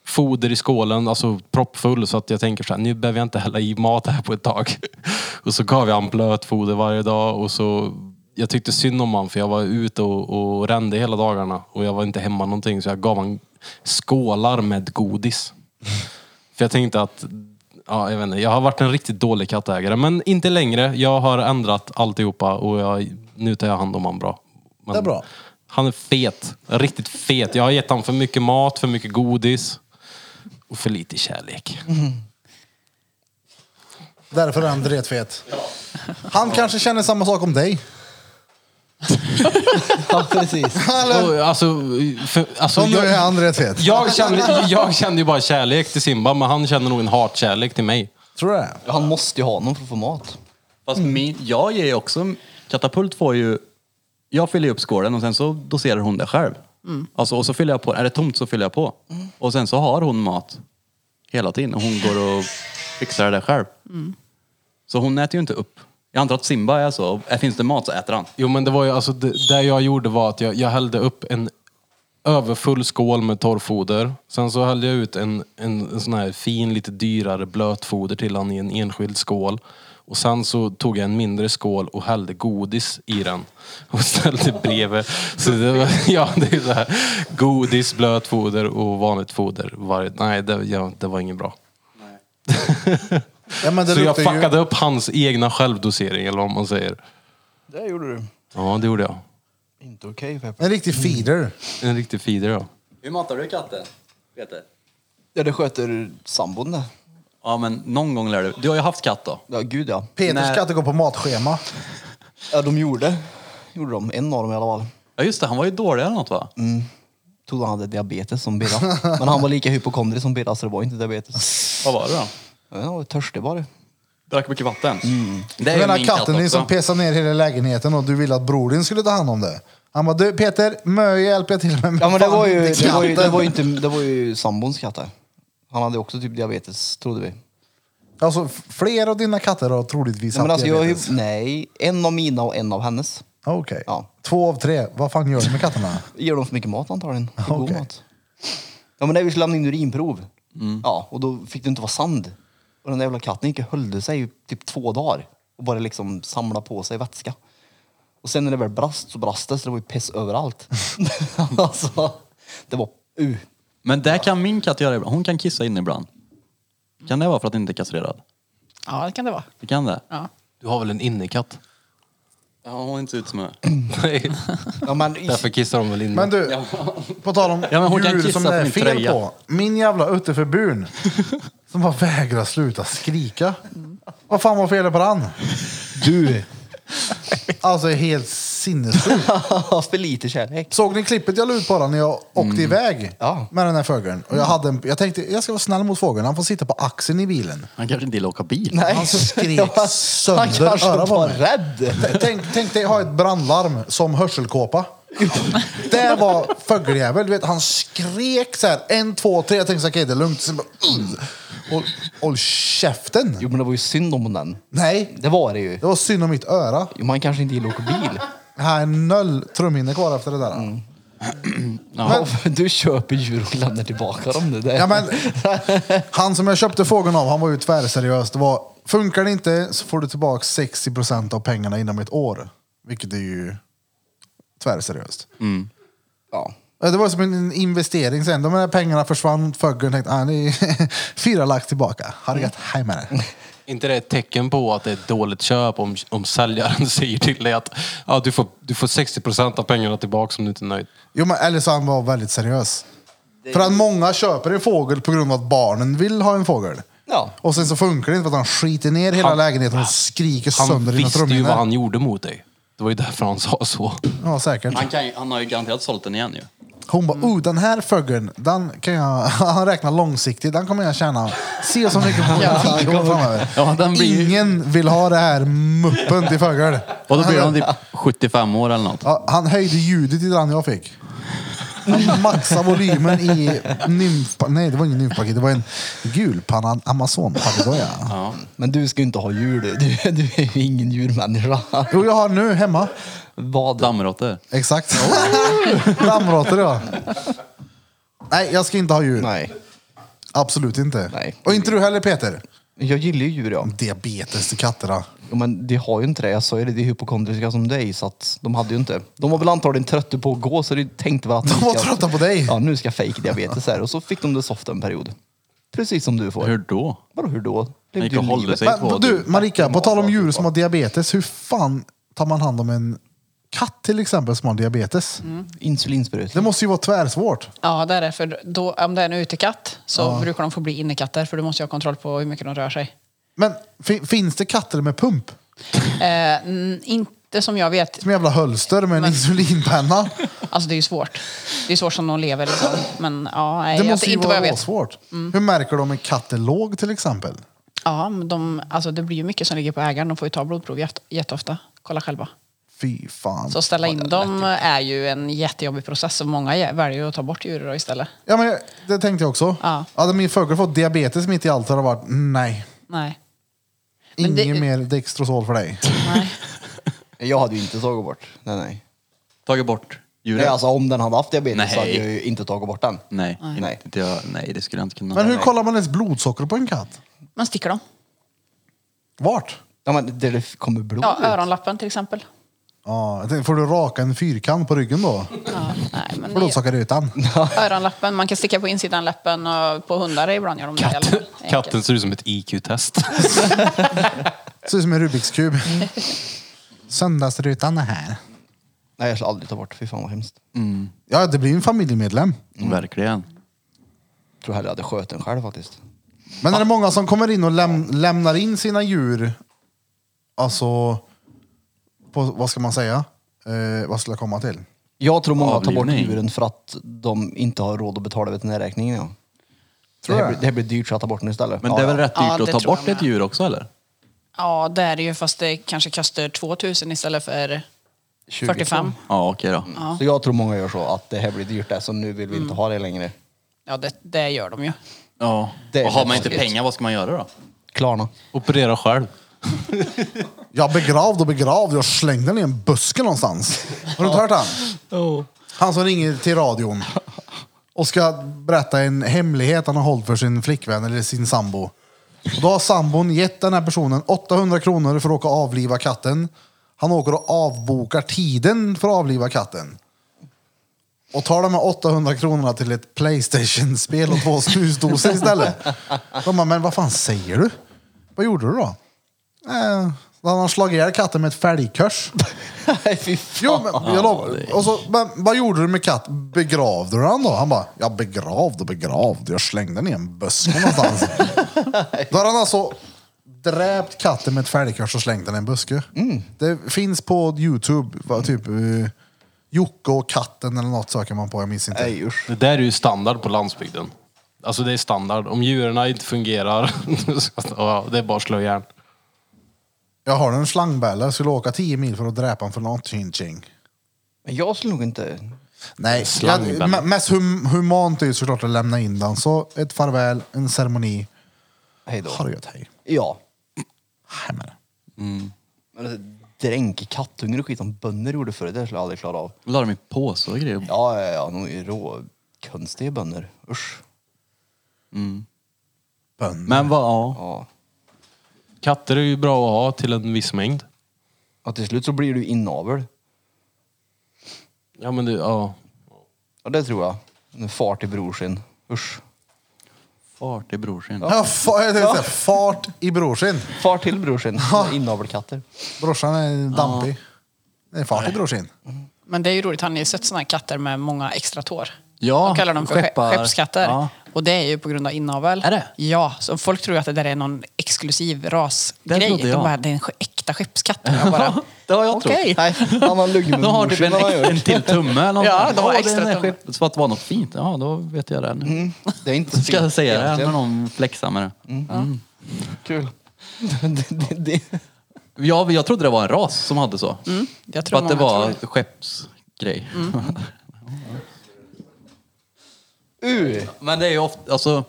Speaker 6: foder i skålen, alltså proppfull, så att jag tänker så här, nu behöver jag inte hälla i mat här på ett tag. Och så gav jag han blötfoder varje dag och så jag tyckte synd om han för jag var ute och, och rände hela dagarna och jag var inte hemma någonting så jag gav han skålar med godis. För jag tänkte att, ja, jag vet inte, jag har varit en riktigt dålig kattägare. Men inte längre. Jag har ändrat alltihopa och jag, nu tar jag hand om honom bra. Men
Speaker 1: Det är bra.
Speaker 6: Han är fet. Riktigt fet. Jag har gett honom för mycket mat, för mycket godis och för lite kärlek.
Speaker 1: Därför är han dretfet. Han kanske känner samma sak om dig.
Speaker 4: Ja, precis.
Speaker 1: Eller?
Speaker 6: Och, alltså, för, alltså,
Speaker 1: Som nu är
Speaker 6: jag,
Speaker 1: han dretfet.
Speaker 6: jag, känner, jag känner ju bara kärlek till Simba, men han känner nog en hatkärlek till mig.
Speaker 1: Tror du det?
Speaker 4: Han måste ju ha någon för att få mat.
Speaker 2: Fast min, jag ger ju också... Katapult får ju... Jag fyller ju upp skålen och sen så doserar hon det själv. Alltså, och så fyller jag på. Är det tomt så fyller jag på. Och sen så har hon mat hela tiden. Och hon går och fixar det själv. Så hon äter ju inte upp. Jag antar att Simba är så. Äh, Finns det mat så äter han.
Speaker 6: Jo men det var ju, alltså det, det jag gjorde var att jag, jag hällde upp en överfull skål med torrfoder. Sen så hällde jag ut en, en, en sån här fin, lite dyrare blötfoder till han i en enskild skål. Och sen så tog jag en mindre skål och hällde godis i den. Och ställde bredvid. Så det var, ja, det är så här. Godis, blötfoder och vanligt foder. Varje, nej, det, ja, det var inget bra.
Speaker 1: Ja, men det
Speaker 6: Så jag
Speaker 1: luktar ju-
Speaker 6: fuckade upp hans egna självdosering, eller vad man säger.
Speaker 4: Det gjorde du.
Speaker 6: Ja, det gjorde jag.
Speaker 4: Inte okej Peppe.
Speaker 1: En riktig feeder.
Speaker 6: En riktig feeder, ja.
Speaker 2: Hur matar du katten? Peter?
Speaker 4: Ja, det sköter sambon det.
Speaker 2: Ja men någon gång lär du... Du har ju haft katt då.
Speaker 4: Ja, gud ja.
Speaker 1: Peters
Speaker 2: Nej.
Speaker 1: katt går på matschema.
Speaker 4: Ja, de gjorde. Gjorde de. En av dem i alla fall.
Speaker 2: Ja just det, han var ju dålig eller något va?
Speaker 4: Trodde han hade diabetes som Birra. Men han var lika hypokondrisk som Birra så det var inte diabetes.
Speaker 2: Vad var det då?
Speaker 4: Ja, Han var törstig bara.
Speaker 2: Drack mycket vatten. Det är
Speaker 1: Den
Speaker 2: ju
Speaker 1: här
Speaker 2: min katt
Speaker 1: katten är ju
Speaker 2: också.
Speaker 1: som pesar ner hela lägenheten och du ville att bror din skulle ta hand om det. Han bara, du Peter, mö hjälper jag till med.
Speaker 4: Ja men det
Speaker 1: fan
Speaker 4: var ju,
Speaker 1: inte
Speaker 4: det var ju, det
Speaker 1: katten."
Speaker 4: var ju, inte, det var ju sambons katt där. Han hade också typ diabetes, trodde vi.
Speaker 1: Alltså, f- flera av dina katter har troligtvis
Speaker 4: Nej, men
Speaker 1: haft
Speaker 4: alltså, jag, har ju-
Speaker 1: diabetes.
Speaker 4: nej, en av mina och en av hennes.
Speaker 1: Okej.
Speaker 4: Ja.
Speaker 1: Två av tre. Vad fan gör du med katterna?
Speaker 4: Ger dem för mycket mat antagligen. God
Speaker 1: Okej.
Speaker 4: mat. Ja men nej, vi skulle lämna in urinprov.
Speaker 1: Mm.
Speaker 4: Ja, och då fick det inte vara sand. Och den där jävla katten gick och höll sig i typ två dagar. Och bara liksom samla på sig vätska. Och sen när det väl brast så brast det så det var ju piss överallt. alltså, det var uh.
Speaker 2: Men det kan min katt göra ibland. Hon kan kissa in ibland. Kan det vara för att den inte är kastrerad?
Speaker 5: Ja, det kan det vara.
Speaker 2: Det kan det?
Speaker 5: Ja.
Speaker 6: Du har väl en innekatt?
Speaker 2: Ja, hon är inte ut som jag.
Speaker 6: Nej.
Speaker 4: Ja, men,
Speaker 6: Därför kissar de väl inne?
Speaker 1: Men du, på tal om
Speaker 2: Ja, men hon kan
Speaker 1: djur
Speaker 2: kissa
Speaker 1: som det
Speaker 2: på
Speaker 1: är
Speaker 2: min
Speaker 1: fel
Speaker 2: tröja.
Speaker 1: på. Min jävla utteförbun som bara vägrar sluta skrika. Vad fan var felet på den? Du. Alltså helt sinnessjukt.
Speaker 4: för lite kärlek.
Speaker 1: Såg ni klippet jag la ut på den när jag åkte
Speaker 2: Mm.
Speaker 1: iväg
Speaker 4: Ja.
Speaker 1: med den här fågeln? Och jag, hade en, jag tänkte jag ska vara snäll mot fågeln, han får sitta på axeln i bilen.
Speaker 2: Han kanske inte gillar att åka bil.
Speaker 4: Nej.
Speaker 1: Han så skrek
Speaker 4: Han
Speaker 1: sönder
Speaker 4: kanske
Speaker 1: öronen på
Speaker 4: var
Speaker 1: mig.
Speaker 4: rädd.
Speaker 1: T- Tänk, tänk dig ha ett brandlarm som hörselkåpa. Det var fågeljävel. du vet, Han skrek så här, en, två, tre. Jag tänkte så här, okej det är lugnt. Sen bara, "Ugh." håll, håll käften!
Speaker 4: Jo men det var ju synd om den.
Speaker 1: Nej,
Speaker 4: Det var det ju.
Speaker 1: det var synd om mitt öra.
Speaker 4: Jo, Man kanske inte gillar att åka bil.
Speaker 1: Jag har noll trumhinnor kvar efter det där.
Speaker 4: Ja, för du köper djur och lämnar tillbaka dem. Det där.
Speaker 1: Ja, men, han som jag köpte fågeln av, han var ju tvärseriös. Det var, funkar det inte så får du tillbaka 60% av pengarna inom ett år. Vilket är ju tvärseriöst.
Speaker 6: Mm.
Speaker 4: ja.
Speaker 1: Ja, Det var som en investering sen. De här pengarna försvann. Föggen tänkte, ah, ni fyra lax tillbaka. Har det gött.
Speaker 6: Mm.
Speaker 1: Hej med det.
Speaker 6: inte det ett tecken på att det är ett dåligt köp om, om säljaren säger till dig att ja, du, får, du får 60% av pengarna tillbaka om du inte är nöjd?
Speaker 1: Jo, men eller så han var väldigt seriös. För att många köper en fågel på grund av att barnen vill ha en fågel.
Speaker 4: Ja.
Speaker 1: Och sen så funkar det inte för att han skiter ner hela
Speaker 6: Han-
Speaker 1: lägenheten och skriker
Speaker 6: Han
Speaker 1: sönder dina
Speaker 6: visste ju
Speaker 1: trumhinnor.
Speaker 6: vad han gjorde mot dig. Det var ju därför han sa så.
Speaker 1: Ja, säkert.
Speaker 2: Han, kan, ju- han har ju garanterat sålt den igen ju.
Speaker 1: Hon
Speaker 2: Mm.
Speaker 1: bara, oh den här fågeln, den kan jag, han räknar långsiktigt, den kommer jag tjäna si och så mycket på ja, tio år framöver.
Speaker 2: Ja, den blir ju-
Speaker 1: Ingen vill ha det här muppen till fågel.
Speaker 2: Och då blir han typ 75 år eller något.
Speaker 1: Ja, han höjde ljudet i den jag fick. Han maxade volymen i nymfa... Nej, det var ingen nymfpaket. Det var en gulpannad amazonpapegoja.
Speaker 4: Men du ska ju inte ha djur du. Du, du är ju ingen djurmänniska.
Speaker 1: Jo, jag har nu hemma.
Speaker 4: Vad?
Speaker 2: Dammråttor.
Speaker 1: Exakt. Dammråttor, ja. Nej, jag ska inte ha djur.
Speaker 4: Nej.
Speaker 1: Absolut inte.
Speaker 4: Nej.
Speaker 1: Och inte du heller Peter.
Speaker 4: Jag gillar ju djur ja.
Speaker 1: Diabetes till katterna.
Speaker 4: Jo, Men de har ju inte det. Jag sa ju det, de är hypokondriska som dig. Så att de hade ju inte. De var väl antagligen trötta på att gå så de tänkte väl att...
Speaker 1: De
Speaker 4: nu
Speaker 1: var
Speaker 4: ska-
Speaker 1: trötta på dig.
Speaker 4: Ja, nu ska jag fejka diabetes här. Och så fick de det soft en period. Precis som du får.
Speaker 2: Hur då?
Speaker 4: Vadå hur då? Levde
Speaker 2: gick
Speaker 4: ju
Speaker 2: och hållde
Speaker 4: livet.
Speaker 2: sig. på
Speaker 1: Men du,
Speaker 2: du.
Speaker 1: Marika, på tal om djur som har diabetes. Hur fan tar man hand om en katt till exempel som har diabetes?
Speaker 5: Mm.
Speaker 1: Det
Speaker 4: Insulinsprutning.
Speaker 1: måste ju vara tvärsvårt.
Speaker 5: Ja, det är det. För då, om det är en utekatt så brukar de få bli innekatter för du måste ju ha kontroll på hur mycket de rör sig.
Speaker 1: Men fi- finns det katter med pump?
Speaker 5: Eh, n- inte som jag vet.
Speaker 1: Som jävla hölster med en insulinpenna.
Speaker 5: Alltså det är ju svårt. Det är svårt som de lever liksom. Men ja, nej,
Speaker 1: Det
Speaker 5: jag-
Speaker 1: måste ju
Speaker 5: alltså, inte vad jag
Speaker 1: vara
Speaker 5: vet. Mm.
Speaker 1: svårt. Hur märker de om en katt är låg till exempel?
Speaker 5: Ja, men de, alltså det blir ju mycket som ligger på ägaren. De får ju ta blodprov jätte- jätteofta. Kolla själva.
Speaker 1: Fy fan.
Speaker 5: Så att ställa in dem är ju en jättejobbig process. Och många jä- väljer ju att ta bort djur då istället.
Speaker 1: Ja, men jag- det tänkte jag också.
Speaker 5: Ja.
Speaker 1: Hade min fågel fått diabetes mitt i allt hade det varit nej.
Speaker 5: Nej. Men det-
Speaker 1: Inget mer Dextrosol för dig.
Speaker 5: nej.
Speaker 4: Jag hade ju inte tagit bort. Nej, nej.
Speaker 2: Tagit bort djuret?
Speaker 4: nej alltså om den hade haft diabetes så hade
Speaker 2: Nej.
Speaker 4: jag ju inte tagit bort den.
Speaker 2: Nej,
Speaker 4: Nej.
Speaker 2: nej. Inte, jag- nej, det skulle jag inte kunna.
Speaker 1: Men hur kollar man ens blodsocker på en katt?
Speaker 5: Man sticker dem.
Speaker 1: Vart?
Speaker 4: Ja, men där det kommer blod
Speaker 5: Ja,
Speaker 4: ut.
Speaker 5: öronlappen till exempel.
Speaker 1: Ja, jag tänkte, får du raka en fyrkant på ryggen då?
Speaker 5: Ja, nej, men det,
Speaker 1: Blodsockerrutan.
Speaker 5: öronlappen, man kan sticka på insidan läppen och på hundar ibland gör de det. i alla fall.
Speaker 6: Katten,
Speaker 5: Enkelt.
Speaker 6: katten ser ut som ett IQ-test.
Speaker 1: Ser ut som en Rubiks kub. Söndagsrutan är här.
Speaker 4: Nej, jag ska aldrig ta bort. Fy fan vad hemskt.
Speaker 1: Ja, det blir en familjemedlem.
Speaker 2: Mm. Verkligen.
Speaker 4: Tror hellre jag hade sköt den själv faktiskt.
Speaker 1: Men är det många som kommer in och läm lämnar in sina djur, alltså, på, vad ska man säga? Eh, vad skulle jag komma till?
Speaker 4: Jag tror många tar bort
Speaker 2: Avlivning.
Speaker 4: djuren för att de inte har råd att betala veterinärräkningen. Ja.
Speaker 1: Tror
Speaker 4: det, här
Speaker 1: jag.
Speaker 4: blir, det här blir dyrt så jag tar bort den istället.
Speaker 2: Men
Speaker 4: Ja,
Speaker 2: det är väl
Speaker 4: ja.
Speaker 2: rätt
Speaker 5: Ja,
Speaker 2: dyrt
Speaker 5: det
Speaker 2: att ta
Speaker 5: tror
Speaker 2: bort
Speaker 5: jag
Speaker 2: ett
Speaker 5: med.
Speaker 2: djur också eller?
Speaker 5: Ja, det är det ju fast det kanske kostar 2000 istället för 45.
Speaker 2: Ja, okej då.
Speaker 4: Så jag tror många gör så att det här blir dyrt det, så nu vill vi inte ha det längre.
Speaker 5: Ja, det, det gör de ju.
Speaker 2: Ja.
Speaker 4: Det är
Speaker 2: Och har man
Speaker 4: rätt
Speaker 2: inte
Speaker 4: tråkigt.
Speaker 2: pengar, vad ska man göra då?
Speaker 4: Klarna.
Speaker 6: Operera själv.
Speaker 1: Jag begravde och begravde och slängde den i en buske någonstans. Har du inte hört han? Han som ringer till radion och ska berätta en hemlighet han har hållit för sin flickvän eller sin sambo. Och då har sambon gett den här personen 800 kronor för att åka och avliva katten. Han åker och avbokar tiden för att avliva katten. Och tar de här 800 kronorna till ett Playstation-spel och två snusdosor istället. De bara, men vad fan säger du? Vad gjorde du då? Eh, då hade han slagit ihjäl katten med ett fälgkors.
Speaker 4: Nej, fy fan.
Speaker 1: Jo, men jag lovar. Och så, men, vad gjorde du med katten? Begravde du den då? Han bara, jag begravde och begravde. Jag slängde den i en buske någonstans. då har han alltså dräpt katten med ett fälgkors och slängt den i en buske. Det finns på Youtube, vad, typ uh, Jocke och katten eller något söker man på. Jag minns inte.
Speaker 4: Nej, usch.
Speaker 6: Det där är ju standard på landsbygden. Alltså det är standard. Om djuren inte fungerar, så- ja, det är bara att slå järn.
Speaker 1: Jag har en slangbälla. Jag skulle åka 10 mil för att dräpa en för något. Ching, ching.
Speaker 4: Men jag skulle nog inte...
Speaker 1: Nej, jag,
Speaker 6: Slangbälla.
Speaker 1: me- mest hum, humant är ju såklart att lämna in den. Så ett farväl, en ceremoni.
Speaker 4: Hej då.
Speaker 1: Ha det gött, hej.
Speaker 4: Ja.
Speaker 1: Hej med det.
Speaker 4: Men alltså, dränk kattungar och skit som bönder gjorde förr, det skulle jag aldrig klara av.
Speaker 2: La dem i påsar och grejer.
Speaker 4: Ja, ja, ja. De är råkonstiga bönder. Usch.
Speaker 1: Bönder.
Speaker 2: Men vad, ja.
Speaker 4: Ja.
Speaker 6: Katter är ju bra att ha till en viss mängd.
Speaker 4: Och till slut så blir du inavel.
Speaker 6: Ja, men det, ja.
Speaker 4: Ja, det tror jag. En fart i brorsin. Usch.
Speaker 2: Fart i brorsin.
Speaker 1: Ja, fa- jag tänkte, säga, Fart i brorsin.
Speaker 4: Far till brorsin. Inavelkatter.
Speaker 1: Brorsan är dampig. Det är fart i brorsin.
Speaker 5: Men det är ju roligt, har ni sett sådana här katter med många extra tår?
Speaker 2: Ja,
Speaker 5: de kallar dem för skeppar.
Speaker 2: skeppar.
Speaker 5: skeppskatter.
Speaker 2: Ja.
Speaker 5: Och det är ju på grund av inavel.
Speaker 2: Är det?
Speaker 5: Ja, så folk tror ju att det där är någon exklusiv rasgrej.
Speaker 2: Det trodde
Speaker 5: De
Speaker 2: jag.
Speaker 5: bara, det är en sk- äkta skeppskatt. Och Jag bara,
Speaker 2: Det har jag
Speaker 5: okej.
Speaker 4: Nej, han har luggit med
Speaker 2: De har typ
Speaker 4: brorsan,
Speaker 2: en,
Speaker 4: har han
Speaker 2: ex- en
Speaker 4: gjort.
Speaker 2: till tumme eller någonting.
Speaker 5: Ja, de har
Speaker 2: det är
Speaker 5: extra
Speaker 2: den här
Speaker 5: tumme. Mm.
Speaker 2: skepp- Så att det var något fint. Ja, då vet jag det nu.
Speaker 4: Det är inte så
Speaker 2: Ska jag
Speaker 4: fint
Speaker 2: säga det när
Speaker 4: egentligen.
Speaker 2: någon flexar med det?
Speaker 4: Kul. det, det, det.
Speaker 2: Ja, jag trodde det var en ras som hade så.
Speaker 5: Mm. Jag tror
Speaker 2: att det
Speaker 5: många
Speaker 2: var
Speaker 5: tror Mm.
Speaker 2: skeppsgrej.
Speaker 4: Uh.
Speaker 2: Men det är ju ofta, alltså.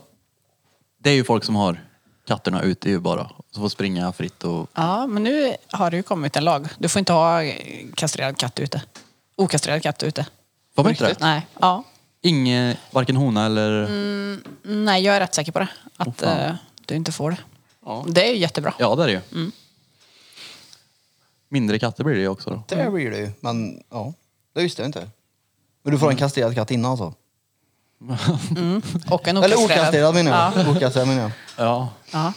Speaker 2: Det är ju folk som har katterna ute ju bara. Så får springa fritt och...
Speaker 5: Ja, men nu har det ju kommit en lag. Du får inte ha eh, kastrerad katt ute. Okastrerad katt ute.
Speaker 2: Får man inte det?
Speaker 5: Nej. Ja.
Speaker 2: Inge, varken hona eller...
Speaker 5: Mm. Nej, jag är rätt säker på det.
Speaker 4: Oh,
Speaker 5: Att
Speaker 2: Åh, fan.
Speaker 5: eh, du inte får det. Det är ju jättebra.
Speaker 2: Ja, det är det ju.
Speaker 5: Mm.
Speaker 2: Mindre katter blir det ju också då.
Speaker 4: Det blir det ju. Men ja, det visste jag inte. Men du får
Speaker 2: Mm.
Speaker 4: en kastrerad katt innan alltså?
Speaker 5: Och en
Speaker 4: Eller
Speaker 5: okastrerad.
Speaker 4: okastrerad menar jag.
Speaker 5: Ja.
Speaker 4: Okastrerad menar jag.
Speaker 2: Ja.
Speaker 5: Ja.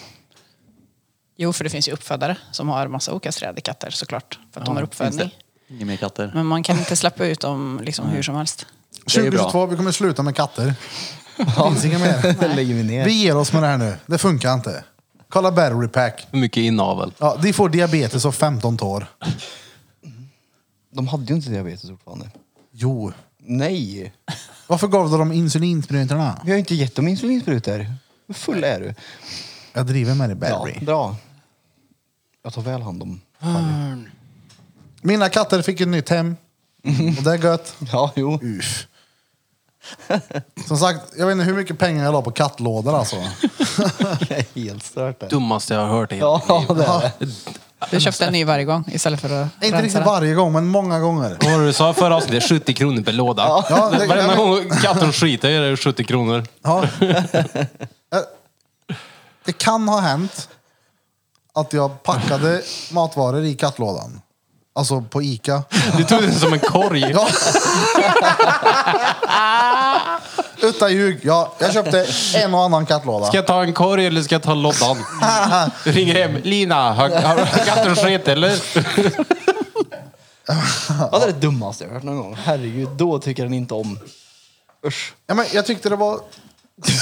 Speaker 5: Jo, för det finns ju uppfödare som har massa okastrerade katter såklart. För att de har uppfödning.
Speaker 2: Inga mer katter.
Speaker 5: Men man kan inte släppa ut dem liksom hur som helst.
Speaker 2: Det är ju bra.
Speaker 1: 2022, vi kommer sluta med katter. Det finns inga mer.
Speaker 4: Det lägger vi ner.
Speaker 1: Vi ger oss med det här nu. Det funkar inte. Kolla battery pack.
Speaker 6: Hur mycket inavel?
Speaker 1: Ja, de får diabetes och 15 tår.
Speaker 4: De hade ju inte diabetes fortfarande.
Speaker 1: Jo.
Speaker 4: Nej,
Speaker 1: Varför gav du dem insulinsprutorna?
Speaker 4: vi har ju inte gett dem insulinsprutor. Hur full är du?
Speaker 1: Jag driver med dig
Speaker 4: Ja,
Speaker 1: battery.
Speaker 4: bra. Jag tar väl hand om...
Speaker 1: Mina katter fick ett nytt hem.
Speaker 4: Mhm.
Speaker 1: Och det är gött.
Speaker 4: Ja, jo.
Speaker 1: Uff. Som sagt, jag vet inte hur mycket pengar jag la på kattlådor alltså.
Speaker 4: Det är helt stört det.
Speaker 6: Dummaste jag har hört i hela
Speaker 4: Ja,
Speaker 6: mitt liv.
Speaker 4: det är det.
Speaker 5: Du köpte en ny varje gång istället för att
Speaker 1: Inte
Speaker 5: rensa
Speaker 4: liksom
Speaker 1: riktigt
Speaker 5: den.
Speaker 1: varje gång, men många gånger.
Speaker 6: Vad var det du sa förra avsnittet? 70 kronor per låda.
Speaker 1: Ja, det-
Speaker 6: Varenda gång katten skiter i det är det 70 kronor.
Speaker 1: Ja. Eh, Det kan ha hänt att jag packade matvaror i kattlådan. Alltså på Ica.
Speaker 6: Du tog det som en korg.
Speaker 1: Ja. Utan ljug. Ja, jag köpte en och annan kattlåda.
Speaker 6: Ska jag ta en korg eller ska jag ta lådan? Du ringer hem. Lina, har, har katten skit eller?
Speaker 4: Ja, det är det dummaste jag har hört någon gång. Herregud, då tycker den inte om... Usch.
Speaker 1: Ja, men jag tyckte det var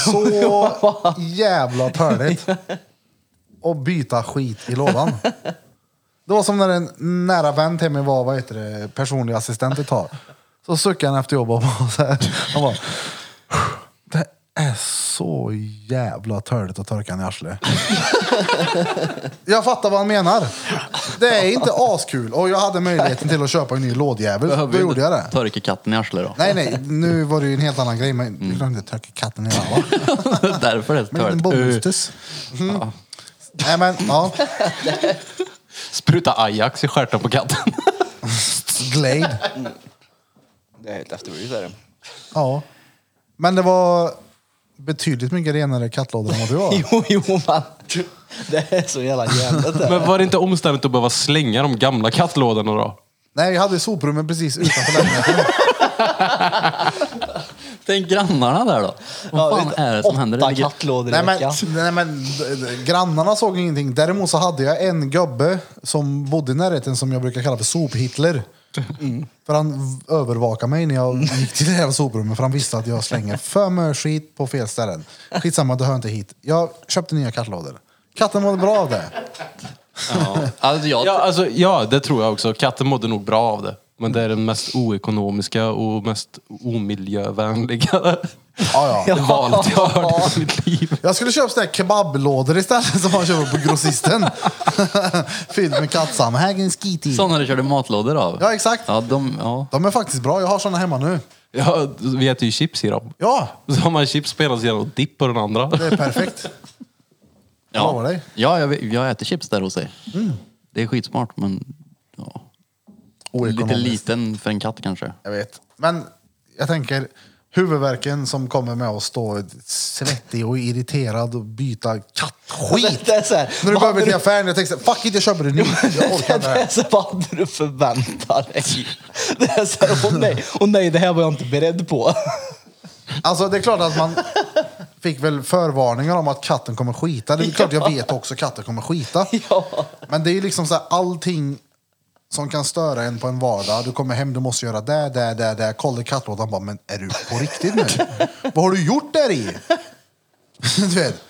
Speaker 1: så jävla törligt att byta skit i lådan. Det var som när en nära vän till mig var vad heter det, personlig assistent ett tag. Så suckade han efter jobbet och var så här. Han bara, det är så jävla törligt att torka en i arslet. jag fattar vad han menar. Det är inte askul och jag hade möjligheten till att köpa en ny lådjävel.
Speaker 2: Behöver
Speaker 1: Då
Speaker 2: vi
Speaker 1: gjorde
Speaker 2: inte
Speaker 1: jag det.
Speaker 2: Torka katten i arslet då.
Speaker 1: Nej, nej, nu var det ju en helt annan grej. Men du glömde torka katten i alla
Speaker 2: Därför är det
Speaker 1: Men en
Speaker 2: törligt. Uh,
Speaker 1: bomullstuss. Mm. Nej men, ja.
Speaker 2: Eh,
Speaker 6: Spruta Ajax i stjärten på katten.
Speaker 1: Glade.
Speaker 4: Det är helt efterblivet är det.
Speaker 1: Ja. Men det var betydligt mycket renare kattlådor än vad du var.
Speaker 4: Jo, jo man. Det är så jävla jävligt det.
Speaker 6: Men var det inte omständigt att behöva slänga de gamla kattlådorna då?
Speaker 1: Nej, vi hade soprummet precis utanför lägenheten.
Speaker 2: Tänk grannarna där då. Vad fan
Speaker 4: vet du,
Speaker 2: är det som händer? Det
Speaker 4: Åtta
Speaker 2: ligger-
Speaker 4: kattlådor i
Speaker 1: Nej men,
Speaker 4: veckan.
Speaker 1: nej, men d- d- grannarna såg ingenting. Däremot så hade jag en gubbe som bodde i närheten som jag brukar kalla för sop-Hitler. För han v- övervakade mig när jag gick till det här soprummet för han visste att jag slänger för mycket skit på fel ställen. Skitsamma, det hör inte hit. Jag köpte nya kattlådor. Katten mådde bra av det.
Speaker 2: Ja. Alltså, jag,
Speaker 6: Ja, alltså, ja, det tror jag också. Katten mådde nog bra av det. Men det är den mest oekonomiska och mest omiljövänliga
Speaker 1: Ja, ja.
Speaker 6: valet jag har hört i mitt liv.
Speaker 1: Jag skulle köpa sådana här kebablådor istället som man köper på grossisten. Fylld med kattsamhägen skit i.
Speaker 2: sådana du körde matlådor av.
Speaker 1: Ja, exakt.
Speaker 2: Ja, de, ja.
Speaker 1: De är faktiskt bra. Jag har sådana hemma nu.
Speaker 6: Ja, vi äter ju chips i dem.
Speaker 1: Ja,
Speaker 6: Så har man chips på ena sidan och dipp på den andra.
Speaker 1: det är perfekt. Jag lovar
Speaker 2: Ja,
Speaker 1: dig.
Speaker 2: ja jag, vet- jag äter chips där hos dig.
Speaker 1: Mm.
Speaker 2: Det är skitsmart, men ja. lite
Speaker 1: Oekonomiskt.
Speaker 2: liten för en katt kanske.
Speaker 1: Jag vet. Men jag tänker huvudvärken som kommer med att stå svettig och irriterad och byta kattskit.
Speaker 4: Det är så här,
Speaker 1: När du
Speaker 4: vad
Speaker 1: behöver
Speaker 4: hade
Speaker 1: till
Speaker 4: du-
Speaker 1: affären, jag tänkte fuck it, jag köper det nu. Jag orkar inte det
Speaker 4: Det
Speaker 1: här.
Speaker 4: är så här, vad hade du förväntat dig? Det är så här, åh nej, åh nej, det här var jag inte beredd på.
Speaker 1: Alltså det är klart att man fick väl förvarningar om att katten kommer skita. Det är klart jag vet också att katten kommer skita.
Speaker 4: Ja.
Speaker 1: Men det är ju liksom så här, allting som kan störa en på en vardag. Du kommer hem, du måste göra det, det, det, det. Kollar i kattlådan bara, men är du på riktigt nu? Vad har du gjort där i? du vet,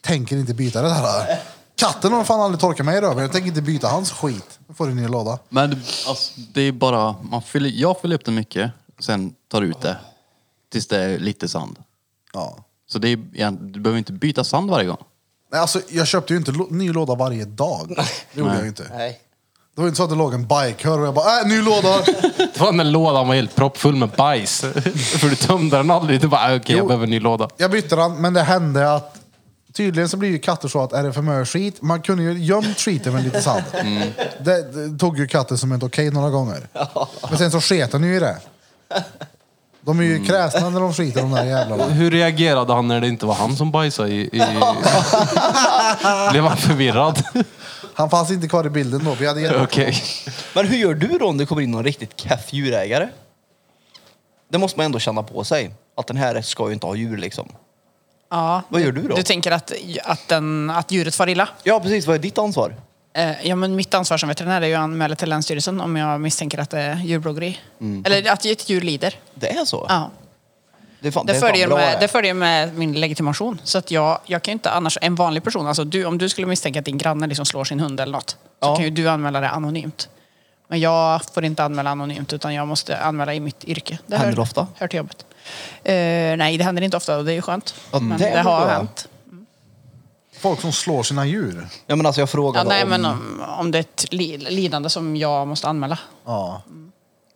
Speaker 1: tänker inte byta det där. Katten har fan aldrig torkat mig i röven. Jag tänker inte byta hans skit. Då får du en ny låda.
Speaker 2: Men alltså, det är bara, man fyller, jag fyller upp det mycket, sen tar ut det. Tills det är lite sand.
Speaker 1: Ja.
Speaker 2: Så det är, egent- du behöver inte byta sand varje gång.
Speaker 1: Nej, alltså, jag köpte ju inte lo- ny låda varje dag. Det gjorde jag ju inte.
Speaker 4: Nej.
Speaker 1: Det var ju inte så att det låg en bajkör och jag bara, äh, ny låda!
Speaker 6: Det var när lådan var helt proppfull med bajs. För du tömde den aldrig. Du bara, "Ah, okej, jag
Speaker 1: Jo.
Speaker 6: behöver en ny låda.
Speaker 1: Jag bytte den, men det hände att tydligen så blir ju katter så att är det för mycket skit, man kunde ju gömt skiten med lite sand.
Speaker 4: Mm.
Speaker 1: Det, det tog ju katten som inte okej några gånger. Men sen så sket den ju i det. De är ju
Speaker 4: Mm.
Speaker 1: kräsna när de skiter de där jävlarna.
Speaker 6: Hur reagerade han när det inte var han som bajsade? I, i... Blev han förvirrad?
Speaker 1: Han fanns inte kvar i bilden då, vi hade gett
Speaker 6: Okej.
Speaker 4: Men hur gör du då om det kommer in någon riktigt keff djurägare? Det måste man ändå känna på sig. Att den här ska ju inte ha djur liksom.
Speaker 5: Ja.
Speaker 4: Vad gör du då?
Speaker 5: Du tänker att, att, den, att djuret far illa?
Speaker 4: Ja precis, vad är ditt ansvar?
Speaker 5: Eh, ja, men mitt ansvar som veterinär är ju att anmäla till Länsstyrelsen om jag misstänker att det är djurplågeri.
Speaker 4: Mm.
Speaker 5: Eller att ett djur lider.
Speaker 4: Det är så?
Speaker 5: Ja.
Speaker 4: Det, är fan,
Speaker 5: Det
Speaker 4: är fan
Speaker 5: följer,
Speaker 4: bra
Speaker 5: med,
Speaker 4: det.
Speaker 5: det följer med min legitimation. Så att jag, jag kan ju inte annars, en vanlig person, alltså du, om du skulle misstänka att din granne liksom slår sin hund eller något, så
Speaker 4: Ja.
Speaker 5: kan ju du anmäla det anonymt. Men jag får inte anmäla anonymt utan jag måste anmäla i mitt yrke. Det
Speaker 4: Händer
Speaker 5: hör,
Speaker 4: det ofta?
Speaker 5: Hör till jobbet. Eh, nej, det händer inte ofta och det är ju skönt.
Speaker 4: Ja,
Speaker 5: Men
Speaker 4: det
Speaker 5: det,
Speaker 4: är
Speaker 5: har
Speaker 4: bra.
Speaker 5: hänt.
Speaker 1: folk som slår sina djur.
Speaker 4: Ja men alltså jag
Speaker 5: Ja,
Speaker 4: frågade
Speaker 5: nej,
Speaker 4: om
Speaker 5: men om, om det är ett li, lidande som jag måste anmäla.
Speaker 1: Ja.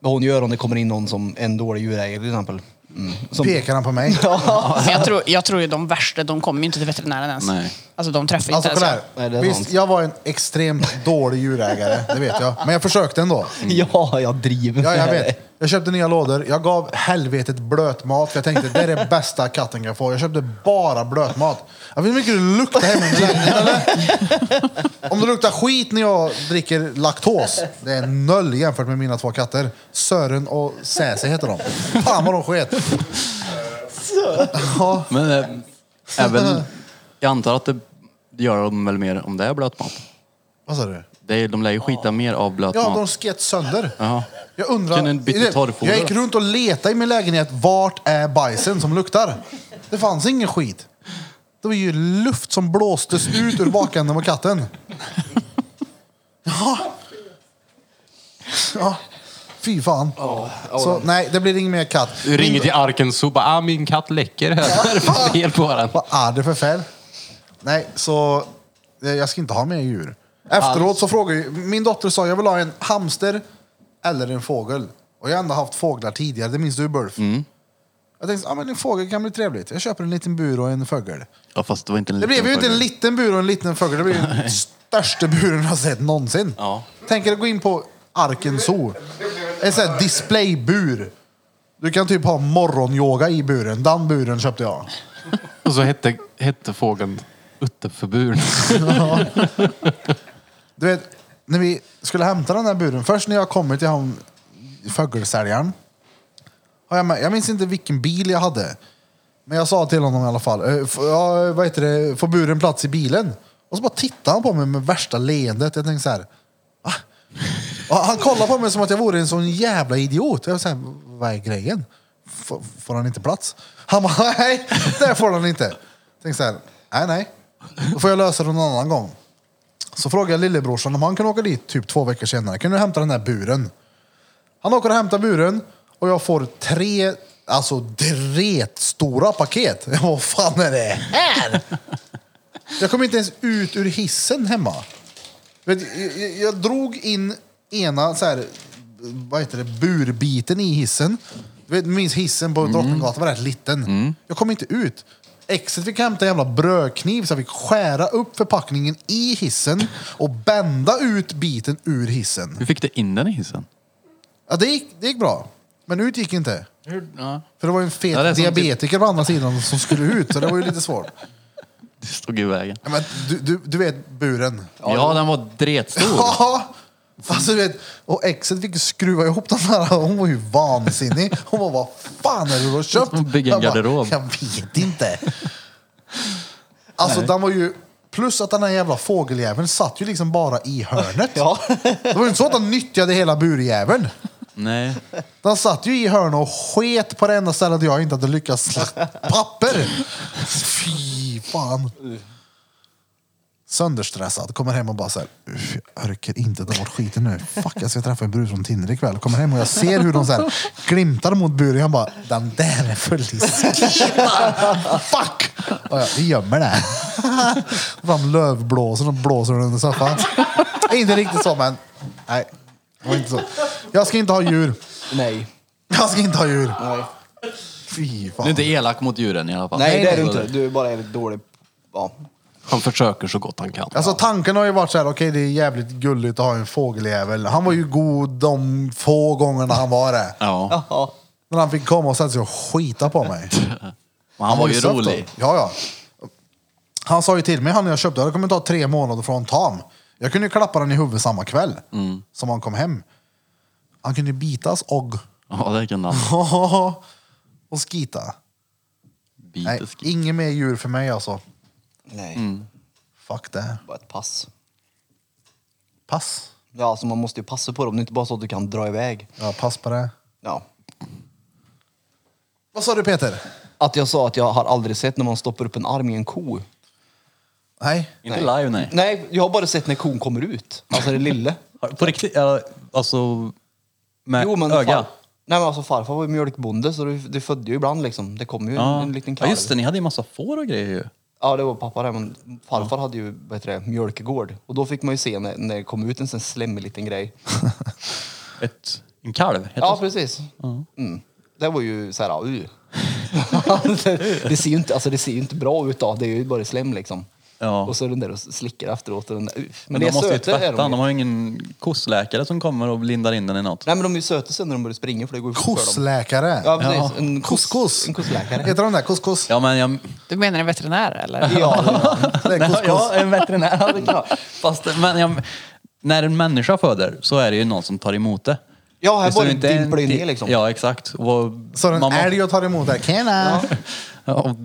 Speaker 4: vad hon gör om det kommer in någon som en dålig djurägare till exempel. Mm. Som,
Speaker 1: Pekar han på mig?
Speaker 5: Men jag tror, jag tror ju de värsta, de kommer ju inte till veterinären ens.
Speaker 2: Nej.
Speaker 5: Alltså de träffar ju
Speaker 1: Alltså
Speaker 5: inte
Speaker 1: kolla
Speaker 5: ens.
Speaker 4: Nej,
Speaker 1: här.
Speaker 4: det är
Speaker 1: Visst,
Speaker 4: sant.
Speaker 1: jag var en extremt dålig djurägare, det vet jag. Men jag försökte ändå.
Speaker 4: Ja, jag driver
Speaker 1: Ja,
Speaker 4: med
Speaker 1: jag
Speaker 4: det.
Speaker 1: vet. Jag köpte nya lådor. Jag gav helvetet blötmat. För jag tänkte det är det bästa katten kan få. Jag köpte bara blötmat. Jag vet hur mycket det luktar hemma i min lägenhet, eller? Om det luktar skit när jag dricker laktos. Det är noll jämfört med mina två katter. Sören och Säse heter de. Fan vad de sket. Ja,
Speaker 2: Men eh, även, jag antar att det gör de väl mer om det är blötmat.
Speaker 1: vad sa du?
Speaker 2: Det är, de lär ju skita mer av
Speaker 1: Ja,
Speaker 2: blötmat.
Speaker 1: de sket sönder.
Speaker 2: Jaha.
Speaker 1: Jag undrar...
Speaker 2: Kan en bit
Speaker 1: Är det-
Speaker 2: torrfoder?
Speaker 1: jag gick runt och letade i min lägenhet. Vart är bajsen som luktar? Det fanns ingen skit. Det var ju luft som blåstes ut ur bakänden på katten. Ja. ja. Fy fan. Så nej, det blir ingen mer katt.
Speaker 6: Du ringer till Arken och bara ah, min katt läcker här. Vad är det för fel på den?
Speaker 1: Vad är det för färg? Nej, så eh, jag ska inte ha mer djur. Efteråt så frågade jag, min dotter sa jag vill ha en hamster eller en fågel. Och jag har ändå haft fåglar tidigare, det minns du Bulf? Jag tänkte, ja men en fågel kan bli trevligt. Jag köper en liten bur och en fågel.
Speaker 2: Ja, fast det var inte en
Speaker 1: Det blev ju inte en
Speaker 2: fördel.
Speaker 1: liten bur och en liten fågel, det blev ju den största buren jag har sett någonsin.
Speaker 2: Ja.
Speaker 1: Tänk er att gå in på Arken Zoo. En sån här displaybur. Du kan typ ha morgonyoga i buren. Den buren köpte jag.
Speaker 6: Och så hette, hette fågeln Utteförburen.
Speaker 1: Du vet, när vi skulle hämta den här buren, först när jag kommer till han fågelsäljaren. har Jag, med- jag minns inte vilken bil jag hade. Men jag sa till honom i alla fall, eh, f- ja, vad heter det, får buren plats i bilen? Och så bara tittade han på mig med värsta leendet. Jag tänkte så här, "Va?" Och han kollade på mig som att jag vore en sån jävla idiot. Jag var så här, vad är grejen? F- får han inte plats? Han bara, nej, det får han inte. Jag tänkte så här, nej, nej. Då får jag lösa det någon annan gång. Så frågade jag lillebrorsan om han kunde åka dit typ två veckor senare. Kan du hämta den där buren? Han åker och hämtar buren och jag får tre, alltså dret stora paket. Jag bara, Vad fan är det här? Jag kom inte ens ut ur hissen hemma. Vet, jag, jag, jag drog in ena så här, vad heter det, burbiten i hissen. Du vet, minns hissen
Speaker 2: Mm.
Speaker 1: på Drottninggatan var rätt liten. Jag kom inte ut. Exet fick hämta en jävla brödkniv så jag fick skära upp förpackningen i hissen och bända ut biten ur hissen.
Speaker 2: Hur fick det in den i hissen?
Speaker 1: Ja, det gick, det gick bra. Men ut gick inte.
Speaker 2: Ja.
Speaker 1: För det var ju en fet
Speaker 2: Ja, det är som typ
Speaker 1: diabetiker på andra sidan som skulle ut, så det var ju lite svårt.
Speaker 2: Det stod i vägen.
Speaker 1: Ja, Men du, du, du vet buren.
Speaker 2: Ja, den var dretstor.
Speaker 1: Ja! Alltså, du vet, och exet fick ju skruva ihop den här. Hon var ju vansinnig. Hon bara, vad fan är det du har köpt?
Speaker 2: Hon bygger en
Speaker 1: Jag bara,
Speaker 2: garderob.
Speaker 1: Jag vet inte. Alltså den var ju... Plus att den här jävla fågeljäveln satt ju liksom bara i hörnet.
Speaker 4: Ja.
Speaker 1: Det var ju inte så att den nyttjade hela burjäveln.
Speaker 2: Nej.
Speaker 1: Den satt ju i hörnet och sket på det enda stället jag inte hade lyckats slakta papper. Fy fan. Sönderstressad, kommer hem och bara såhär, jag orkar inte ta bort skiten nu. Fuck, jag ska träffa en brud från Tinder ikväll. Kommer hem och jag ser hur de såhär glimtar mot buren. Jag bara, den där är full i skitar. Fuck! Och jag, vi gömmer det. Fram lövblåsen och blåser den under soffan. Inte riktigt så, men nej. Det var inte så. Jag ska inte ha djur.
Speaker 4: Nej.
Speaker 1: Jag ska inte ha djur.
Speaker 4: Nej.
Speaker 1: Fy
Speaker 2: Du är
Speaker 1: fan.
Speaker 2: inte elak mot djuren i alla fall.
Speaker 4: Nej, det är du inte. Du är bara jävligt dålig. Ja.
Speaker 6: Han försöker så gott han kan.
Speaker 1: Alltså tanken har ju varit så här, okej det är jävligt gulligt att ha en fågeljävel. Han var ju god de få gångerna han var det.
Speaker 2: Ja.
Speaker 4: Ja.
Speaker 1: När han fick komma och sätta sig och skita på mig.
Speaker 2: Men han var ju
Speaker 1: söt då.
Speaker 2: rolig.
Speaker 1: Ja, ja. Han sa ju till mig, han när jag köpte, det kommer ta tre månader från tam. Jag kunde ju klappa den i huvudet samma kväll
Speaker 2: Mm.
Speaker 1: som han kom hem. Han kunde ju bitas och,
Speaker 2: Ja, det kunde han.
Speaker 1: och skita. Nej,
Speaker 2: Bitesk.
Speaker 1: inget mer djur för mig alltså.
Speaker 4: Nej.
Speaker 1: Fuck det.
Speaker 4: Bara ett pass.
Speaker 1: Pass.
Speaker 4: Ja, alltså man måste ju passa på dem. Det är inte bara så att du kan dra iväg.
Speaker 1: Ja, pass på det.
Speaker 4: Ja.
Speaker 1: Vad sa du Peter?
Speaker 4: Att jag sa att jag har aldrig sett när man stoppar upp en arm i en ko.
Speaker 1: Nej.
Speaker 2: Inte live, nej.
Speaker 4: Nej, jag har bara sett när kon kommer ut. Alltså den lille.
Speaker 2: Har- På riktigt? ja, Alltså, med öga?
Speaker 4: Far, nej men alltså farfar var ju mjölkbonde så det, det födde ju ibland liksom. Det kom ju
Speaker 2: Ja.
Speaker 4: en, en liten
Speaker 2: ja,
Speaker 4: kalv.
Speaker 2: just det. Ni hade ju massa får och grejer ju.
Speaker 4: Ja, det var pappa där. Men farfar hade ju vad heter det, mjölkgård. Och då fick man ju se när, när det kom ut en sån slemmig liten grej.
Speaker 2: Ett, en kalv? heter
Speaker 4: Ja,
Speaker 2: det.
Speaker 4: precis. Mm. Det var ju så här, uh. det, det, ser ju inte, alltså, det ser ju inte bra ut då. Det är ju bara slem liksom.
Speaker 2: Ja.
Speaker 4: Och så är den där och slickar efteråt. Och den där, uh. Men,
Speaker 2: Men
Speaker 4: det
Speaker 2: de
Speaker 4: är
Speaker 2: måste ju
Speaker 4: söta är
Speaker 2: tvätta
Speaker 4: de
Speaker 2: De
Speaker 4: ju.
Speaker 2: har ju ingen kossläkare som kommer och lindar in den i något.
Speaker 4: Nej men de är ju söta sen när de börjar springa för det går ju fort för dem.
Speaker 1: Kossläkare.
Speaker 4: Ja, precis. En kos-
Speaker 1: Couscous.
Speaker 4: En kossläkare.
Speaker 1: Heter de där couscous?
Speaker 2: Ja, men jag...
Speaker 5: Du menar en veterinär eller?
Speaker 4: Ja,
Speaker 1: Det är couscous.
Speaker 2: Ja, en veterinär hade klart. Fast men jag... när en människa föder så är det ju någon som tar emot det.
Speaker 4: ja här
Speaker 2: står
Speaker 4: var det
Speaker 2: ju inte
Speaker 4: dimper det
Speaker 2: en-
Speaker 4: ner liksom.
Speaker 2: Ja, exakt. Och
Speaker 1: Så den
Speaker 2: man må-
Speaker 1: älg och tar emot där. Tjena!
Speaker 2: Ja, och-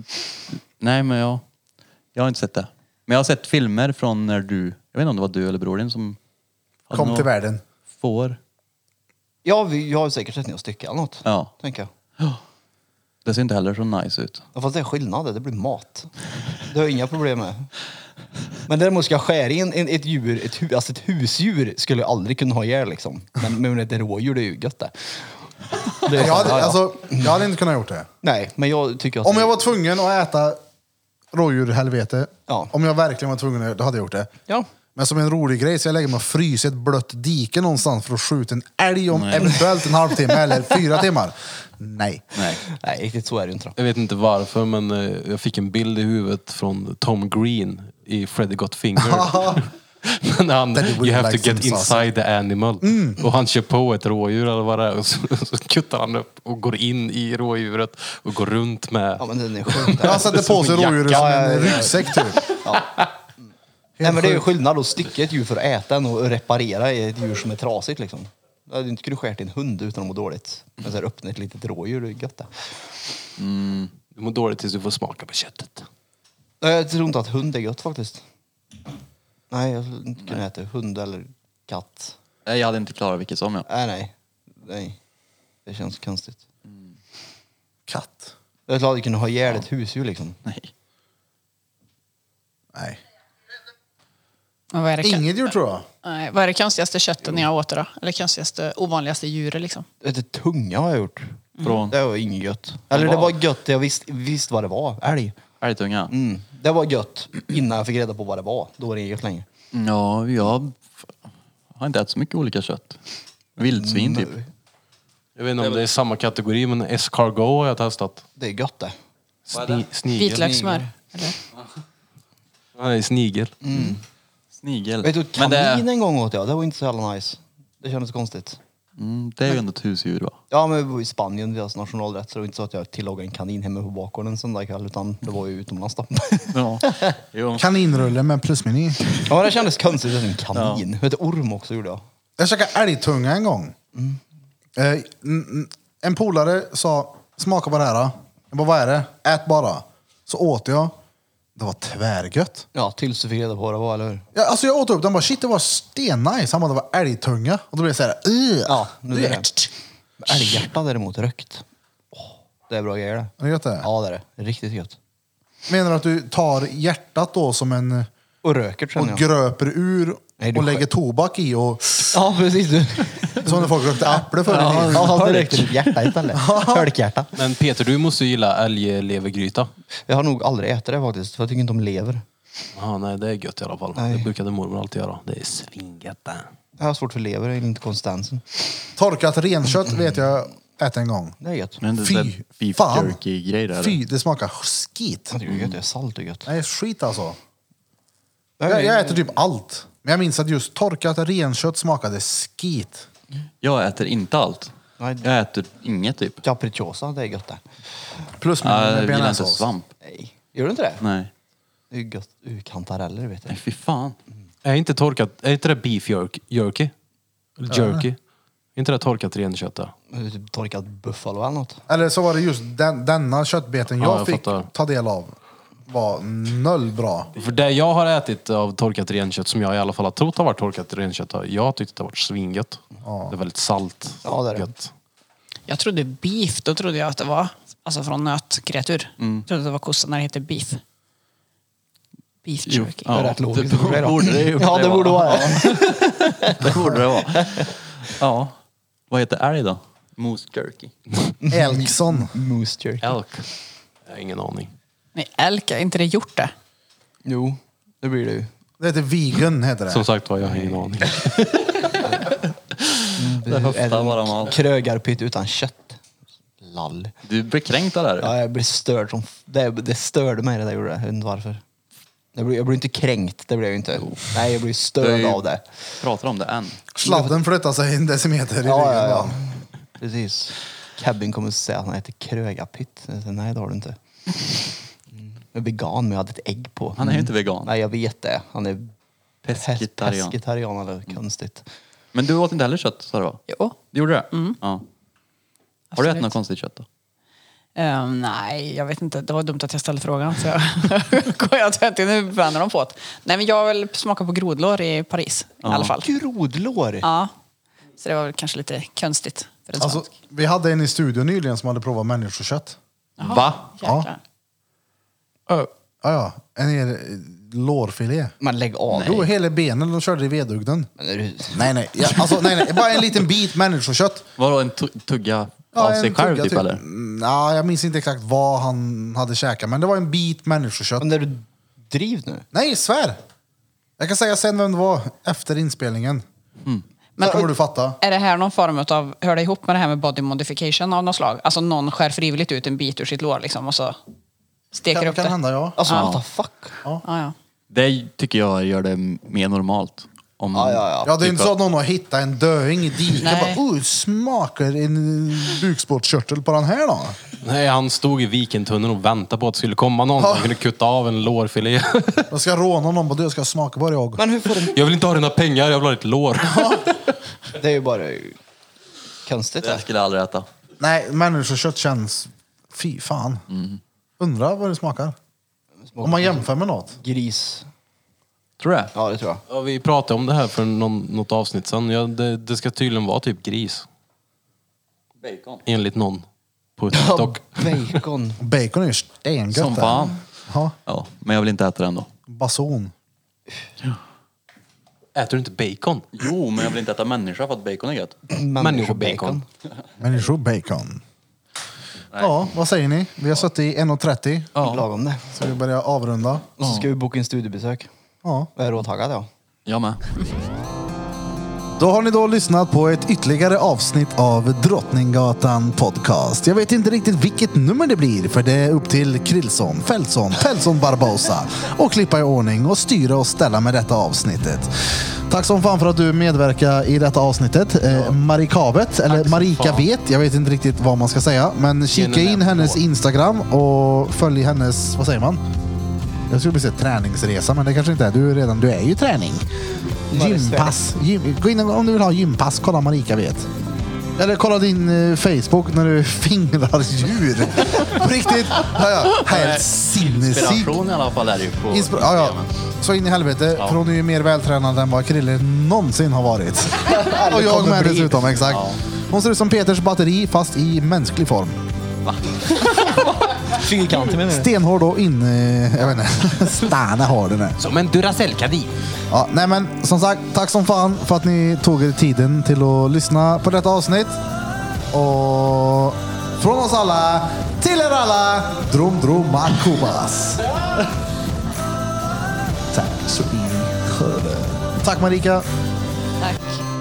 Speaker 2: Nej, men jag... Jag har inte sett det. Men jag har sett filmer från när du... Jag vet inte om det var du eller bror din som... hade
Speaker 1: Kom
Speaker 2: något
Speaker 1: till världen.
Speaker 2: Får.
Speaker 4: Ja, vi, jag har ju säkert sett ner och stycka eller något.
Speaker 2: Ja.
Speaker 4: Tänker jag.
Speaker 2: Det ser inte heller så nice ut.
Speaker 4: Ja, Fast det är skillnad, det blir mat. Det har jag inga problem med. Men däremot ska jag skära in en- ett djur, ett, hu- alltså ett husdjur skulle jag aldrig kunna ha ihjäl liksom. Men, men ett rådjur, det är ju gött det. det
Speaker 1: Jag
Speaker 4: är så- ja,
Speaker 1: hade,
Speaker 4: ja.
Speaker 1: alltså, jag hade inte kunnat gjort det.
Speaker 4: Nej, men jag tycker att...
Speaker 1: Om jag var tvungen att äta rådjurhelvete,
Speaker 4: Ja.
Speaker 1: om jag verkligen var tvungen, att göra det, då hade jag gjort det.
Speaker 4: Ja.
Speaker 1: Men som en rolig grej så jag lägger mig och fryser i ett blött dike någonstans för att skjuta en älg om eventuellt en halvtimme eller fyra timmar. Nej.
Speaker 2: Nej.
Speaker 4: Nej, riktigt så är det ju inte. då.
Speaker 6: Jag vet inte varför men eh, jag fick en bild i huvudet från Tom Green i Freddy Got Fingered. Men han,
Speaker 1: That he would
Speaker 6: you have
Speaker 1: like
Speaker 6: to get
Speaker 1: some sausage."
Speaker 6: inside the animal. Och han kör på ett rådjur eller vad det är och så, så kuttar han upp och går in i rådjuret och går runt med...
Speaker 4: Ja, men den är sjuk.
Speaker 1: Han sätter
Speaker 6: Som
Speaker 1: på sig
Speaker 6: en jacka.
Speaker 1: rådjuret som
Speaker 4: Ja, ja,
Speaker 1: en
Speaker 4: ja.
Speaker 1: ryggsäck typ.
Speaker 4: Nej, men det är ju skillnad att stycka ett djur för att äta än att reparera ett djur som är trasigt liksom. Du hade inte kunnat skära till en hund utan att må dåligt. Men så här, öppna ett litet rådjur, det är gött det.
Speaker 6: Du mår dåligt tills du får smaka på köttet.
Speaker 4: Nej, Jag tror inte att hund är gött faktiskt. Nej, jag skulle inte kunna äta hund eller katt.
Speaker 2: Nej, Eh, Jag hade inte klarat vilket som jag.
Speaker 4: Nej, nej. nej. Det känns konstigt.
Speaker 1: Katt.
Speaker 4: Jag skulle aldrig kunna ha ihjäl ett husdjur liksom.
Speaker 2: Nej.
Speaker 1: Nej.
Speaker 5: Men vad, är det,
Speaker 1: Inget djur tror jag.
Speaker 5: nej, vad är det konstigaste köttet ni har åt då? Eller konstigaste, ovanligaste djuret liksom?
Speaker 4: Äta tunga har jag gjort.
Speaker 2: Från
Speaker 4: Mm. Det var inget gött. Eller det var gött, jag visste visst vad det var. Älg.
Speaker 2: älgtunga.
Speaker 4: Mm. Det var gött innan jag fick reda på vad det var. Då var det inget gött längre.
Speaker 2: Ja, jag har inte ätit så mycket olika kött. Vildsvin
Speaker 4: Mm.
Speaker 2: typ.
Speaker 6: Jag vet inte om det är samma kategori men escargot har jag testat.
Speaker 4: Det är gött det.
Speaker 6: Sni, snigel.
Speaker 5: Vitlökssmör? Eller?
Speaker 6: Nej, snigel.
Speaker 2: Snigel.
Speaker 4: Vet du,
Speaker 2: Men
Speaker 4: kanin
Speaker 2: det,
Speaker 4: en gång åt jag. Det var inte så jävla nice. Det kändes konstigt.
Speaker 2: mm, det är ju ändå ett husdjur va?
Speaker 4: Ja, men vi var i Spanien, deras nationalrätt, så det var inte så att jag tillagade en kanin hemma på bakgården en söndag kväll, utan det var ju utomlands då.
Speaker 2: Ja. Jo.
Speaker 1: Kaninrulle med plusmeny.
Speaker 4: ja, men det kändes konstigt att en kanin. Ja. Vet, orm också gjorde jag.
Speaker 1: Jag käkade älgtunga en gång.
Speaker 4: Mm.
Speaker 1: Eh, n- n- en polare sa, smaka på det här. då." Jag bara, vad är det? Ät bara. Så åt jag. Det var tvärgött.
Speaker 4: Ja, tills du fick reda på vad det var, eller hur?
Speaker 1: Jag, alltså jag åt upp den bara, shit det var stennice. Han bara, det var älgtunga. Och då blev jag såhär,
Speaker 4: Ja, nu är det. Men Älghjärta däremot, rökt. Åh, det är bra grejer det.
Speaker 1: Är det gött det?
Speaker 4: Ja, det är det. Riktigt gött.
Speaker 1: Menar du att du tar hjärtat då som en...
Speaker 4: Och röker
Speaker 1: Och
Speaker 4: känner jag.
Speaker 1: gröper ur
Speaker 4: Nej, du
Speaker 1: och lägger
Speaker 4: skär-
Speaker 1: tobak i och...
Speaker 4: Ja, precis. Du.
Speaker 1: Som när folk rökte äpple förr i tiden.
Speaker 4: Ja, det rökte ditt hjärta istället. Hölkhjärta.
Speaker 6: Men Peter, du måste ju gilla älglevergryta.
Speaker 4: Jag har nog aldrig ätit det faktiskt, för jag tycker inte om lever.
Speaker 6: Ja, nej, det är gött i alla fall.
Speaker 4: Nej.
Speaker 6: Det brukade mormor alltid göra. Det är svingött det.
Speaker 4: Jag har svårt för lever, jag gillar inte konsistensen.
Speaker 1: Torkat renkött vet jag äter en gång.
Speaker 4: Det är gött.
Speaker 2: Men det
Speaker 1: Fy
Speaker 2: är beef
Speaker 1: fan.
Speaker 2: jerky-grej där.
Speaker 1: Fy, det smakar skit.
Speaker 4: Jag tycker det är gött, det är salt och gött.
Speaker 1: Nej, skit alltså. Jag, jag äter typ allt. Men jag minns att just torkat renkött smakade skit.
Speaker 2: Jag äter inte allt.
Speaker 4: Nej.
Speaker 2: Jag äter inget typ.
Speaker 4: Capricciosa, det är gött det.
Speaker 1: Plus
Speaker 2: Ja, Jag
Speaker 1: med
Speaker 2: gillar inte
Speaker 1: bearnaisesås.
Speaker 2: svamp.
Speaker 4: Nej. Gör du inte det?
Speaker 2: Nej.
Speaker 4: Det är ju gött. Uh, kantareller vet
Speaker 2: Nej,
Speaker 4: du.
Speaker 2: fy fan.
Speaker 6: Är inte torkat, är inte det beef jerk, jerky? Eller jerky? Är inte det torkat renkött det?
Speaker 4: Det är Typ torkad buffalo eller något.
Speaker 1: Eller så var det just den, denna köttbeten jag,
Speaker 6: Ja, jag
Speaker 1: fick
Speaker 6: fattar.
Speaker 1: ta del av. Var noll bra.
Speaker 6: För det jag har ätit av torkat renkött, som jag i alla fall har trott har varit torkat renkött, har jag tyckte det har varit svingött. Det är väldigt salt.
Speaker 4: Ja, det är det.
Speaker 6: Gött.
Speaker 5: Jag trodde beef, då trodde jag att det var alltså från nötkreatur.
Speaker 2: Mm.
Speaker 5: Jag trodde att det var kossan när det heter beef. Beef
Speaker 2: Jo,
Speaker 5: jerky.
Speaker 2: ja.
Speaker 4: Det är rätt logiskt.
Speaker 2: Det borde- borde det ju
Speaker 4: Ja, det borde vara det.
Speaker 2: Det borde det vara. Ja. Vad heter älg då? Moose jerky.
Speaker 1: Elkson.
Speaker 4: Moose jerky.
Speaker 6: Elk? Jag har ingen aning.
Speaker 5: Nej, elk, är inte det gjort det?
Speaker 4: Jo, det blir det ju.
Speaker 1: Det heter vegan, heter
Speaker 6: Som
Speaker 1: det.
Speaker 6: sagt var, jag har ingen aning.
Speaker 4: Det
Speaker 2: höftar
Speaker 4: är en
Speaker 2: bara man.
Speaker 4: Krögarpytt utan kött. Lall.
Speaker 2: Du blir kränkt av det här.
Speaker 4: Ja, jag blir störd som... f- Det, det störde mig det där gjorde det. Jag vet inte varför. Jag blir, jag blir inte kränkt, det blir jag ju inte. Nej, jag blir
Speaker 2: Det är
Speaker 4: störd
Speaker 2: ju-
Speaker 4: av det.
Speaker 2: Pratar om det än.
Speaker 1: Sladden flyttar sig en decimeter i ryggen.
Speaker 4: Ja, ja, ja.
Speaker 1: va?
Speaker 4: Precis. Kevin kommer att säga att han heter krögarpytt. Jag säger, Nej, det har du inte. Mm. Jag är vegan, men jag hade ett ägg på.
Speaker 2: Han är ju inte vegan.
Speaker 4: Nej, jag vet det. Han är
Speaker 2: Pescetarian.
Speaker 4: Pescetarian eller
Speaker 2: Mm.
Speaker 4: konstigt.
Speaker 2: Men du åt inte heller kött sa du va?
Speaker 5: Jo.
Speaker 2: Du gjorde det? Ja. Har du
Speaker 5: Absolut.
Speaker 2: ätit något konstigt kött då?
Speaker 5: Ehm, nej, jag vet inte. Det var dumt att jag ställde frågan. Så jag går jag till till nu vänder de på det. Nej, men jag vill smaka på grodlår i Paris i alla fall.
Speaker 4: Grodlår!
Speaker 5: Ja. Så det var väl kanske lite konstigt för en
Speaker 1: Alltså,
Speaker 5: svensk.
Speaker 1: vi hade en i studion nyligen som hade provat människokött.
Speaker 2: Va?
Speaker 5: Jäklar.
Speaker 1: Ja, ja. En hel eh, lårfilé.
Speaker 4: Men lägg av.
Speaker 1: Jo,
Speaker 4: Nej.
Speaker 1: hela benen de körde i vedugnen.
Speaker 4: Men är du-
Speaker 1: Nej, nej. Ja, alltså, nej, nej. Bara en liten bit människokött.
Speaker 2: Vadå, en tu- tugga
Speaker 1: Ja,
Speaker 2: av sig
Speaker 1: en
Speaker 2: själv
Speaker 1: tugga
Speaker 2: typ, eller?
Speaker 1: Mm, Ja, jag minns inte exakt vad han hade käkat, men det var en bit människokött.
Speaker 4: Men är du driv nu.
Speaker 1: Nej, svär! Jag kan säga sen vem det var efter inspelningen.
Speaker 2: Mm.
Speaker 5: Men-
Speaker 1: Så kommer du fatta.
Speaker 5: Är det här någon form av, hör det ihop med det här med body modification av något slag? Alltså någon skär frivilligt ut en bit ur sitt lår liksom och så steker
Speaker 1: Kan,
Speaker 5: upp
Speaker 1: kan
Speaker 5: det?
Speaker 1: hända, ja.
Speaker 4: Alltså
Speaker 2: Ja.
Speaker 4: what the fuck.
Speaker 5: Ja, ja.
Speaker 2: Det tycker jag gör det mer normalt. Om typ
Speaker 4: Ja, ja, ja.
Speaker 1: Ja, det är inte så att någon har hittat en döing i diket
Speaker 5: Nej.
Speaker 1: och bara oh, smakar en bukspottkörtel på den här då?
Speaker 6: Nej, han stod i vikentunneln och väntade på att det skulle komma någon som kunde kutta av en lårfilé.
Speaker 1: Jag ska råna någon på det, jag ska smaka på det jag.
Speaker 4: Men hur får den...
Speaker 6: Jag vill inte ha dina pengar, jag vill ha ditt lår.
Speaker 4: Det är ju bara konstigt.
Speaker 2: Det här
Speaker 4: Det.
Speaker 2: skulle jag aldrig äta.
Speaker 1: Nej, människokött känns... Fy fan.
Speaker 2: Mm.
Speaker 1: Undrar vad det smakar. Om man jämför med något.
Speaker 4: Gris.
Speaker 2: Tror du det?
Speaker 4: Ja, det tror jag.
Speaker 6: Ja, vi pratade om det här för någon, något avsnitt sedan. Ja, det, det ska tydligen vara typ gris,
Speaker 2: Bacon.
Speaker 6: enligt någon på TikTok.
Speaker 4: Bacon.
Speaker 1: Bacon är ju stengött.
Speaker 2: Som
Speaker 1: det.
Speaker 2: fan.
Speaker 1: Ja,
Speaker 2: Ja, men jag vill inte äta det ändå.
Speaker 1: bason.
Speaker 6: Äter du inte bacon?
Speaker 2: Jo, men jag vill inte äta människa för att bacon är gött.
Speaker 6: Människobacon.
Speaker 1: Människobacon. Ja, vad säger ni? Vi har suttit i 1.30,
Speaker 4: Lagom det.
Speaker 1: så vi börjar avrunda.
Speaker 4: Och så ska vi boka in studiebesök.
Speaker 1: Ja.
Speaker 4: Jag är råtaggad ja.
Speaker 2: Jag med.
Speaker 1: Då har ni då lyssnat på ett ytterligare avsnitt av Drottninggatan Podcast. Jag vet inte riktigt vilket nummer det blir, för det är upp till Krillson, Fältson, Pältson Barbosa och klippa i ordning och styra och ställa med detta avsnittet. Tack som fan för att du medverkar i detta avsnittet. Eh, Marikavet, eller Marika vet, jag vet inte riktigt vad man ska säga. Men kika in hennes Instagram och följ hennes, vad säger man? Jag skulle precis säga träningsresa, men det kanske inte är. Du är, redan, du är ju träning. Gympass. Gym, gå in och- om du vill ha gympass, kolla Marika vet. Eller kolla din eh, Facebook när du fingrar djur. På riktigt. Ja, ja. Helt sinnessjukt.
Speaker 2: Inspiration i alla fall är det ju på
Speaker 1: Inspir- ja, ja. Så in i helvete, för hon är ju mer vältränad än vad Krille någonsin har varit. Och jag med dessutom, exakt. Hon ser ut som Peters batteri fast i mänsklig form.
Speaker 4: Fyrkantig menar du?
Speaker 1: Stenhård och in... eh, Jag vet inte. Stenhård den är.
Speaker 6: Som en Duracell-kardin.
Speaker 1: Ja, nej men som sagt, tack som fan för att ni tog er tiden till att lyssna på detta avsnitt. Och från oss alla till er alla, Drom Drom Kubas. Tack så in i sjö. Tack Marika.
Speaker 5: Tack.